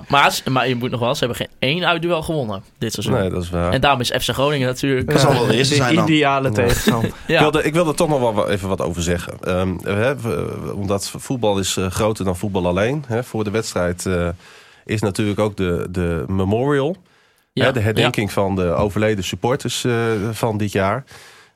Speaker 4: maar, ze- maar je moet nog wel, ze hebben geen één uitduel gewonnen dit seizoen.
Speaker 5: Nee, dat is waar.
Speaker 4: En daarom is FC Groningen natuurlijk...
Speaker 7: Dat zal wel de eerste zijn dan.
Speaker 6: ideale tegenstander.
Speaker 4: Ja.
Speaker 5: Ik, wilde, ik wilde er toch nog wel wa- even wat over zeggen. Ehm, we hebben- omdat voetbal is eh, groter dan voetbal alleen. Hè. Voor de wedstrijd eh, is natuurlijk ook de, de memorial.
Speaker 4: ja,
Speaker 5: Hè, de herdenking van de overleden supporters eh, van dit jaar.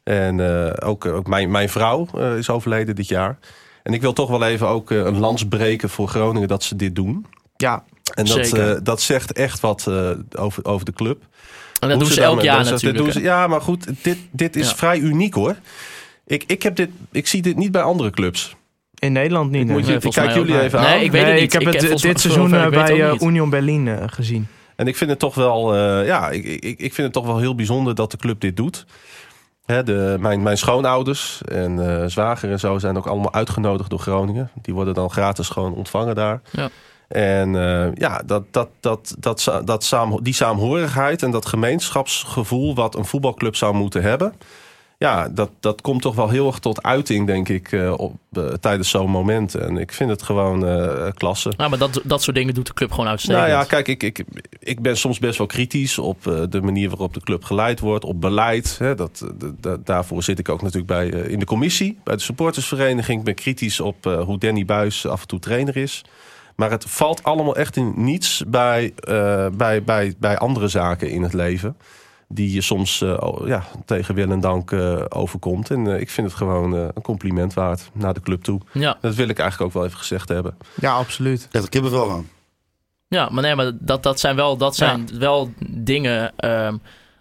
Speaker 5: En eh, ook, ook mijn, mijn vrouw eh, is overleden dit jaar. En ik wil toch wel even ook eh, een lans breken voor Groningen dat ze dit doen.
Speaker 6: Ja,
Speaker 5: En dat,
Speaker 4: Zeker.
Speaker 5: eh, dat zegt echt wat eh, over, over de club.
Speaker 4: Ja. En dat
Speaker 5: Hoe
Speaker 4: doen ze,
Speaker 5: daar
Speaker 4: elk
Speaker 5: met
Speaker 4: jaar
Speaker 5: mensen- dit
Speaker 4: natuurlijk.
Speaker 5: doen
Speaker 4: hè.
Speaker 5: ze- ja, maar goed, dit, dit is
Speaker 4: Ja.
Speaker 5: vrij uniek hoor. Ik, ik, heb dit, ik zie dit niet bij andere clubs.
Speaker 6: in Nederland niet.
Speaker 5: moet
Speaker 6: nee.
Speaker 5: je-
Speaker 4: Nee, volgens
Speaker 5: kijk
Speaker 4: mij ook
Speaker 5: jullie
Speaker 4: niet.
Speaker 5: even aan.
Speaker 4: Nee, ik weet het
Speaker 6: Oh, Nee,
Speaker 4: niet.
Speaker 6: Ik heb het
Speaker 4: volgens mij-
Speaker 6: dit seizoen
Speaker 4: zover
Speaker 6: eh,
Speaker 4: ik weet
Speaker 6: bij
Speaker 4: ook
Speaker 6: eh,
Speaker 4: niet.
Speaker 6: Union Berlin eh, gezien.
Speaker 5: En ik vind het toch wel, eh, ja, ik, ik, ik vind het toch wel heel bijzonder dat de club dit doet. Hè, de, mijn, mijn schoonouders en eh, zwager en zo zijn ook allemaal uitgenodigd door Groningen. Die worden dan gratis gewoon ontvangen daar.
Speaker 4: Ja.
Speaker 5: En eh, ja, dat, dat, dat, dat, sa- dat saam, die saamhorigheid en dat gemeenschapsgevoel wat een voetbalclub zou moeten hebben. Ja, dat, dat komt toch wel heel erg tot uiting, denk ik, eh, op, eh, tijdens zo'n moment. En ik vind het gewoon eh, klasse.
Speaker 4: Nou, maar dat, dat soort dingen doet de club gewoon uitstekend.
Speaker 5: Nou ja, kijk, ik, ik, ik ben soms best wel kritisch op eh, de manier waarop de club geleid wordt, op beleid. Hè, dat, eh, d- da- daarvoor zit ik ook natuurlijk bij, eh, in de commissie, bij de supportersvereniging. Ik ben kritisch op eh, hoe Danny Buis af en toe trainer is. Maar het valt allemaal echt in niets bij, eh, bij, bij, bij andere zaken in het leven. Die je soms eh, oh, ja, tegen wil en dank eh, overkomt. En eh, ik vind het gewoon eh, een compliment waard naar de club toe.
Speaker 4: Ja,
Speaker 5: Dat wil ik eigenlijk ook wel even gezegd hebben.
Speaker 6: Ja, absoluut.
Speaker 7: Ik heb er kippenvel van.
Speaker 4: ja maar nee, maar dat, dat zijn wel, dat zijn wel dingen ehm,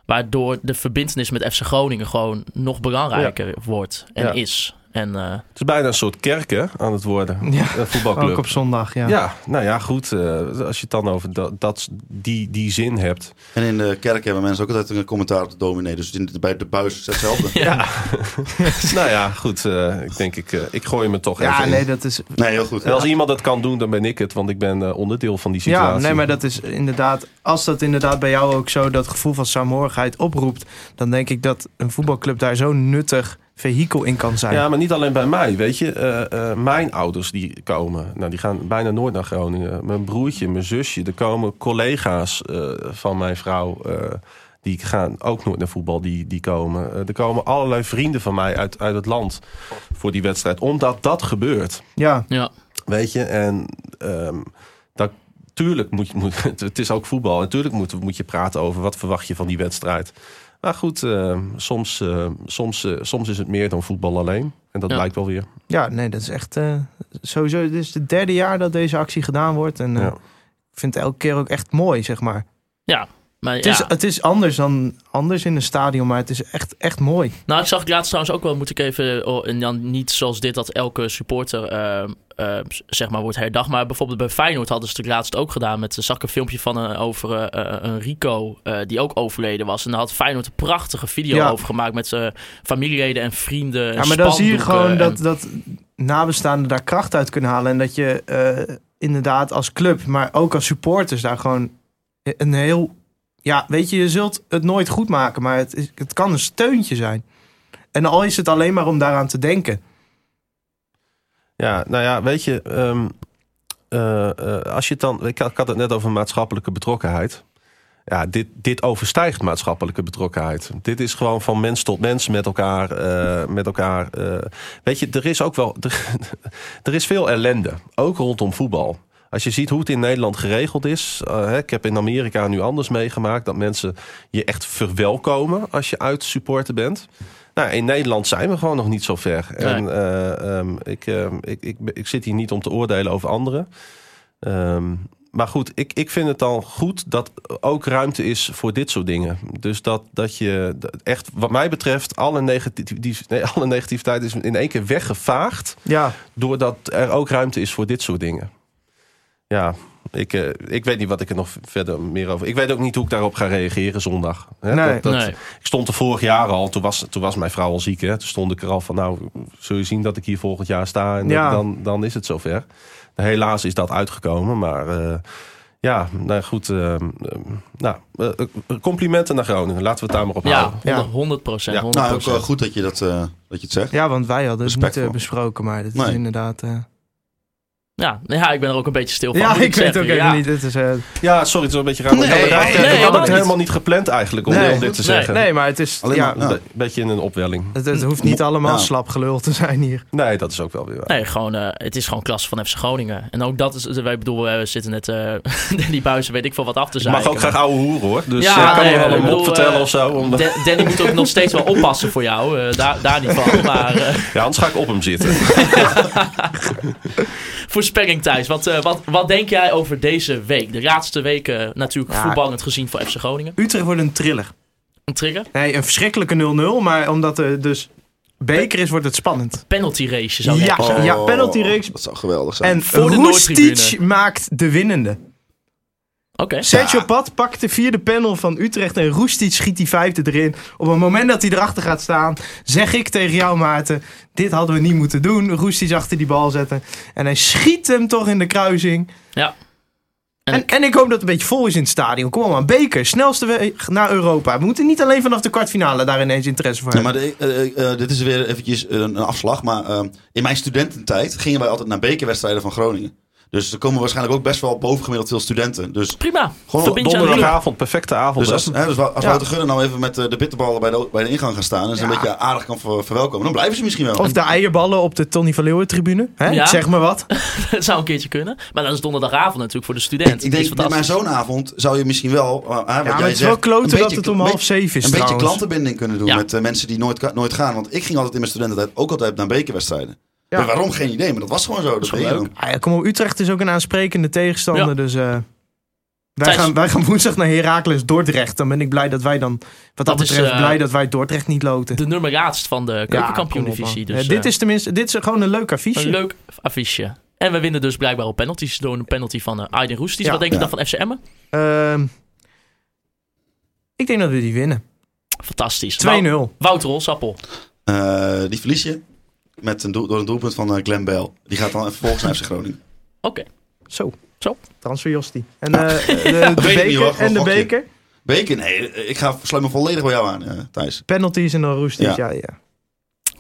Speaker 4: waardoor de verbindenis met FC Groningen gewoon nog belangrijker wordt en
Speaker 5: Ja.
Speaker 4: is. En eh,
Speaker 5: Het is bijna een soort kerk hè, aan het worden.
Speaker 6: Ja,
Speaker 5: Een voetbalclub.
Speaker 6: ook op zondag. Oh, Ja.
Speaker 5: Ja, nou ja, goed. eh, als je het dan over dat, dat, die, die zin hebt.
Speaker 7: En in de kerk hebben mensen ook altijd een commentaar op de dominee. Dus in, bij de buis is hetzelfde.
Speaker 5: nou ja, goed. eh, ik denk, ik, eh, ik gooi me toch
Speaker 6: Ja,
Speaker 5: even in.
Speaker 6: nee, dat is.
Speaker 7: Nee, heel goed.
Speaker 5: En als iemand dat kan doen, dan ben ik het. Want ik ben eh, onderdeel van die situatie.
Speaker 6: Ja, nee, maar dat is inderdaad. Als dat inderdaad bij jou ook zo dat gevoel van saamhorigheid oproept, dan denk ik dat een voetbalclub daar zo'n nuttig vehikel in kan zijn.
Speaker 5: Ja, maar niet alleen bij mij, weet je. Eh, eh, mijn ouders die komen, nou die gaan bijna nooit naar Groningen. Mijn broertje, mijn zusje, er komen collega's eh, van mijn vrouw... eh, die gaan ook nooit naar voetbal, die, die komen. Eh, er komen allerlei vrienden van mij uit, uit het land voor die wedstrijd. Omdat dat gebeurt.
Speaker 6: Ja,
Speaker 4: ja,
Speaker 5: Weet je, en ehm, dat, tuurlijk moet, je- moet het- het is ook voetbal. En tuurlijk moet, moet je praten over wat verwacht je van die wedstrijd. Maar goed, ehm, soms, ehm, soms, eh, soms is het meer dan voetbal alleen. En dat
Speaker 4: Ja.
Speaker 5: blijkt wel weer.
Speaker 6: ja nee, dat is echt. eh, sowieso, dit is het derde jaar dat deze actie gedaan wordt. En eh,
Speaker 5: Ja.
Speaker 6: ik vind het elke keer ook echt mooi, zeg maar.
Speaker 4: maar
Speaker 6: Het,
Speaker 4: ja.
Speaker 6: is, het is anders dan anders in een stadion, maar het is echt, echt mooi.
Speaker 4: Nou, ik zag laatst trouwens ook wel, moet ik even, oh, en dan niet zoals dit, dat elke supporter ehm, ehm, z- zeg maar wordt herdacht. Maar bijvoorbeeld bij Feyenoord hadden ze het laatst ook gedaan. Met, eh, zag ik een filmpje van een, over eh, eh, een Rico eh, die ook overleden was. En daar had Feyenoord een prachtige video
Speaker 6: Ja.
Speaker 4: over gemaakt met eh familieleden en vrienden. en
Speaker 6: Ja, maar dan zie je
Speaker 4: spandoeken
Speaker 6: gewoon
Speaker 4: en-
Speaker 6: dat, dat nabestaanden daar kracht uit kunnen halen. En dat je eh, inderdaad als club, maar ook als supporters daar gewoon een heel... Ja, weet je, je zult het nooit goed maken, maar het, is- het kan een steuntje zijn. En al is het alleen maar om daaraan te denken.
Speaker 5: Ja, nou ja, weet je, ehm, eh, eh, als je het dan. Ik had, ik had het net over maatschappelijke betrokkenheid. Ja, dit, dit overstijgt maatschappelijke betrokkenheid. Dit is gewoon van mens tot mens met elkaar. eh, met elkaar eh. weet je, er is ook wel. Er, er is veel ellende, ook rondom voetbal. Als je ziet hoe het in Nederland geregeld is. eh, hè, ik heb in Amerika nu anders meegemaakt dat mensen je echt verwelkomen als je uit supporter bent. Nou, in Nederland zijn we gewoon nog niet zo ver. En, eh, ehm, ik, ehm, ik, ik, ik zit hier niet om te oordelen over anderen. Ehm, maar goed, ik, ik vind het dan goed dat ook ruimte is voor dit soort dingen. Dus dat, dat je dat echt, wat mij betreft, alle, negatief, nee, alle negativiteit is in één keer weggevaagd.
Speaker 6: Ja,
Speaker 5: Doordat er ook ruimte is voor dit soort dingen. Ja, ik, eh, ik weet niet wat ik er nog verder meer over... Ik weet ook niet hoe ik daarop ga reageren zondag. Hè,
Speaker 6: Nee.
Speaker 5: dat- dat-
Speaker 4: Nee.
Speaker 5: Ik stond er vorig jaar al, toen was, toen was mijn vrouw al ziek. Hè, toen stond ik er al van, nou, zul je zien dat ik hier volgend jaar sta. En
Speaker 6: Ja.
Speaker 5: dan, dan is het zover. Helaas is dat uitgekomen, maar... eh, ja, nou goed. eh, eh, nou, eh, eh, complimenten naar Groningen. Laten we het daar maar op
Speaker 4: Ja,
Speaker 5: houden.
Speaker 4: 100 procent.
Speaker 5: Ja,
Speaker 4: 100%.
Speaker 7: Nou, ook eh, goed dat je dat, eh, dat je het zegt.
Speaker 6: ja want wij hadden het niet eh,
Speaker 7: Respectvol.
Speaker 6: besproken, maar dat is
Speaker 7: Nee.
Speaker 6: inderdaad... eh,
Speaker 4: ja, nou ja, ik ben er ook een beetje stil van.
Speaker 6: ja,
Speaker 4: moet
Speaker 6: ik, weet
Speaker 4: zeggen.
Speaker 6: ook even
Speaker 4: Ja.
Speaker 6: niet. Het is, eh,
Speaker 5: Ja, sorry, het is wel een beetje raar. maar
Speaker 7: Nee,
Speaker 5: ik had het,
Speaker 7: nee,
Speaker 5: eigenlijk-
Speaker 4: nee,
Speaker 5: ik had het
Speaker 4: helemaal
Speaker 5: helemaal niet gepland eigenlijk om,
Speaker 6: Nee.
Speaker 5: om dit te
Speaker 4: Nee.
Speaker 5: zeggen.
Speaker 6: nee, maar het is...
Speaker 7: Alleen
Speaker 6: ja,
Speaker 7: maar- nou.
Speaker 5: Een beetje in een opwelling.
Speaker 6: het, het hoeft niet allemaal
Speaker 7: Ja.
Speaker 6: slap gelul te zijn hier.
Speaker 5: Nee, dat is ook wel weer waar.
Speaker 4: Nee, gewoon, eh, het is gewoon klasse van FC Groningen. En ook dat is, wij bedoelen, we zitten net eh Danny Buizen, weet ik veel wat af te
Speaker 5: Ik
Speaker 4: zijn.
Speaker 5: mag ook graag ouwe hoeren hoor. Dus
Speaker 4: Ja,
Speaker 5: ja, kan
Speaker 4: nee,
Speaker 5: er
Speaker 4: ik
Speaker 5: wel een
Speaker 4: bedoel,
Speaker 5: mop vertellen
Speaker 4: eh,
Speaker 5: of zo. Om,
Speaker 4: Danny moet ook nog steeds wel oppassen voor jou, eh, daar, daar niet van. Maar eh,
Speaker 5: ja, anders ga ik op hem zitten.
Speaker 4: voorspelling Thijs, wat, eh, wat, wat denk jij over deze week? De laatste weken natuurlijk
Speaker 6: Ja.
Speaker 4: voetballend gezien voor FC Groningen.
Speaker 6: Utrecht wordt een thriller.
Speaker 4: Een trigger.
Speaker 6: Nee, een verschrikkelijke 0-0. Maar omdat er dus beker is, wordt het spannend.
Speaker 4: Penalty race zou je
Speaker 6: Ja.
Speaker 4: echt zeggen.
Speaker 6: ja, penalty reeks.
Speaker 7: Oh, Dat zou geweldig zijn.
Speaker 6: En
Speaker 4: Voor de
Speaker 6: Roestic
Speaker 4: Noordtribune.
Speaker 6: maakt de winnende.
Speaker 4: Oké.
Speaker 6: Sergio Pat pakt de vierde panel van Utrecht en Roestic schiet die vijfde erin. Op het moment dat hij erachter gaat staan, zeg ik tegen jou Maarten, dit hadden we niet moeten doen. Roestic achter die bal zetten. En hij schiet hem toch in de kruising.
Speaker 4: Ja. En
Speaker 6: En, en, ik hoop dat het een beetje vol is in het stadion. Kom maar, beker, snelste weg naar Europa. We moeten niet alleen vanaf de kwartfinale daar ineens interesse voor
Speaker 7: Ja,
Speaker 6: hebben.
Speaker 7: maar de- eh, eh, eh, dit is weer eventjes een, een afslag. Maar ehm, in mijn studententijd gingen wij altijd naar bekerwedstrijden van Groningen. Dus er komen waarschijnlijk ook best wel bovengemiddeld veel studenten. Dus,
Speaker 4: Prima.
Speaker 7: Gewoon
Speaker 4: Verbind je aan de club.
Speaker 5: Donderdagavond, perfecte avond.
Speaker 7: dus als,
Speaker 5: hè.
Speaker 7: hè, dus wa- als
Speaker 6: Ja.
Speaker 7: Wouter Gudde nou even met eh, de bitterballen bij de, bij de ingang gaan staan... en ze een beetje aardig kan ver- verwelkomen, dan blijven ze misschien wel.
Speaker 6: Of de eierballen op de Tony van Leeuwen tribune. Hè?
Speaker 4: Ja.
Speaker 6: Zeg maar wat.
Speaker 4: Het zou een keertje kunnen. Maar dat is donderdagavond natuurlijk voor de
Speaker 7: ik,
Speaker 4: student.
Speaker 7: ik
Speaker 4: Dat is
Speaker 7: denk, met
Speaker 4: fantastisch.
Speaker 7: zo'n avond zou je misschien wel... eh, hè, wat
Speaker 6: Ja, maar
Speaker 7: jij
Speaker 6: het is
Speaker 7: zegt,
Speaker 6: wel kloten
Speaker 7: een
Speaker 6: dat
Speaker 7: beetje-
Speaker 6: het om
Speaker 7: een
Speaker 6: half
Speaker 7: beetje-
Speaker 6: zeven is
Speaker 7: Een beetje
Speaker 6: trouwens.
Speaker 7: klantenbinding kunnen doen
Speaker 4: Ja.
Speaker 7: met eh, mensen die nooit, ka- nooit gaan. Want ik ging altijd in mijn studententijd ook altijd naar bekerwedstrijden.
Speaker 6: Ja.
Speaker 7: Maar waarom? Geen idee. Maar dat was gewoon zo. Dat, deed je dan.
Speaker 6: Ah ja, kom op, Utrecht is ook een aansprekende tegenstander.
Speaker 4: Ja.
Speaker 6: Dus eh, wij,
Speaker 4: Thijs.
Speaker 6: gaan, wij gaan woensdag naar Heracles Dordrecht. Dan ben ik blij dat wij dan, wat dat,
Speaker 4: Dat is,
Speaker 6: betreft,
Speaker 4: eh,
Speaker 6: blij dat wij Dordrecht niet loten.
Speaker 4: De nummer laatst van de keukenkampioen-divisie.
Speaker 6: kom op, man.
Speaker 4: dus, eh,
Speaker 6: Eh, dit is tenminste, dit is gewoon een leuk affiche.
Speaker 4: Een leuk affiche. En we winnen dus blijkbaar op penalties door een penalty van eh, Aydin Roestic.
Speaker 6: Ja.
Speaker 4: Wat denk je
Speaker 7: Ja.
Speaker 4: dan van FC Emmen?
Speaker 6: Ehm, ik denk dat we die winnen. 2-0.
Speaker 4: Nou. Fantastisch. Wou- Wouter Holsappel.
Speaker 7: Eh, die verlies je met een doel, door een doelpunt van eh, Glenn Bell. Die gaat dan vervolgens naar FC Groningen.
Speaker 4: Oké.
Speaker 6: Zo.
Speaker 4: Zo. Nou.
Speaker 6: Transfer Jostie. En eh, de, de
Speaker 7: Weet ik niet, hoor.
Speaker 6: beker.
Speaker 7: Gewoon
Speaker 6: En de
Speaker 7: gokje.
Speaker 6: beker.
Speaker 7: Beker, nee, eh, ik ga sluit me volledig bij jou aan, eh, Thijs.
Speaker 6: Penalties en dan Roestic. Ja.
Speaker 7: Ja.
Speaker 6: Ja,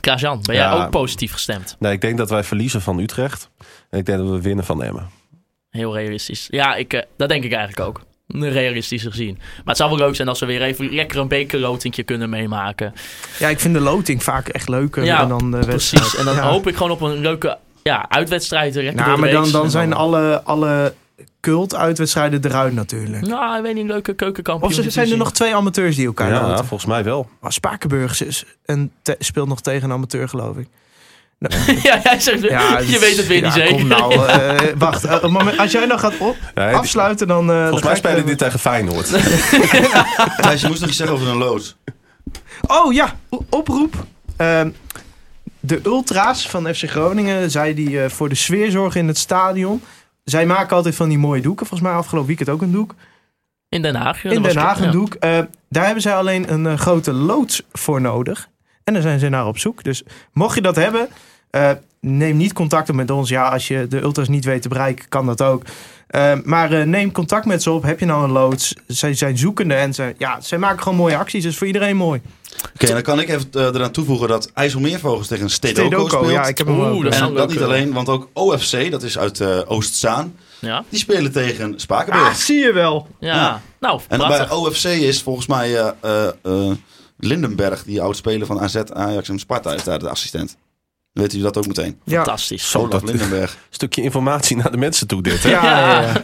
Speaker 4: Klaas-Jan, ben
Speaker 5: Ja.
Speaker 4: jij ook positief gestemd?
Speaker 5: Nee, ik denk dat wij verliezen van Utrecht. En ik denk dat we winnen van Emmen.
Speaker 4: Heel realistisch. Ja, ik, eh, dat denk ik eigenlijk ook. Realistisch gezien. Maar het zou wel leuk zijn als we weer even lekker een bekerlotingje kunnen meemaken.
Speaker 6: Ja, ik vind de loting vaak echt leuker
Speaker 4: Ja,
Speaker 6: dan de wedstrijd.
Speaker 4: Precies. En dan
Speaker 6: Ja.
Speaker 4: hoop ik gewoon op een leuke ja, uitwedstrijd. eh, lekker
Speaker 6: Nou,
Speaker 4: door
Speaker 6: maar
Speaker 4: de
Speaker 6: dan,
Speaker 4: reeks. En
Speaker 6: dan zijn alle, alle cult-uitwedstrijden eruit natuurlijk.
Speaker 4: Nou, ik weet niet, een leuke keukenkampioen.
Speaker 6: Of ze- zijn er nog twee amateurs die elkaar
Speaker 5: Ja,
Speaker 6: loten?
Speaker 5: volgens mij wel.
Speaker 6: Maar Spakenburgs is en te- speelt nog tegen een amateur, geloof ik.
Speaker 4: ja, jij zegt,
Speaker 6: Ja,
Speaker 4: je
Speaker 6: dus-
Speaker 4: weet het weer niet
Speaker 6: ja,
Speaker 4: zeker.
Speaker 6: Kom nou, eh, wacht. eh, moment, als jij nou gaat op,
Speaker 5: Nee,
Speaker 6: afsluiten, dan... eh,
Speaker 5: volgens
Speaker 6: dan
Speaker 5: mij
Speaker 6: ga ik,
Speaker 5: spelen
Speaker 6: eh,
Speaker 5: dit tegen Feyenoord.
Speaker 7: Thijs, je moest nog iets zeggen over een lood.
Speaker 6: Oh ja, o- oproep. Ehm, de ultra's van FC Groningen, zij die eh, voor de sfeer zorgen in het stadion... Zij maken altijd van die mooie doeken. Volgens mij afgelopen weekend ook een doek.
Speaker 4: In Den Haag. ja,
Speaker 6: In
Speaker 4: dat was
Speaker 6: Den Haag
Speaker 4: goed,
Speaker 6: een
Speaker 4: ja.
Speaker 6: doek. Eh, daar hebben zij alleen een eh, grote loods voor nodig. En daar zijn ze naar op zoek. Dus mocht je dat hebben, eh, neem niet contact op met ons. Ja, als je de ultras niet weet te bereiken, kan dat ook. Eh, maar eh, neem contact met ze op. Heb je nou een loods? Zij zijn zoekende en ze, ja, zij maken gewoon mooie acties. Dus voor iedereen mooi.
Speaker 7: Oké, dan kan ik even eh, eraan toevoegen dat IJsselmeervogels tegen Stedoco, speelt.
Speaker 6: ja, ik heb hem
Speaker 4: Oeh,
Speaker 6: ook.
Speaker 4: dat
Speaker 7: en
Speaker 4: zou
Speaker 7: dat
Speaker 4: leuk eh,
Speaker 7: niet
Speaker 4: kunnen.
Speaker 7: alleen, want ook OFC, dat is uit eh, Oost-Zaan,
Speaker 4: Ja.
Speaker 7: die spelen tegen Spakenburg.
Speaker 6: Ah, zie je wel.
Speaker 4: Ja.
Speaker 7: Ja.
Speaker 4: Nou,
Speaker 7: en
Speaker 4: prachtig.
Speaker 7: bij OFC is volgens mij eh, eh, eh, Lindenberg, die oud-speler van AZ, Ajax en Sparta, is daar de assistent. Dan weten jullie dat ook meteen.
Speaker 6: Ja.
Speaker 4: Fantastisch.
Speaker 5: Zo,
Speaker 7: Olaf
Speaker 5: dat
Speaker 7: Lindenberg.
Speaker 5: stukje informatie naar de mensen toe dit. Hè?
Speaker 6: Ja, ja, ja.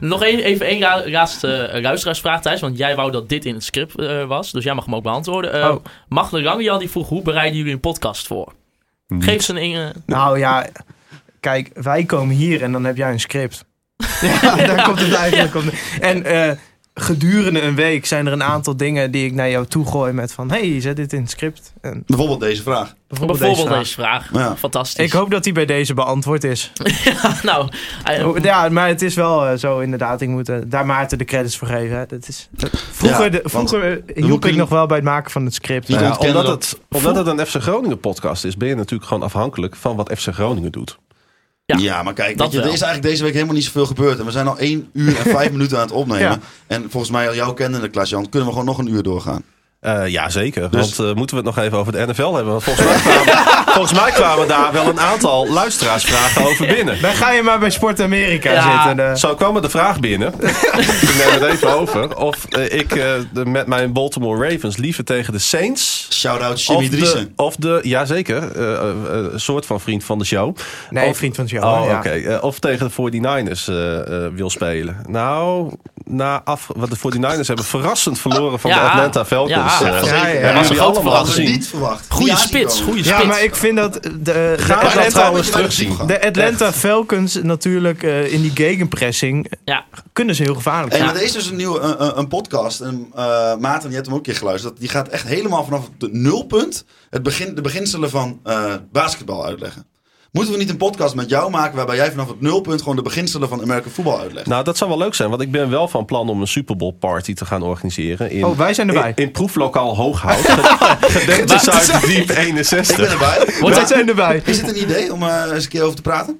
Speaker 4: Nog een, even één ra- laatste eh, luisteraarsvraag, Thijs. Want jij wou dat dit in het script eh, was. Dus jij mag hem ook beantwoorden. Eh
Speaker 6: Oh.
Speaker 4: Magde Rangian die vroeg, hoe bereiden jullie een podcast voor? Geef ze een... eh,
Speaker 6: Nou ja, kijk, wij komen hier en dan heb jij een script. ja, daar komt het eigenlijk op. neer. En eh, gedurende een week zijn er een aantal dingen die ik naar jou toe gooi met van... hey, zet dit in het script. En
Speaker 7: Bijvoorbeeld deze vraag.
Speaker 6: bijvoorbeeld,
Speaker 4: bijvoorbeeld
Speaker 6: deze
Speaker 4: deze,
Speaker 6: vraag.
Speaker 4: vraag.
Speaker 7: Ja.
Speaker 4: Fantastisch.
Speaker 6: Ik hoop dat die bij deze beantwoord is.
Speaker 4: nou, eh,
Speaker 6: Ja, maar het is wel eh, zo inderdaad. Ik moet eh, daar Maarten de credits voor geven. Hè. Dat is, dat- vroeger
Speaker 7: Ja,
Speaker 6: de-
Speaker 7: want
Speaker 6: vroeger eh, hielp ik
Speaker 7: moeten-
Speaker 6: nog wel bij het maken van het script.
Speaker 7: Ja,
Speaker 5: Nou ja,
Speaker 7: ontkennen
Speaker 5: omdat,
Speaker 7: dat-
Speaker 5: het, omdat het een FC Groningen podcast is, ben je natuurlijk gewoon afhankelijk van wat FC Groningen doet.
Speaker 4: Ja,
Speaker 7: Ja, maar kijk,
Speaker 4: dat
Speaker 7: weet je, er
Speaker 4: wel.
Speaker 7: is eigenlijk deze week helemaal niet zoveel gebeurd. En we zijn al 1 uur en 5 minuten aan het opnemen.
Speaker 6: Ja.
Speaker 7: En volgens mij, al jouw kennende Klaas-Jan, kunnen we gewoon nog een uur doorgaan.
Speaker 5: Eh ja, zeker.
Speaker 7: Dus-
Speaker 5: Want eh, moeten we het nog even over de NFL hebben? Want volgens mij kwamen, volgens mij kwamen daar wel een aantal luisteraarsvragen over binnen.
Speaker 6: Dan ga je maar bij Sport Amerika
Speaker 4: Ja.
Speaker 6: zitten. eh.
Speaker 5: Zo kwam er de vraag binnen, ik neem het even over, of eh, ik eh, de- met mijn Baltimore Ravens liever tegen de Saints...
Speaker 7: Shout-out Jimmy
Speaker 5: of de,
Speaker 7: Driesen.
Speaker 5: of de, jazeker, eh, eh, eh, soort van vriend van de show.
Speaker 6: nee,
Speaker 5: of,
Speaker 6: vriend van jou.
Speaker 5: Oh,
Speaker 6: ja.
Speaker 5: oké. Eh, of tegen de 49ers eh, eh, wil spelen. Nou, na af, wat de 49ers hebben verrassend verloren van de
Speaker 4: Ja.
Speaker 5: Atlanta Falcons.
Speaker 4: Ja.
Speaker 5: eh.
Speaker 6: Ja, ja, ja.
Speaker 5: Hebben
Speaker 4: was een
Speaker 5: jullie
Speaker 4: grote
Speaker 5: allemaal al
Speaker 4: verrassing.
Speaker 5: gezien?
Speaker 7: niet verwacht.
Speaker 4: goede
Speaker 7: Ja,
Speaker 4: spits.
Speaker 7: die
Speaker 4: Goede spits.
Speaker 6: Ja, maar ik vind dat de, de,
Speaker 5: Gaan we dat
Speaker 6: Atlanta,
Speaker 5: trouwens terugzien?
Speaker 6: de Atlanta Falcons natuurlijk eh, in die gegenpressing eh,
Speaker 4: Ja.
Speaker 6: kunnen ze heel gevaarlijk
Speaker 7: Hey,
Speaker 6: zijn.
Speaker 7: maar er is dus een nieuwe een, een- een podcast. En, eh Maarten, je hebt hem ook een keer geluisterd. Die gaat echt helemaal vanaf het nulpunt het begin, de beginselen van eh, basketbal uitleggen. Moeten we niet een podcast met jou maken waarbij jij vanaf het nulpunt gewoon de beginselen van American voetbal uitlegt?
Speaker 5: Nou, dat zou wel leuk zijn, want ik ben wel van plan om een Super Bowl party te gaan organiseren. In,
Speaker 6: Oh, wij zijn erbij.
Speaker 5: In, in proeflokaal Hooghout. Gedenkte Zuiddiep
Speaker 7: Ik ben
Speaker 5: 61.
Speaker 7: erbij.
Speaker 4: Wordt
Speaker 6: Wij zijn erbij.
Speaker 7: Is het een idee om eh, eens een keer over te praten?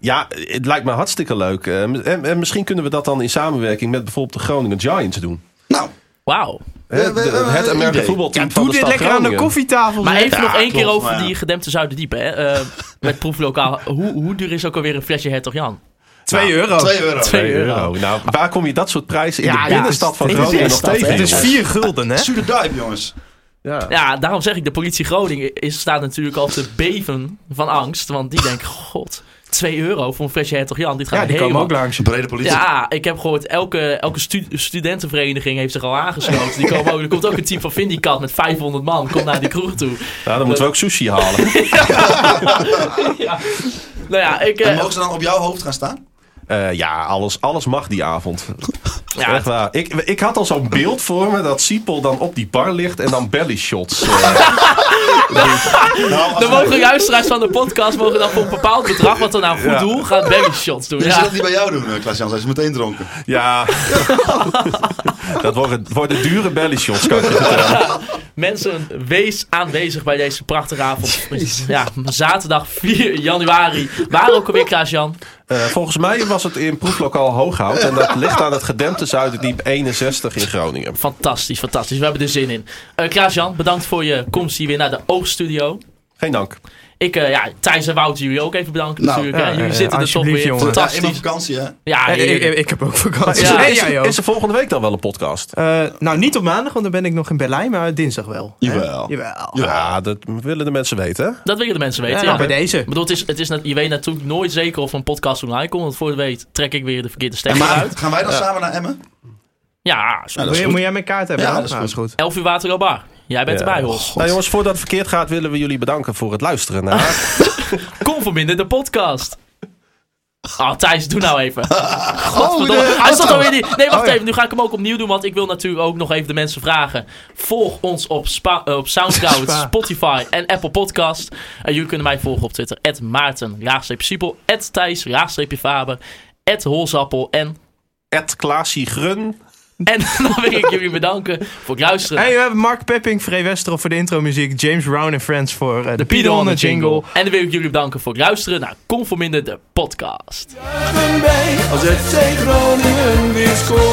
Speaker 5: Ja, het lijkt me hartstikke leuk. Eh, En, en misschien kunnen we dat dan in samenwerking met bijvoorbeeld de Groningen Giants doen.
Speaker 7: Nou,
Speaker 4: Wauw.
Speaker 5: Hè,
Speaker 7: Ja, we-
Speaker 5: de-
Speaker 7: we- we-
Speaker 5: het
Speaker 7: idee.
Speaker 5: Amerika voetbalteam
Speaker 6: Ja,
Speaker 5: van
Speaker 6: doe
Speaker 5: de
Speaker 6: dit
Speaker 5: stad
Speaker 6: lekker aan de
Speaker 5: Groningen.
Speaker 6: koffietafel.
Speaker 4: Maar
Speaker 6: zeg.
Speaker 4: even nog één keer
Speaker 7: klopt,
Speaker 4: over
Speaker 7: maar ja.
Speaker 4: die gedempte Zuiderdiepen. Hè? Eh, met proeflokaal. Hoe, hoe duur is ook alweer een flesje Hertog Jan?
Speaker 6: Twee euro.
Speaker 7: 2 Oh. euro.
Speaker 4: Twee euro.
Speaker 5: Nou, waar kom je dat soort prijzen in
Speaker 6: Ja,
Speaker 5: de
Speaker 6: ja,
Speaker 5: binnenstad van
Speaker 4: in de
Speaker 5: Groningen nog
Speaker 4: binnenstad,
Speaker 5: tegen?
Speaker 4: hè?
Speaker 6: Het is
Speaker 5: jongens?
Speaker 6: vier gulden, hè?
Speaker 7: Shoot the dive, jongens.
Speaker 5: Ja.
Speaker 4: Ja, daarom zeg ik, de politie Groningen is, staat natuurlijk al te beven van angst. Want die denkt, god, 2 euro voor een flesje Hertog Jan. Dit gaat
Speaker 6: Ja, die
Speaker 4: helemaal...
Speaker 6: komen ook Eh, langs.
Speaker 7: Een brede politie.
Speaker 4: Ja, ik heb gehoord, elke, elke stu- studentenvereniging heeft zich al aangesloten. Die komen ook, er komt ook een team van Vindicat met 500 man, komt naar die kroeg toe.
Speaker 5: Nou, dan moeten we ook sushi halen.
Speaker 4: Nou ja, ik... eh,
Speaker 7: En mogen ze dan op jouw hoofd gaan staan?
Speaker 5: Eh, ja, alles, alles mag die avond.
Speaker 4: ja,
Speaker 5: Echt waar. Ik, ik had al zo'n beeld voor me dat Siepel dan op die bar ligt en dan belly shots. eh,
Speaker 7: Nou,
Speaker 4: Dan
Speaker 7: als we-
Speaker 4: mogen luisteraars van de podcast mogen dan voor een bepaald bedrag, wat dan aan goed
Speaker 5: Ja.
Speaker 4: doel, gaan belly shots doen.
Speaker 7: Ze zullen
Speaker 4: Ja.
Speaker 7: dat niet bij jou doen, eh, Klaas-Jan. Zij is meteen dronken.
Speaker 5: ja. dat worden, worden dure belly shots, kan ik je vertellen.
Speaker 4: Mensen, wees aanwezig bij deze prachtige avond. Ja, zaterdag 4 januari. Waar ook alweer, Klaas-Jan?
Speaker 5: Eh, volgens mij was het in proeflokaal Hooghout. En dat ligt aan het gedempte Zuiderdiep 61 in Groningen.
Speaker 4: Fantastisch, fantastisch. We hebben er zin in. Eh Klaas-Jan, bedankt voor je komst hier weer naar de Oogstudio.
Speaker 5: Geen dank.
Speaker 4: Ik, eh, ja, Thijs en Wouter, jullie ook even bedanken
Speaker 7: Nou,
Speaker 4: natuurlijk. hè.
Speaker 6: ja,
Speaker 4: jullie
Speaker 6: ja,
Speaker 4: zitten er toch
Speaker 6: alsjeblieft,
Speaker 4: weer.
Speaker 6: jongen.
Speaker 7: Ja, in mijn
Speaker 4: Fantastisch.
Speaker 7: vakantie, hè?
Speaker 4: Ja,
Speaker 6: Eh, ik,
Speaker 4: heerlijk.
Speaker 6: ik, ik heb ook vakantie.
Speaker 4: Ja.
Speaker 6: Ja,
Speaker 5: is,
Speaker 6: jij
Speaker 5: er,
Speaker 6: ook.
Speaker 5: is er volgende week dan wel een podcast?
Speaker 6: Eh, nou, niet op maandag, want dan ben ik nog in Berlijn, maar dinsdag wel. hè?
Speaker 7: Jawel.
Speaker 6: Jawel.
Speaker 5: Ja, dat willen de mensen weten. hè?
Speaker 4: Dat willen de mensen
Speaker 6: Ja,
Speaker 4: weten.
Speaker 6: nou,
Speaker 4: Ja,
Speaker 6: bij deze.
Speaker 4: Ik bedoel, het is, het is, nat- je weet natuurlijk nooit zeker of een podcast online komt. Want voor je het weet trek ik weer de verkeerde
Speaker 7: En
Speaker 4: stem
Speaker 7: maar
Speaker 4: uit.
Speaker 7: gaan wij dan samen naar Emmen?
Speaker 4: Ja,
Speaker 7: Nou, dat
Speaker 6: Moet
Speaker 7: is
Speaker 6: je-
Speaker 7: goed.
Speaker 6: Moet jij mijn kaart hebben?
Speaker 7: Ja,
Speaker 6: hè?
Speaker 7: dat is
Speaker 6: Nou,
Speaker 7: goed.
Speaker 6: goed.
Speaker 4: 11 uur Waterloo Bar. Jij bent
Speaker 5: Ja.
Speaker 4: erbij hoor.
Speaker 5: Nou jongens, voordat het verkeerd gaat, willen we jullie bedanken voor het luisteren naar
Speaker 4: Kom verbinden de podcast. Ah, Thijs, doe nou even. Godverdomme. Hij stond alweer niet. Nee, wacht
Speaker 6: Oh, ja.
Speaker 4: even. Nu ga ik hem ook opnieuw doen. Want ik wil natuurlijk ook nog even de mensen vragen. Volg ons op, Spa- eh, op Soundcloud,
Speaker 6: Spa.
Speaker 4: Spotify en Apple Podcast. En jullie kunnen mij volgen op Twitter. At Maarten, laagstreepje Siepel. At Thijs, laagstreepje Faber. At Holzappel. En
Speaker 5: Ed Klaasie Grun.
Speaker 4: En dan wil ik jullie bedanken voor het luisteren.
Speaker 6: Hey, we hebben Mark Pepping, Free Westerhof voor de intromuziek, James Brown en Friends voor eh, de
Speaker 4: Piedonnen
Speaker 6: Piedonnen jingle.
Speaker 4: En dan wil ik jullie bedanken voor het luisteren naar Conforminder de podcast.
Speaker 1: Juichen wij als FC Groningen weer scoort.